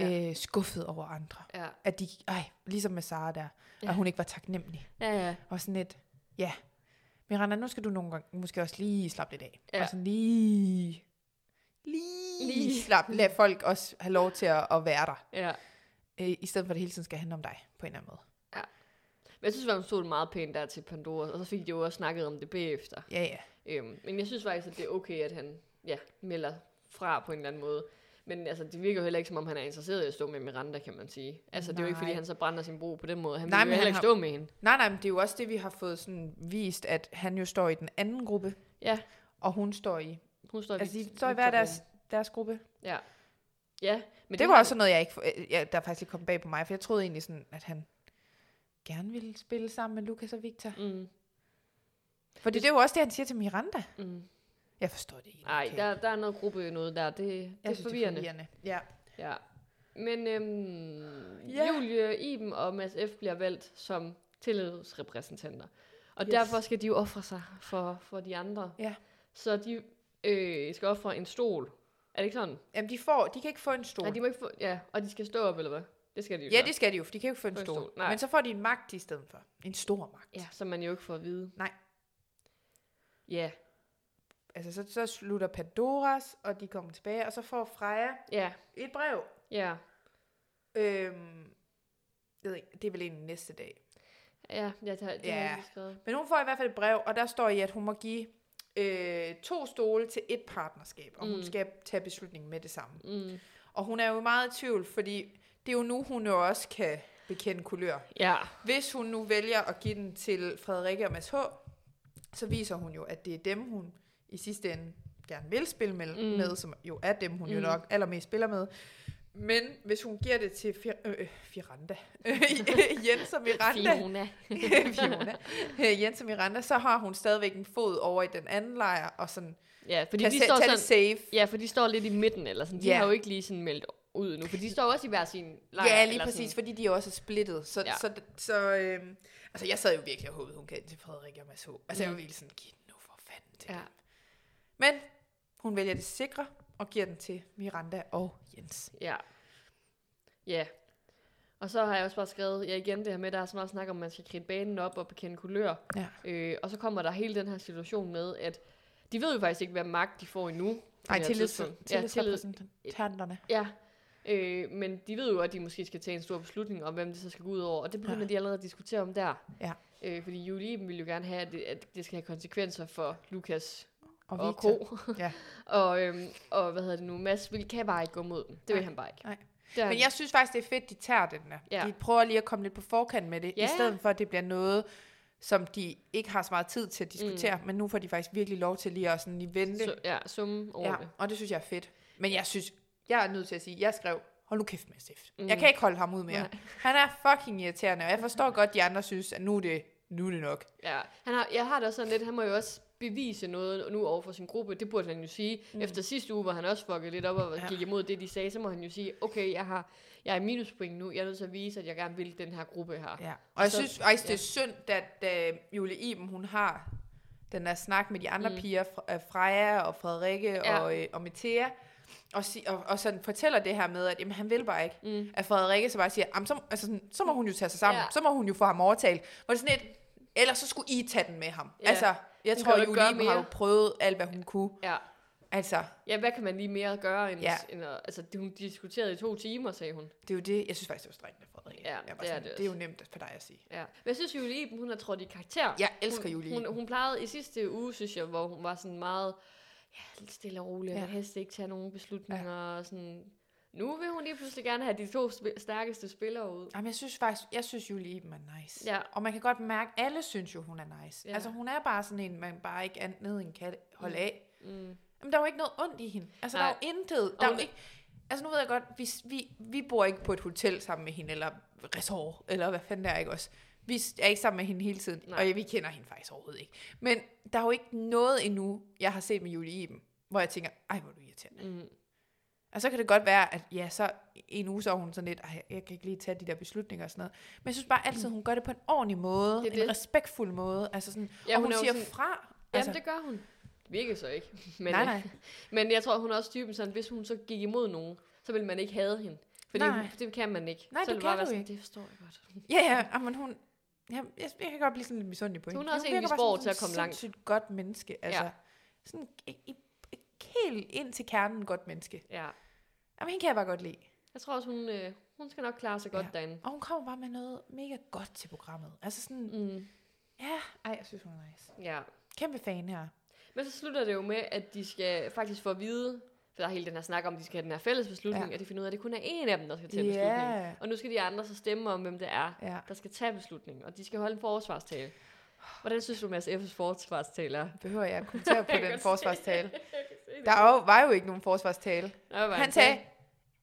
[SPEAKER 2] Ja.
[SPEAKER 3] ja. øh, skuffet over andre.
[SPEAKER 2] Ja.
[SPEAKER 3] At de, ej, ligesom med Sara der, ja.
[SPEAKER 2] Ja.
[SPEAKER 3] at hun ikke var taknemmelig.
[SPEAKER 2] ja, ja.
[SPEAKER 3] Og sådan lidt, ja, Miranda, nu skal du nogle gange måske også lige slappe lidt af.
[SPEAKER 2] Ja.
[SPEAKER 3] Og sådan lige, lige,
[SPEAKER 2] Lige.
[SPEAKER 3] lige. slappe, lad folk også have lov til at, at være der.
[SPEAKER 2] ja.
[SPEAKER 3] Øh, I stedet for, at det hele tiden skal handle om dig, på en eller anden måde.
[SPEAKER 2] Men jeg synes, at hun stod meget pænt der til Pandora, og så fik de jo også snakket om det bagefter.
[SPEAKER 3] Ja, ja.
[SPEAKER 2] Øhm, men jeg synes faktisk, at det er okay, at han ja, melder fra på en eller anden måde. Men altså, det virker jo heller ikke, som om han er interesseret i at stå med Miranda, kan man sige. Altså, det er jo ikke, fordi
[SPEAKER 3] Nej.
[SPEAKER 2] han så brænder sin bro på den måde. Han
[SPEAKER 3] Nej,
[SPEAKER 2] Nej, vil
[SPEAKER 3] men
[SPEAKER 2] jo heller
[SPEAKER 3] han
[SPEAKER 2] ikke
[SPEAKER 3] har-
[SPEAKER 2] stå med hende.
[SPEAKER 3] Nej, nej, men det er jo også det, vi har fået sådan vist, at han jo står i den anden gruppe,
[SPEAKER 2] Ja,
[SPEAKER 3] og hun står i...
[SPEAKER 2] hun står
[SPEAKER 3] Altså,
[SPEAKER 2] lidt-
[SPEAKER 3] de står i
[SPEAKER 2] lidt
[SPEAKER 3] hver
[SPEAKER 2] for
[SPEAKER 3] deres,
[SPEAKER 2] rum.
[SPEAKER 3] deres gruppe.
[SPEAKER 2] Ja. Ja, men
[SPEAKER 3] Men det var også sådan noget, jeg ikke... for- øh, Ja, der faktisk lige kom bag på mig, for jeg troede egentlig sådan, at han gerne ville spille sammen med Lukas og Victor.
[SPEAKER 2] Mm,
[SPEAKER 3] For det, det er jo også det, han siger til Miranda.
[SPEAKER 2] mm.
[SPEAKER 3] Jeg forstår det ikke.
[SPEAKER 2] Ej, der, der er noget gruppe noget der. Det, det,
[SPEAKER 3] jeg
[SPEAKER 2] er
[SPEAKER 3] synes,
[SPEAKER 2] forvirrende.
[SPEAKER 3] Det er forvirrende. Ja.
[SPEAKER 2] Ja. Men øhm,
[SPEAKER 3] Ja.
[SPEAKER 2] ja. Julie, Iben og Mads F. bliver valgt som tillidsrepræsentanter. Og yes.
[SPEAKER 3] Yes.
[SPEAKER 2] derfor skal de jo ofre sig for, for de andre.
[SPEAKER 3] Ja.
[SPEAKER 2] Så de øh, skal ofre en stol. Er det ikke sådan?
[SPEAKER 3] Jamen, de, får, de kan ikke få en stol.
[SPEAKER 2] Nej, de må ikke få, ja, og de skal stå op, eller hvad? Det skal de jo
[SPEAKER 3] ja,
[SPEAKER 2] gøre.
[SPEAKER 3] det skal de jo, for de kan jo ikke få en
[SPEAKER 2] Få en
[SPEAKER 3] stol.
[SPEAKER 2] stol, nej.
[SPEAKER 3] Men så får de en magt i stedet for. En stor magt.
[SPEAKER 2] ja, som man jo ikke får at vide.
[SPEAKER 3] Nej.
[SPEAKER 2] Ja,
[SPEAKER 3] Altså, så, så slutter Pandoras, og de kommer tilbage, og så får Freja
[SPEAKER 2] ja,
[SPEAKER 3] et brev.
[SPEAKER 2] ja,
[SPEAKER 3] Øhm, jeg ved ikke, det er vel egentlig næste dag.
[SPEAKER 2] ja, ja, det, har- det har
[SPEAKER 3] Ja.
[SPEAKER 2] jeg ikke skrevet.
[SPEAKER 3] Men hun får i hvert fald et brev, og der står i, at hun må give øh, to stole til et partnerskab, og mm.
[SPEAKER 2] Mm.
[SPEAKER 3] hun skal tage beslutningen med det samme.
[SPEAKER 2] Mm.
[SPEAKER 3] Og hun er jo meget i tvivl, fordi det er jo nu, hun jo også kan bekende kulør.
[SPEAKER 2] Ja,
[SPEAKER 3] Hvis hun nu vælger at give den til Frederikke og Mads H., så viser hun jo, at det er dem, hun i sidste ende gerne vil spille med,
[SPEAKER 2] Mm.
[SPEAKER 3] mm. med som jo er dem, hun mm. jo
[SPEAKER 2] Mm.
[SPEAKER 3] nok allermest spiller med. Men hvis hun giver det til Fir- øh, Firanda, Jens og Miranda,
[SPEAKER 2] Fiona.
[SPEAKER 3] Fiona. Øh, Jens og Miranda, så har hun stadigvæk en fod over i den anden lejr, og sådan,
[SPEAKER 2] Ja, fordi
[SPEAKER 3] kan
[SPEAKER 2] de
[SPEAKER 3] se-
[SPEAKER 2] står
[SPEAKER 3] tage
[SPEAKER 2] sådan,
[SPEAKER 3] det safe.
[SPEAKER 2] Ja, for de står lidt i midten, eller sådan. De
[SPEAKER 3] Ja.
[SPEAKER 2] har jo ikke lige sådan meldt ud nu, for de står også i hver sin lejr.
[SPEAKER 3] Ja, lige
[SPEAKER 2] eller
[SPEAKER 3] præcis,
[SPEAKER 2] Sådan.
[SPEAKER 3] fordi de er også er splittet. Så,
[SPEAKER 2] Ja.
[SPEAKER 3] ja. så, så øh, altså, jeg sad jo virkelig og håbede, hun gav den til Frederik og Mads H. Altså, jeg
[SPEAKER 2] Mm.
[SPEAKER 3] var virkelig sådan, giv den nu for fanden til
[SPEAKER 2] Ja.
[SPEAKER 3] ja. dem. Men hun vælger det sikre, og giver den til Miranda og Jens.
[SPEAKER 2] Ja. Ja. Og så har jeg også bare skrevet, ja igen det her med, der er så meget snak om, at man skal kridte banen op og bekende kulør.
[SPEAKER 3] Ja.
[SPEAKER 2] Øh, og så kommer der hele den her situation med, at de ved jo faktisk ikke, hvad magt de får endnu. på
[SPEAKER 3] Nej,
[SPEAKER 2] det her
[SPEAKER 3] tillids,
[SPEAKER 2] tidspunkt. Ja, tillid,
[SPEAKER 3] tillidsrepræsentanterne.
[SPEAKER 2] ja. Øh, men de ved jo, at de måske skal tage en stor beslutning om, hvem det så skal gå ud over. Og det begynder ja.
[SPEAKER 3] Ja.
[SPEAKER 2] de allerede at diskutere om der.
[SPEAKER 3] Ja.
[SPEAKER 2] Øh, fordi Julie Iben vil jo gerne have, at det, at det skal have konsekvenser for Lukas og,
[SPEAKER 3] Og,
[SPEAKER 2] og
[SPEAKER 3] Victor.
[SPEAKER 2] ko.
[SPEAKER 3] Ja.
[SPEAKER 2] og, øhm, og hvad hedder det nu? Mads vil, kan bare ikke gå mod dem. Det vil
[SPEAKER 3] Nej.
[SPEAKER 2] han bare ikke.
[SPEAKER 3] Nej.
[SPEAKER 2] Det er
[SPEAKER 3] Men
[SPEAKER 2] han-
[SPEAKER 3] jeg synes faktisk, det er fedt, de tager den der.
[SPEAKER 2] Ja.
[SPEAKER 3] Ja. De prøver lige at komme lidt på forkant med det,
[SPEAKER 2] Ja.
[SPEAKER 3] i stedet for, at det bliver noget, som de ikke har så meget tid til at diskutere, mm. men nu får de faktisk virkelig lov til lige at sådan lige vente.
[SPEAKER 2] så, ja, summe over
[SPEAKER 3] Ja,
[SPEAKER 2] ja. det.
[SPEAKER 3] og det synes jeg er fedt. Men jeg synes, jeg er nødt til at sige, jeg skrev, hold nu kæft med Sif.
[SPEAKER 2] Mm.
[SPEAKER 3] Mm. Jeg kan ikke holde ham ud mere.
[SPEAKER 2] Nej.
[SPEAKER 3] Han er fucking irriterende, og jeg forstår godt, de andre synes, at nu er det, nu er det nok.
[SPEAKER 2] Ja. Han har, jeg har det også sådan lidt, han må jo også bevise noget nu over for sin gruppe. Det burde han jo sige. Mm. Efter sidste uge, hvor han også fuckede lidt op og ja.
[SPEAKER 3] Ja.
[SPEAKER 2] gik imod det, de sagde, så må han jo sige, okay, jeg, har, jeg er i minuspoint nu. Jeg er nødt til at vise, at jeg gerne vil den her gruppe her.
[SPEAKER 3] Ja. Og jeg
[SPEAKER 2] Så-
[SPEAKER 3] synes faktisk, det er synd, at da Julie Iben, hun har den der snak med de andre
[SPEAKER 2] Mm.
[SPEAKER 3] mm. piger, Fre- øh, Freja og Frederikke
[SPEAKER 2] Ja.
[SPEAKER 3] ja. og, øh, og Metea, og, si- og, og sådan fortæller det her med, at jamen, han vil bare ikke.
[SPEAKER 2] Mm.
[SPEAKER 3] At Frederikke så bare siger, "Jamen, så, altså, sådan, så må hun jo tage sig sammen,
[SPEAKER 2] Ja.
[SPEAKER 3] ja. så må hun jo få ham overtalt. Hvor det er sådan et, ellers så skulle I tage den med ham.
[SPEAKER 2] Ja.
[SPEAKER 3] Ja. Altså, jeg
[SPEAKER 2] Hun
[SPEAKER 3] tror,
[SPEAKER 2] kan jo ikke
[SPEAKER 3] Julie
[SPEAKER 2] gøre
[SPEAKER 3] Iben har
[SPEAKER 2] mere.
[SPEAKER 3] jo prøvet alt, hvad hun kunne.
[SPEAKER 2] Ja.
[SPEAKER 3] Altså,
[SPEAKER 2] ja, hvad kan man lige mere gøre, end, ja.
[SPEAKER 3] Ja.
[SPEAKER 2] end at, altså, det, hun diskuterede i to timer, sagde hun.
[SPEAKER 3] det er jo det, jeg synes faktisk, det var strengt af Frederikke.
[SPEAKER 2] Ja,
[SPEAKER 3] Jeg var
[SPEAKER 2] det er
[SPEAKER 3] sådan,
[SPEAKER 2] det
[SPEAKER 3] det er jo
[SPEAKER 2] også.
[SPEAKER 3] nemt for dig at sige.
[SPEAKER 2] Ja. Men jeg synes, Julie Iben, hun har trådt i karakter.
[SPEAKER 3] Jeg elsker
[SPEAKER 2] hun,
[SPEAKER 3] Julie
[SPEAKER 2] Hun,
[SPEAKER 3] Iben.
[SPEAKER 2] hun plejede i sidste uge, synes jeg, hvor hun var sådan meget ja, lidt stille og rolig, og
[SPEAKER 3] Ja.
[SPEAKER 2] ja. helst ikke tage nogen beslutninger. Ja. Og sådan. Nu vil hun lige pludselig gerne have de to sp- stærkeste spillere ud.
[SPEAKER 3] Jamen, jeg synes faktisk, jeg synes, Julie Iben er nice.
[SPEAKER 2] Ja.
[SPEAKER 3] Og man kan godt mærke, at alle synes jo, hun er nice.
[SPEAKER 2] Ja.
[SPEAKER 3] Ja. Altså, hun er bare sådan en, man bare ikke andet end kan holde af.
[SPEAKER 2] Mm.
[SPEAKER 3] Jamen, der er jo ikke noget ondt i hende. Altså,
[SPEAKER 2] Nej.
[SPEAKER 3] der er jo intet. Der er jo
[SPEAKER 2] hun-
[SPEAKER 3] ikke... Altså, nu ved jeg godt, vi, vi, vi bor ikke på et hotel sammen med hende, eller resort, eller hvad fanden der er, ikke også? Vi er ikke sammen med hende hele tiden,
[SPEAKER 2] Nej.
[SPEAKER 3] Nej. og vi kender hende faktisk overhovedet ikke. Men der er jo ikke noget endnu, jeg har set med Julie Iben, hvor jeg tænker, ej, hvor er du irriterende.
[SPEAKER 2] Mm.
[SPEAKER 3] Og så kan det godt være, at ja, så en uge så er hun sådan lidt, "Ej, jeg kan ikke lige tage de der beslutninger og sådan noget. Men jeg synes bare altid, hun gør det på en ordentlig måde,
[SPEAKER 2] Det er
[SPEAKER 3] det en
[SPEAKER 2] det.
[SPEAKER 3] respektfuld måde. Altså sådan,
[SPEAKER 2] Ja,
[SPEAKER 3] ja, og
[SPEAKER 2] hun
[SPEAKER 3] hun,
[SPEAKER 2] er jo
[SPEAKER 3] siger
[SPEAKER 2] sådan-
[SPEAKER 3] fra.
[SPEAKER 2] Jamen,
[SPEAKER 3] Altså,
[SPEAKER 2] det gør hun. Virkelig så ikke. Men,
[SPEAKER 3] nej,
[SPEAKER 2] øh,
[SPEAKER 3] nej.
[SPEAKER 2] men jeg tror, hun er også typen sådan, hvis hun så gik imod nogen, så ville man ikke have hende. Fordi
[SPEAKER 3] Nej.
[SPEAKER 2] det kan man ikke.
[SPEAKER 3] Nej,
[SPEAKER 2] så
[SPEAKER 3] det
[SPEAKER 2] ville
[SPEAKER 3] kan
[SPEAKER 2] bare være
[SPEAKER 3] du
[SPEAKER 2] sådan,
[SPEAKER 3] ikke.
[SPEAKER 2] Det forstår jeg godt.
[SPEAKER 3] Ja, ja, ah, men hun... Ja, jeg, jeg kan godt blive sådan lidt misundelig på
[SPEAKER 2] Så
[SPEAKER 3] hende.
[SPEAKER 2] hun er
[SPEAKER 3] for
[SPEAKER 2] også en,
[SPEAKER 3] virker
[SPEAKER 2] vi
[SPEAKER 3] bare
[SPEAKER 2] spår
[SPEAKER 3] som
[SPEAKER 2] til at
[SPEAKER 3] sådan
[SPEAKER 2] komme langt.
[SPEAKER 3] sindssygt godt menneske. Altså, sådan i, i, i, helt ind til kernen godt menneske.
[SPEAKER 2] Ja.
[SPEAKER 3] Jamen, hende kan jeg bare godt lide.
[SPEAKER 2] Jeg tror også, hun, øh, hun skal nok klare sig godt
[SPEAKER 3] Ja.
[SPEAKER 2] derinde.
[SPEAKER 3] Og hun kommer bare med noget mega godt til programmet. Altså sådan,
[SPEAKER 2] Mm,
[SPEAKER 3] ja, ej, jeg synes, hun er nice.
[SPEAKER 2] ja.
[SPEAKER 3] Kæmpe fan her.
[SPEAKER 2] Men så slutter det jo med, at de skal faktisk få at vide, for der er hele den her snak om, at de skal have den her fælles beslutning,
[SPEAKER 3] Ja.
[SPEAKER 2] ja. at de finder ud af, at det kun er én af dem, der skal tage yeah. beslutningen. Og nu skal de andre så stemme om, hvem det er,
[SPEAKER 3] Ja.
[SPEAKER 2] der skal tage beslutningen, og de skal holde en forsvarstale. Hvordan synes du, Mads F.'s forsvarstale er?
[SPEAKER 3] Behøver jeg at kommentere på
[SPEAKER 2] Jeg kan
[SPEAKER 3] den
[SPEAKER 2] godt se-
[SPEAKER 3] forsvarstale? Der er jo- var jo ikke nogen forsvarstale.
[SPEAKER 2] Nå, hvad var
[SPEAKER 3] Han
[SPEAKER 2] det?
[SPEAKER 3] sagde,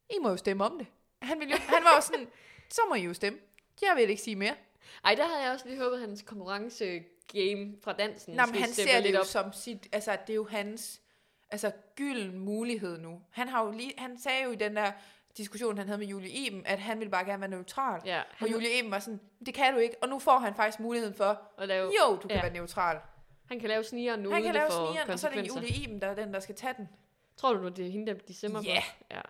[SPEAKER 3] I må jo stemme om det. Han, ville jo, han var jo sådan, så må I jo stemme. Jeg vil ikke sige mere.
[SPEAKER 2] Ej, der havde jeg også lige håbet, at hans konkurrence-game fra dansen
[SPEAKER 3] Nå, men
[SPEAKER 2] skulle
[SPEAKER 3] han
[SPEAKER 2] steppe
[SPEAKER 3] ser det
[SPEAKER 2] lidt
[SPEAKER 3] jo
[SPEAKER 2] op.
[SPEAKER 3] som sit, altså det er jo hans altså, gylden mulighed nu. Han, har jo lige, han sagde jo i den der diskussion, han havde med Julie Eben, at han ville bare gerne være neutral. Ja,
[SPEAKER 2] Ja,
[SPEAKER 3] og
[SPEAKER 2] han,
[SPEAKER 3] Julie Eben var sådan, det kan du ikke, og nu får han faktisk muligheden for,
[SPEAKER 2] og lave,
[SPEAKER 3] jo, du kan
[SPEAKER 2] ja.
[SPEAKER 3] være neutral.
[SPEAKER 2] han kan lave snigeren nu,
[SPEAKER 3] Han kan lave
[SPEAKER 2] for
[SPEAKER 3] snigeren, og så er det
[SPEAKER 2] konsekvenser.
[SPEAKER 3] Julie Eben, der er den, der skal tage den.
[SPEAKER 2] Tror du nu, det er hende, der de stemmer
[SPEAKER 3] Ja.
[SPEAKER 2] på? Ja.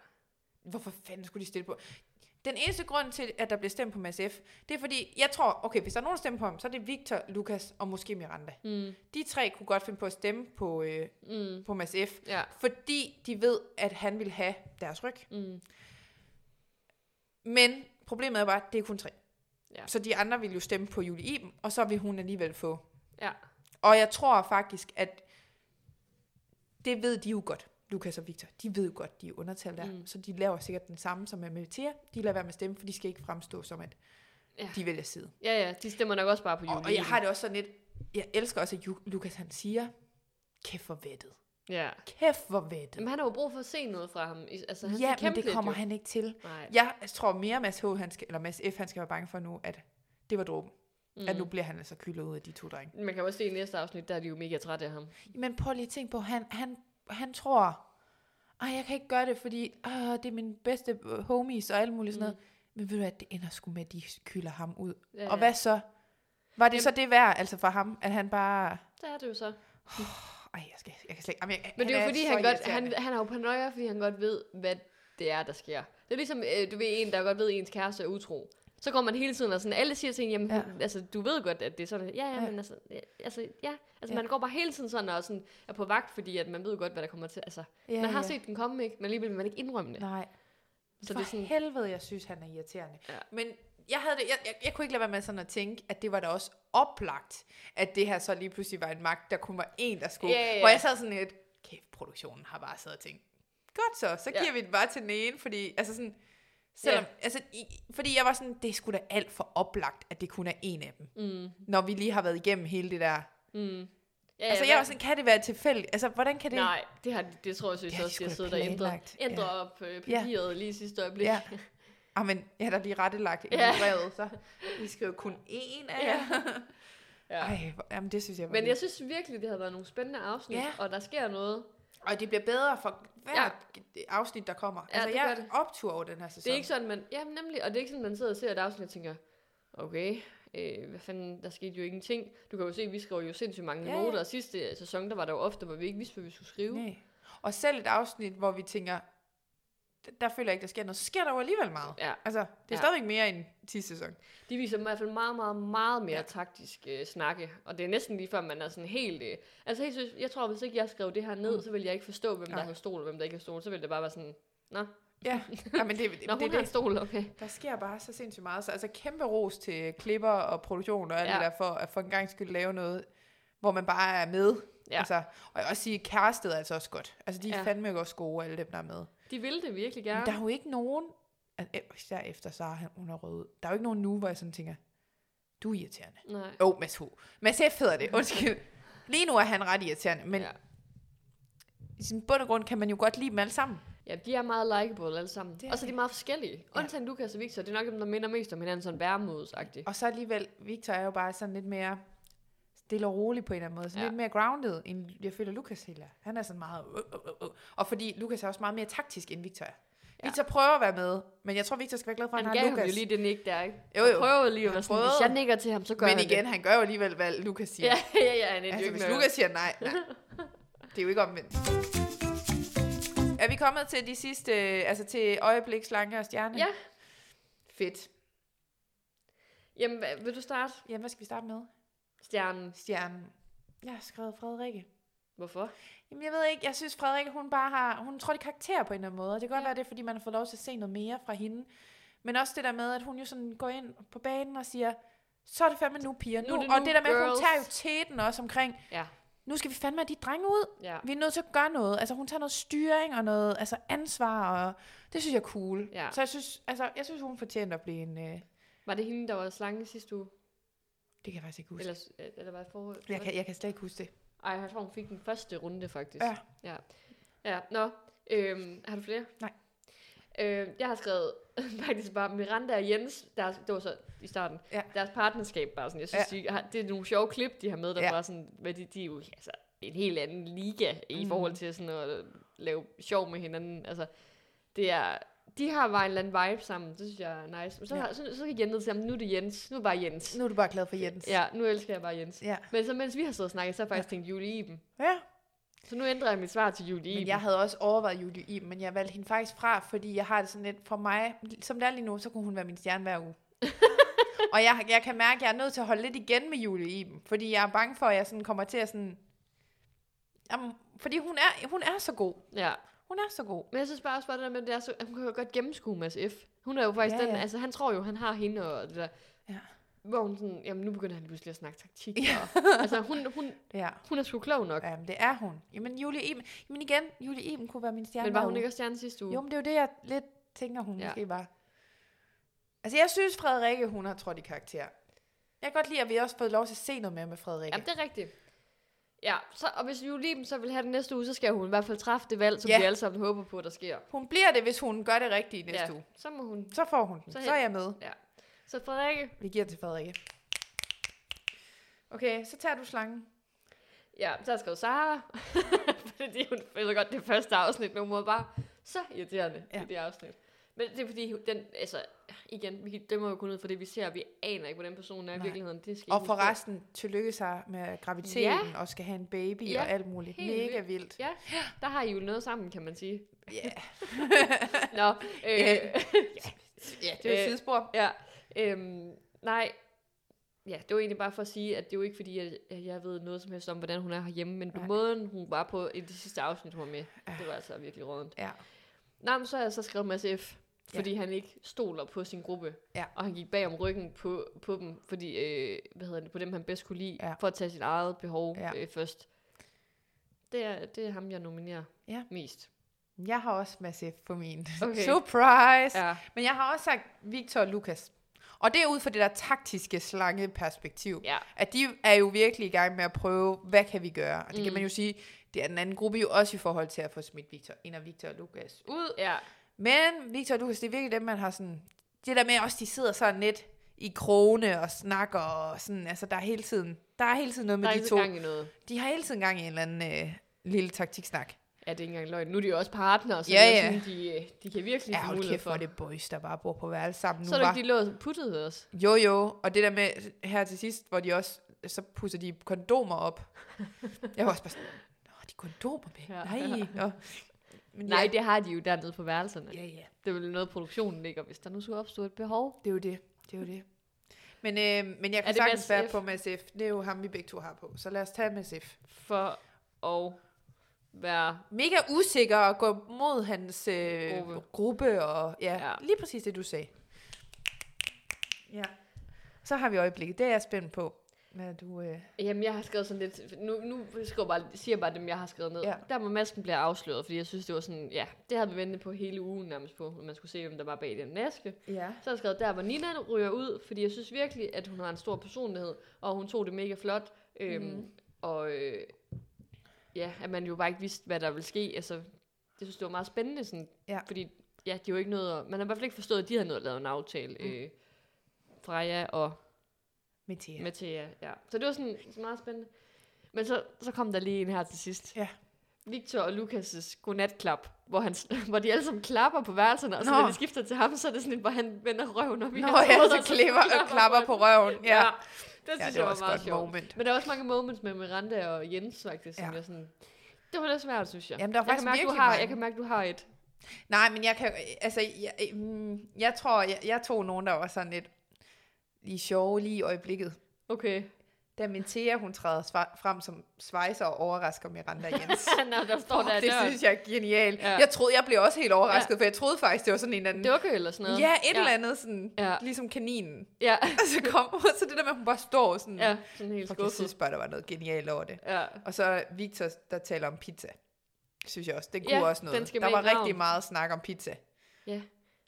[SPEAKER 3] Hvorfor fanden skulle de stille på? Den eneste grund til, at der bliver stemt på Mads F, det er fordi, jeg tror, okay, hvis der er nogen, der stemmer på ham, så er det Victor, Lukas og måske Miranda.
[SPEAKER 2] Mm,
[SPEAKER 3] De tre kunne godt finde på at stemme på, øh,
[SPEAKER 2] mm,
[SPEAKER 3] på Mads F,
[SPEAKER 2] ja.
[SPEAKER 3] fordi de ved, at han vil have deres ryg.
[SPEAKER 2] Mm.
[SPEAKER 3] Men problemet er bare, at det er kun tre.
[SPEAKER 2] Ja.
[SPEAKER 3] Så de andre vil jo stemme på Julie Iben, og så vil hun alligevel få.
[SPEAKER 2] Ja.
[SPEAKER 3] Og jeg tror faktisk, at det ved de jo godt, Lukas og Victor. De ved jo godt, de er undertal der. Mm.
[SPEAKER 2] Mm.
[SPEAKER 3] Så de laver sikkert den samme som med Thea. De lader være med at stemme, for de skal ikke fremstå som, at ja.
[SPEAKER 2] Ja.
[SPEAKER 3] de vælger side.
[SPEAKER 2] Ja, ja, de stemmer nok også bare på Julie.
[SPEAKER 3] Og, og jeg har det også sådan lidt... Jeg elsker også, at Ju- Lukas han siger, kæft for vettet.
[SPEAKER 2] Ja.
[SPEAKER 3] Kæft for vettet.
[SPEAKER 2] Jamen, han har jo brug for at se noget fra ham. I- Altså, han
[SPEAKER 3] ja,
[SPEAKER 2] skal
[SPEAKER 3] men
[SPEAKER 2] kæmpe
[SPEAKER 3] det
[SPEAKER 2] lidt,
[SPEAKER 3] kommer
[SPEAKER 2] jo.
[SPEAKER 3] han ikke til.
[SPEAKER 2] Nej.
[SPEAKER 3] Jeg tror mere, Mads, H, han skal, eller Mads F. han skal være bange for nu, at det var dråben. Mm. At nu bliver han altså kyldet ud af de to drenge.
[SPEAKER 2] Man kan også se i næste afsnit, der er de jo mega trætte af ham.
[SPEAKER 3] Men prøv lige at tænke på, han, han, han tror, at jeg kan ikke gøre det, fordi øh, det er mine bedste øh, homies og alt muligt sådan noget. Men ved du at det ender sgu med, at de kylder ham ud.
[SPEAKER 2] Ja,
[SPEAKER 3] Og hvad så? Var det
[SPEAKER 2] Jamen-
[SPEAKER 3] så det værd, altså for ham, at han bare...
[SPEAKER 2] Der er det jo så.
[SPEAKER 3] Ej, jeg, skal, jeg kan slet ikke... Jamen, jeg,
[SPEAKER 2] Men det er jo fordi, han, godt, han,
[SPEAKER 3] irriterende.
[SPEAKER 2] han er jo paranoia, fordi han godt ved, hvad det er, der sker. Det er ligesom, øh, du ved, en, der godt ved, at ens kæreste er utro. Så går man hele tiden og sådan, alle siger til en, jamen,
[SPEAKER 3] Ja.
[SPEAKER 2] ja. altså, du ved godt, at det er sådan, ja, ja,
[SPEAKER 3] Ja.
[SPEAKER 2] men altså, ja, altså, ja. Altså,
[SPEAKER 3] Ja.
[SPEAKER 2] man går bare hele tiden sådan og sådan er på vagt, fordi at man ved godt, hvad der kommer til. Altså,
[SPEAKER 3] Ja,
[SPEAKER 2] ja, man har
[SPEAKER 3] ja.
[SPEAKER 2] set den komme, ikke? Men alligevel vil man ikke indrømme det.
[SPEAKER 3] Nej,
[SPEAKER 2] Så
[SPEAKER 3] for
[SPEAKER 2] det er sådan,
[SPEAKER 3] helvede, jeg synes, han er irriterende.
[SPEAKER 2] Ja.
[SPEAKER 3] Men jeg, havde det, jeg, jeg, jeg kunne ikke lade være med sådan at tænke, at det var da også oplagt, at det her så lige pludselig var en magt, der kun var en, der skulle.
[SPEAKER 2] Ja, ja, ja.
[SPEAKER 3] Hvor jeg sad sådan lidt, kæft, produktionen har bare siddet og tænkt, godt så, så
[SPEAKER 2] Ja.
[SPEAKER 3] giver vi det bare til den ene, fordi, altså sådan, selvom, altså, i, fordi jeg var sådan, det er sgu da alt for oplagt, at det kun er en af dem,
[SPEAKER 2] mm,
[SPEAKER 3] når vi lige har været igennem hele det der.
[SPEAKER 2] mm. Ja,
[SPEAKER 3] altså
[SPEAKER 2] ja,
[SPEAKER 3] jeg
[SPEAKER 2] hvad-
[SPEAKER 3] var sådan, kan det være tilfældigt? Altså hvordan kan det?
[SPEAKER 2] Nej, det, har, det tror jeg
[SPEAKER 3] Det
[SPEAKER 2] synes
[SPEAKER 3] har de
[SPEAKER 2] også,
[SPEAKER 3] sgu
[SPEAKER 2] jeg
[SPEAKER 3] da
[SPEAKER 2] sidder der og ændrer,
[SPEAKER 3] planlagt, ja.
[SPEAKER 2] ændrer op øh, papiret lige i sidste øjeblik.
[SPEAKER 3] Ja. Ah, men jeg har da lige rettelagt i
[SPEAKER 2] Ja.
[SPEAKER 3] brevet, så I skrev kun én af jer.
[SPEAKER 2] Ja.
[SPEAKER 3] Ej, hvor- jamen det synes jeg var
[SPEAKER 2] Men
[SPEAKER 3] vildt.
[SPEAKER 2] jeg synes virkelig, det har været nogle spændende afsnit,
[SPEAKER 3] Ja.
[SPEAKER 2] og der sker noget.
[SPEAKER 3] Og det bliver bedre for hver ja. afsnit, der kommer.
[SPEAKER 2] Ja,
[SPEAKER 3] altså,
[SPEAKER 2] det
[SPEAKER 3] jeg
[SPEAKER 2] gør det.
[SPEAKER 3] optur over den her sæson.
[SPEAKER 2] Det er ikke sådan, man... Ja, nemlig. Og det er ikke sådan, man sidder og ser et afsnit og tænker, okay, øh, hvad fanden, der skete jo ingenting. Du kan jo se, vi skrev jo sindssygt mange
[SPEAKER 3] Ja,
[SPEAKER 2] ja,
[SPEAKER 3] ja.
[SPEAKER 2] noter, og sidste sæson, der var der jo ofte, hvor vi ikke vidste, hvad vi skulle skrive.
[SPEAKER 3] Nej. Og selv et afsnit, hvor vi tænker, "D- der føler jeg ikke, der sker noget, så sker der jo alligevel meget.
[SPEAKER 2] Ja.
[SPEAKER 3] Altså, det er
[SPEAKER 2] Ja.
[SPEAKER 3] ja. stadigvæk mere end 10 sæson.
[SPEAKER 2] De viser i hvert fald meget, meget, meget mere
[SPEAKER 3] Ja.
[SPEAKER 2] ja. taktisk øh, snakke, og det er næsten lige før, man er sådan helt... Øh, altså helt seriøst, jeg tror, hvis ikke jeg skrev det her ned,
[SPEAKER 3] Mm.
[SPEAKER 2] så ville jeg ikke forstå, hvem
[SPEAKER 3] Nej.
[SPEAKER 2] der har stol, og hvem der ikke har stol. Så ville det bare være sådan,
[SPEAKER 3] Ja, ja men
[SPEAKER 2] Nå,
[SPEAKER 3] det, det, det,
[SPEAKER 2] hun det,
[SPEAKER 3] det,
[SPEAKER 2] har en
[SPEAKER 3] det,
[SPEAKER 2] stol, okay.
[SPEAKER 3] der sker bare så sindssygt meget. Så altså, kæmpe ros til klipper og produktion og alt ja.
[SPEAKER 2] Ja.
[SPEAKER 3] det der, for at for en gang skulle lave noget, hvor man bare er med.
[SPEAKER 2] Ja.
[SPEAKER 3] Altså, og jeg vil også sige, kærestet er altså også godt. Altså, de er ja.
[SPEAKER 2] Ja.
[SPEAKER 3] fandme også gode, alle dem, der er med.
[SPEAKER 2] De ville det virkelig
[SPEAKER 3] Ja.
[SPEAKER 2] gerne.
[SPEAKER 3] Men der er jo ikke nogen, altså, øh, især efter Sara, han- hun er rød ud. Der er jo ikke nogen nu, hvor jeg sådan tænker, du er irriterende.
[SPEAKER 2] Nej.
[SPEAKER 3] Åh, oh, Mads H. Mads F hedder det, undskyld. Lige nu er han ret irriterende, men ja.
[SPEAKER 2] Ja.
[SPEAKER 3] i sin bund og grund kan man jo godt lide dem alle sammen.
[SPEAKER 2] ja, de er meget likeable alle sammen.
[SPEAKER 3] Det er
[SPEAKER 2] Og så er de meget forskellige.
[SPEAKER 3] Ja.
[SPEAKER 2] Undtagen Lukas og Victor, det er nok dem, der minder mest om hinanden, sådan værmodsagtigt.
[SPEAKER 3] Og så alligevel, Victor er jo bare sådan lidt mere stille og rolig på en eller anden måde. Sådan ja.
[SPEAKER 2] Ja.
[SPEAKER 3] lidt mere grounded, end jeg føler Lukas heller. Han er sådan meget... Øh, øh, øh. Og fordi Lukas er også meget mere taktisk, end Victor er.
[SPEAKER 2] Ja.
[SPEAKER 3] Victor prøver at være med, men jeg tror, Victor skal være glad for, at
[SPEAKER 2] Han
[SPEAKER 3] han,
[SPEAKER 2] gav
[SPEAKER 3] har
[SPEAKER 2] ham
[SPEAKER 3] Lukas.
[SPEAKER 2] jo lige det nik der, ikke?
[SPEAKER 3] Jo,
[SPEAKER 2] Han
[SPEAKER 3] jo.
[SPEAKER 2] prøver lige at
[SPEAKER 3] Han
[SPEAKER 2] være sådan,
[SPEAKER 3] prøvede.
[SPEAKER 2] hvis jeg nikker til ham, så gør
[SPEAKER 3] men
[SPEAKER 2] han
[SPEAKER 3] igen,
[SPEAKER 2] det.
[SPEAKER 3] han gør jo alligevel, hvad Lukas siger.
[SPEAKER 2] Ja, ja, ja, han er
[SPEAKER 3] Altså,
[SPEAKER 2] jo ikke
[SPEAKER 3] hvis
[SPEAKER 2] noget.
[SPEAKER 3] Lukas siger nej, nej. Det er jo ikke omvendt. Er vi kommet til de sidste, altså til øjeblik, slanke og stjerne?
[SPEAKER 2] Ja.
[SPEAKER 3] Fedt.
[SPEAKER 2] Jamen, hvad, vil du starte?
[SPEAKER 3] Jamen, hvad skal vi starte med?
[SPEAKER 2] Stjernen.
[SPEAKER 3] Stjernen. Jeg har skrevet Frederikke.
[SPEAKER 2] Hvorfor?
[SPEAKER 3] Jamen, jeg ved ikke, jeg synes Frederikke, hun bare har, hun tror det karakter på en eller anden måde. Og det kan godt
[SPEAKER 2] Ja.
[SPEAKER 3] være, det er, fordi man har fået lov til at se noget mere fra hende. Men også det der med, at hun jo sådan går ind på banen og siger, så er det fandme nu, piger. Nu,
[SPEAKER 2] Nu er det
[SPEAKER 3] og
[SPEAKER 2] nu,
[SPEAKER 3] det der med, at hun
[SPEAKER 2] girls.
[SPEAKER 3] tager jo teten også omkring,
[SPEAKER 2] Ja.
[SPEAKER 3] nu skal vi fandme have de drenge ud.
[SPEAKER 2] Ja.
[SPEAKER 3] Vi er nødt til at gøre noget. Altså, hun tager noget styring og noget altså ansvar, og det synes jeg er cool.
[SPEAKER 2] Ja.
[SPEAKER 3] Så jeg synes, altså, jeg synes hun fortjente at blive en... Øh,
[SPEAKER 2] Var det hende, der var slange sidste uge?
[SPEAKER 3] det kan jeg faktisk ikke huske.
[SPEAKER 2] Eller, øh, eller var det forud?
[SPEAKER 3] Jeg kan, jeg kan slet ikke huske det.
[SPEAKER 2] Ej, jeg tror, hun fik den første runde, faktisk.
[SPEAKER 3] Ja.
[SPEAKER 2] Ja, ja. nå. Øhm, har du flere?
[SPEAKER 3] Nej.
[SPEAKER 2] Øhm, jeg har skrevet faktisk bare Miranda og Jens, deres, det var så i starten,
[SPEAKER 3] Ja.
[SPEAKER 2] deres partnerskab bare sådan, jeg synes, ja. de har, det er nogle sjove klip, de har med, der
[SPEAKER 3] Ja.
[SPEAKER 2] ja. bare sådan, hvad de, de er jo altså, en helt anden liga i
[SPEAKER 3] Mhm.
[SPEAKER 2] forhold til sådan at lave sjov med hinanden, altså, det er, de har bare en eller anden vibe sammen, det synes jeg er nice. Men så,
[SPEAKER 3] Ja.
[SPEAKER 2] ja. har, så, så kan Jens ned til ham, nu er det Jens, nu er det bare Jens.
[SPEAKER 3] Nu er du bare glad for Jens.
[SPEAKER 2] Ja, nu elsker jeg bare Jens.
[SPEAKER 3] Ja.
[SPEAKER 2] Men så mens vi har stået og snakket, så har jeg faktisk tænkt Julie Iben.
[SPEAKER 3] ja.
[SPEAKER 2] Så nu ændrer jeg mit svar til Julie
[SPEAKER 3] Men
[SPEAKER 2] Iben.
[SPEAKER 3] jeg havde også overvejet Julie Iben, men jeg valgte hende faktisk fra, fordi jeg har det sådan lidt, for mig, som det er lige nu, så kunne hun være min stjerne hver uge. og jeg, jeg kan mærke, at jeg er nødt til at holde lidt igen med Julie Iben, fordi jeg er bange for, at jeg sådan kommer til at sådan... Jamen, fordi hun er, hun er så god.
[SPEAKER 2] Ja.
[SPEAKER 3] Hun er så god.
[SPEAKER 2] Men jeg synes bare også bare det der med, at det er så, at hun kan jo godt gennemskue Mads F. Hun er jo faktisk
[SPEAKER 3] Ja,
[SPEAKER 2] ja, den,
[SPEAKER 3] ja.
[SPEAKER 2] altså han tror jo, han har hende og det der.
[SPEAKER 3] Ja.
[SPEAKER 2] Hvor hun sådan, jamen nu begynder han pludselig at snakke taktik. Og, altså hun, hun,
[SPEAKER 3] Ja.
[SPEAKER 2] hun er sgu klog nok. Ja,
[SPEAKER 3] Jamen, det er hun. Jamen, Julie Iben, jamen igen, Julie Iben kunne være min stjerne.
[SPEAKER 2] men var
[SPEAKER 3] hver
[SPEAKER 2] hun
[SPEAKER 3] uge.
[SPEAKER 2] ikke også stjerne sidste uge?
[SPEAKER 3] Jo, men det er jo det, jeg lidt tænker, hun ja.
[SPEAKER 2] Ja.
[SPEAKER 3] måske var. Altså, jeg synes, Frederikke, hun har trådt i karakter. Jeg kan godt lide, at vi også har fået lov til at se noget mere med Frederikke.
[SPEAKER 2] Jamen det er rigtigt. Ja, så, og hvis Julie Iben så vil have det næste uge, så skal hun i hvert fald træffe det valg, som
[SPEAKER 3] Ja.
[SPEAKER 2] ja. vi alle sammen håber på, der sker.
[SPEAKER 3] Hun bliver det, hvis hun gør det rigtige næste
[SPEAKER 2] ja,
[SPEAKER 3] uge.
[SPEAKER 2] så må hun.
[SPEAKER 3] Så får hun den. Så,
[SPEAKER 2] Så
[SPEAKER 3] så er jeg med.
[SPEAKER 2] Så Frederikke,
[SPEAKER 3] Vi giver den til Frederikke. Okay, så tager du slangen.
[SPEAKER 2] Ja, så har jeg skrevet Sara, fordi hun føler godt det første afsnit, men hun var bare så irriterende ja.
[SPEAKER 3] Ja.
[SPEAKER 2] i det afsnit. Men det er fordi, hun- den, altså, igen, vi dømmer jo kun ud for det, vi ser, vi aner ikke, hvordan personen er i
[SPEAKER 3] Nej.
[SPEAKER 2] virkeligheden. Det skal I
[SPEAKER 3] Og
[SPEAKER 2] huske
[SPEAKER 3] for
[SPEAKER 2] på.
[SPEAKER 3] resten, tillykke sig med graviditeten, ja. og skal have en baby ja.
[SPEAKER 2] Ja,
[SPEAKER 3] og alt muligt.
[SPEAKER 2] helt
[SPEAKER 3] Mega vildt.
[SPEAKER 2] Ja, der har I jo noget sammen, kan man sige.
[SPEAKER 3] Ja,
[SPEAKER 2] Nå, øh,
[SPEAKER 3] Ja.
[SPEAKER 2] ja.
[SPEAKER 3] ja det er jo et
[SPEAKER 2] Øh,
[SPEAKER 3] sidespor.
[SPEAKER 2] ja øhm, nej, ja, det var egentlig bare for at sige, at det er jo ikke fordi, at at jeg ved noget som helst om, hvordan hun er herhjemme, men på
[SPEAKER 3] Nej.
[SPEAKER 2] måden, hun var på i det sidste afsnit, hun var med,
[SPEAKER 3] Ja.
[SPEAKER 2] det var altså virkelig rådent.
[SPEAKER 3] Ja.
[SPEAKER 2] Nej, men så har jeg så skrevet Mads F., fordi han ikke stoler på sin gruppe.
[SPEAKER 3] Ja.
[SPEAKER 2] Og han gik bag om ryggen på, på dem, fordi, øh, hvad hedder det, på dem han bedst kunne lide,
[SPEAKER 3] Ja.
[SPEAKER 2] for at tage sit eget behov
[SPEAKER 3] Ja.
[SPEAKER 2] ja. øh, først. Det er, det er ham, jeg nominerer
[SPEAKER 3] Ja.
[SPEAKER 2] mest.
[SPEAKER 3] Jeg har også masse på min. Okay.
[SPEAKER 2] Okay.
[SPEAKER 3] Surprise!
[SPEAKER 2] Ja.
[SPEAKER 3] Men jeg har også sagt Victor og Lukas. Og det er ud fra det der taktiske slangeperspektiv.
[SPEAKER 2] ja.
[SPEAKER 3] At de er jo virkelig i gang med at prøve, hvad kan vi gøre? Og det mm. kan
[SPEAKER 2] Mm.
[SPEAKER 3] man jo sige, det er den anden gruppe jo også i forhold til at få smidt Victor, en af Victor og Lukas ud.
[SPEAKER 2] Ja.
[SPEAKER 3] Men Victor og Lukas, det er virkelig dem, man har sådan... Det der med også, de sidder sådan lidt i krone og snakker og sådan, altså der er hele tiden, der er hele tiden noget
[SPEAKER 2] Der
[SPEAKER 3] med
[SPEAKER 2] er
[SPEAKER 3] de
[SPEAKER 2] ikke
[SPEAKER 3] to.
[SPEAKER 2] gang i noget.
[SPEAKER 3] De har hele tiden gang i en eller anden øh, lille taktiksnak.
[SPEAKER 2] Ja, det er ikke engang løgn. Nu er de jo også partnere, så
[SPEAKER 3] Ja,
[SPEAKER 2] ja, det
[SPEAKER 3] ja.
[SPEAKER 2] er sådan, de, øh, de kan virkelig
[SPEAKER 3] Ja,
[SPEAKER 2] få
[SPEAKER 3] hold
[SPEAKER 2] mulighed
[SPEAKER 3] kæft,
[SPEAKER 2] for
[SPEAKER 3] for
[SPEAKER 2] det.
[SPEAKER 3] det boys, der bare bor på værelse sammen
[SPEAKER 2] Så er
[SPEAKER 3] nu,
[SPEAKER 2] det
[SPEAKER 3] var.
[SPEAKER 2] ikke, de lå og puttede os.
[SPEAKER 3] Jo, jo. Og det der med her til sidst, hvor de også, så pusser de kondomer op. Jeg var også bare sådan, Nå, de kondomer med? Ja.
[SPEAKER 2] Ja.
[SPEAKER 3] Nej. Nå. Men
[SPEAKER 2] Nej, det har de jo dernede på værelserne.
[SPEAKER 3] Ja, ja.
[SPEAKER 2] Det er vel noget, produktionen ligger, hvis der nu skulle opstå et behov.
[SPEAKER 3] Det er jo det. Det er jo det. Men, øh, men jeg kan
[SPEAKER 2] det
[SPEAKER 3] sagtens
[SPEAKER 2] Mads
[SPEAKER 3] være
[SPEAKER 2] F?
[SPEAKER 3] på Mads F. Det er jo ham, vi begge to har på. Så lad os tage Mads F.
[SPEAKER 2] For at være
[SPEAKER 3] Mega usikker at gå mod hans øh, gruppe.
[SPEAKER 2] Gruppe.
[SPEAKER 3] gruppe. og ja, ja,
[SPEAKER 2] Ja.
[SPEAKER 3] lige præcis det, du sagde. Ja. Så har vi øjeblikket. Det er jeg spændt på. Hvad du... Øh,
[SPEAKER 2] Jamen, jeg har skrevet sådan lidt... Nu, nu skriver bare, siger jeg bare dem, jeg har skrevet ned.
[SPEAKER 3] Ja.
[SPEAKER 2] Ja. Der må masken blive afsløret, fordi jeg synes, det var sådan... Ja, det havde vi ventet på hele ugen nærmest på, når man skulle se, hvem der var bag den maske.
[SPEAKER 3] ja.
[SPEAKER 2] Så har jeg skrevet, der hvor Nina ryger ud, fordi jeg synes virkelig, at hun har en stor personlighed, og hun tog det mega flot. Øhm,
[SPEAKER 3] Mhm.
[SPEAKER 2] mm. Og øh, ja, at man jo bare ikke vidste, hvad der ville ske. Altså, jeg synes, det var meget spændende, sådan,
[SPEAKER 3] Ja.
[SPEAKER 2] fordi ja, de var ikke noget... at- Man har i hvert fald ikke forstået, at de havde noget at lave en aftale.
[SPEAKER 3] Mm.
[SPEAKER 2] Mm. Øh, Freja og
[SPEAKER 3] Mathia.
[SPEAKER 2] med til, ja. ja. Så det var sådan sådan meget spændende. Men så, så kom der lige en her til sidst.
[SPEAKER 3] Ja.
[SPEAKER 2] Victor og Lukas' godnatklap, hvor, han, s- hvor de alle sammen klapper på værelserne, og så
[SPEAKER 3] Nå.
[SPEAKER 2] når de skifter til ham, så er det sådan, et, hvor han vender røven op i
[SPEAKER 3] Nå
[SPEAKER 2] hans
[SPEAKER 3] ja,
[SPEAKER 2] hoved,
[SPEAKER 3] så
[SPEAKER 2] og
[SPEAKER 3] klipper og klapper på røven. Ja,
[SPEAKER 2] Ja.
[SPEAKER 3] ja
[SPEAKER 2] det synes
[SPEAKER 3] det
[SPEAKER 2] jeg
[SPEAKER 3] var
[SPEAKER 2] var
[SPEAKER 3] også
[SPEAKER 2] meget
[SPEAKER 3] godt
[SPEAKER 2] sjovt.
[SPEAKER 3] moment.
[SPEAKER 2] Men der er også mange moments med Miranda og Jens, faktisk, som
[SPEAKER 3] Ja.
[SPEAKER 2] jeg sådan... Det var lidt svært, synes jeg.
[SPEAKER 3] Jamen, der var
[SPEAKER 2] jeg, kan
[SPEAKER 3] faktisk
[SPEAKER 2] mærke, du
[SPEAKER 3] virkelig
[SPEAKER 2] har,
[SPEAKER 3] mange.
[SPEAKER 2] jeg kan mærke, du har et.
[SPEAKER 3] Nej, men jeg kan, altså, jeg, mm, jeg tror, jeg, jeg tog nogen, der var sådan lidt lige sjove lige i øjeblikket.
[SPEAKER 2] Okay.
[SPEAKER 3] Da Mintea, hun træder sva- frem som svejser og overrasker Miranda Jens.
[SPEAKER 2] Nå, der står der i
[SPEAKER 3] det
[SPEAKER 2] døren.
[SPEAKER 3] synes jeg er genialt.
[SPEAKER 2] Ja.
[SPEAKER 3] Ja. Jeg troede, jeg blev også helt overrasket, ja. for jeg troede faktisk, det var sådan en eller anden...
[SPEAKER 2] Dukke eller sådan noget.
[SPEAKER 3] ja, et ja. eller andet sådan,
[SPEAKER 2] Ja.
[SPEAKER 3] ja. ligesom kaninen.
[SPEAKER 2] Ja,
[SPEAKER 3] Og så kom og så det der med, at hun bare står sådan...
[SPEAKER 2] ja sådan helt
[SPEAKER 3] Okay, jeg
[SPEAKER 2] skuffet.
[SPEAKER 3] synes bare, der var noget genialt over det.
[SPEAKER 2] Ja.
[SPEAKER 3] Og så Victor, der taler om pizza. Synes jeg også. Det
[SPEAKER 2] Ja,
[SPEAKER 3] kunne også noget.
[SPEAKER 2] den skal
[SPEAKER 3] der
[SPEAKER 2] med i
[SPEAKER 3] var rigtig
[SPEAKER 2] navn.
[SPEAKER 3] meget snak om pizza.
[SPEAKER 2] Ja.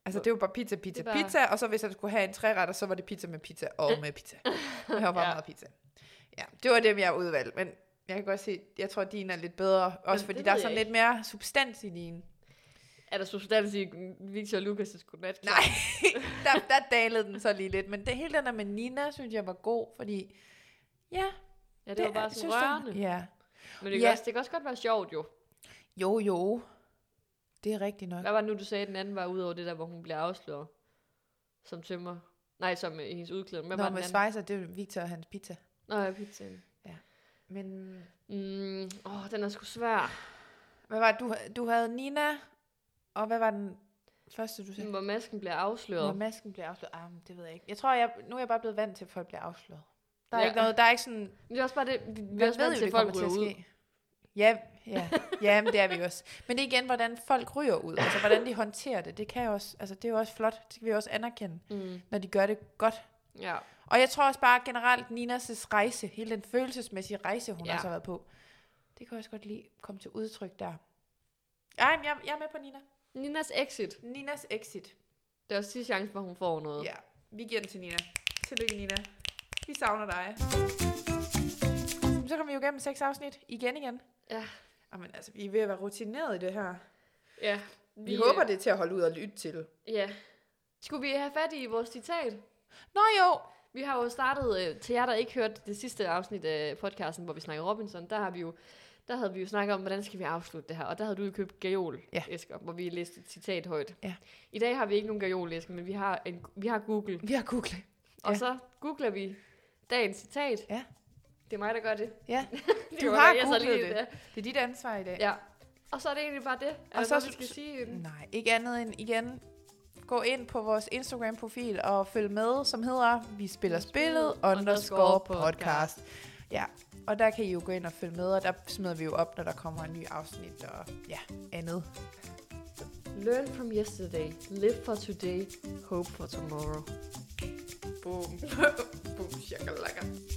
[SPEAKER 3] Altså, det var bare pizza, pizza,
[SPEAKER 2] Det var-
[SPEAKER 3] pizza. Og så hvis han skulle have en træretter, så var det pizza med pizza og med pizza. Det var bare
[SPEAKER 2] Ja.
[SPEAKER 3] meget pizza. Ja, det var dem, jeg udvalgte. Men jeg kan godt se, jeg tror, at din er lidt bedre. Også
[SPEAKER 2] det
[SPEAKER 3] fordi
[SPEAKER 2] ved
[SPEAKER 3] der er
[SPEAKER 2] jeg
[SPEAKER 3] sådan
[SPEAKER 2] ikke.
[SPEAKER 3] lidt mere substans i din.
[SPEAKER 2] Er der substans i Victor og Lukas' godnat?
[SPEAKER 3] Nej, der, der dalede den så lige lidt. Men det hele den der med Nina, synes jeg var god, fordi... Ja,
[SPEAKER 2] Ja, det var bare sådan
[SPEAKER 3] synes jeg-
[SPEAKER 2] rørende.
[SPEAKER 3] Ja.
[SPEAKER 2] Men det kan,
[SPEAKER 3] Ja.
[SPEAKER 2] også, det kan også godt være sjovt jo.
[SPEAKER 3] Jo, jo. Det er rigtigt nok.
[SPEAKER 2] Hvad var det nu, du sagde, at den anden var udover det der, hvor hun bliver afsløret? Som tømmer. Nej, som øh, i hendes udklædning. Hvad
[SPEAKER 3] Nå,
[SPEAKER 2] var den
[SPEAKER 3] med
[SPEAKER 2] anden?
[SPEAKER 3] Schweizer, det er Victor og hans pizza.
[SPEAKER 2] Nå, ja, pizzaen.
[SPEAKER 3] Men
[SPEAKER 2] Mm, åh, den er sgu svær.
[SPEAKER 3] hvad var det, du, du havde Nina, og hvad var den første, du sagde?
[SPEAKER 2] Hvor masken bliver
[SPEAKER 3] Når
[SPEAKER 2] afsløret.
[SPEAKER 3] masken bliver afsløret. Ah, men det ved jeg ikke. Jeg tror, jeg, nu er jeg bare blevet vant til, at folk bliver afsløret. Der er
[SPEAKER 2] Ja.
[SPEAKER 3] ja. ikke noget, der er ikke sådan,
[SPEAKER 2] Men det er også bare det, vi, vi er
[SPEAKER 3] man
[SPEAKER 2] også vant til, at folk ryger ud.
[SPEAKER 3] Ja, ja. ja men det er vi også. Men det er igen, hvordan folk ryger ud. Altså, hvordan de håndterer det. Det, kan jo også, altså, det er jo også flot. Det skal vi også anerkende,
[SPEAKER 2] Mm,
[SPEAKER 3] når de gør det godt.
[SPEAKER 2] ja.
[SPEAKER 3] Og jeg tror også bare generelt Ninas rejse, hele den følelsesmæssige rejse, hun
[SPEAKER 2] Ja.
[SPEAKER 3] ja. også har været på, det kan jeg også godt lige komme til udtryk der. Ej, men jeg, jeg er med på Nina.
[SPEAKER 2] Ninas exit.
[SPEAKER 3] Ninas exit.
[SPEAKER 2] Det er også sidste chance, hvor hun får noget.
[SPEAKER 3] Ja, vi giver den til Nina. Tillykke, Nina. Vi savner dig. Så kom vi jo igennem seks afsnit. Igen igen.
[SPEAKER 2] Ja.
[SPEAKER 3] Jamen, altså, vi er ved at være rutineret i det her.
[SPEAKER 2] ja øh,
[SPEAKER 3] Vi, vi håber, det er til at holde ud og lytte til.
[SPEAKER 2] Ja. Skulle vi have fat i vores citat?
[SPEAKER 3] Nå jo.
[SPEAKER 2] Vi har jo startet, øh, til jer der ikke hørte det sidste afsnit af podcasten, hvor vi snakkede Robinson, der, har vi jo, der havde vi jo snakket om, hvordan skal vi afslutte det her. Og der havde du jo købt gajol
[SPEAKER 3] Ja.
[SPEAKER 2] æsker, hvor vi læste et citat højt.
[SPEAKER 3] Ja.
[SPEAKER 2] I dag har vi ikke nogen gajol æsker, men vi har, en, vi har Google.
[SPEAKER 3] Vi har googlet.
[SPEAKER 2] Og
[SPEAKER 3] Ja.
[SPEAKER 2] så googler vi dagens citat.
[SPEAKER 3] Ja.
[SPEAKER 2] Det er mig, der gør det.
[SPEAKER 3] Ja,
[SPEAKER 2] det
[SPEAKER 3] Du
[SPEAKER 2] var
[SPEAKER 3] har
[SPEAKER 2] da- jeg sad
[SPEAKER 3] googlet
[SPEAKER 2] lige-
[SPEAKER 3] det. det er dit ansvar i dag.
[SPEAKER 2] Ja. Og så er det egentlig bare det. Er der
[SPEAKER 3] så-
[SPEAKER 2] noget, vi skal sige.
[SPEAKER 3] Øhm, Nej, ikke andet end igen. Gå ind på vores Instagram-profil og følg med, som hedder Vi spiller spillet underscore podcast. Ja, og der kan I jo gå ind og følge med, og der smider vi jo op, når der kommer en ny afsnit og ja, andet.
[SPEAKER 2] Learn from yesterday, live for today, hope for tomorrow.
[SPEAKER 3] Boom. Boom, shakalaka.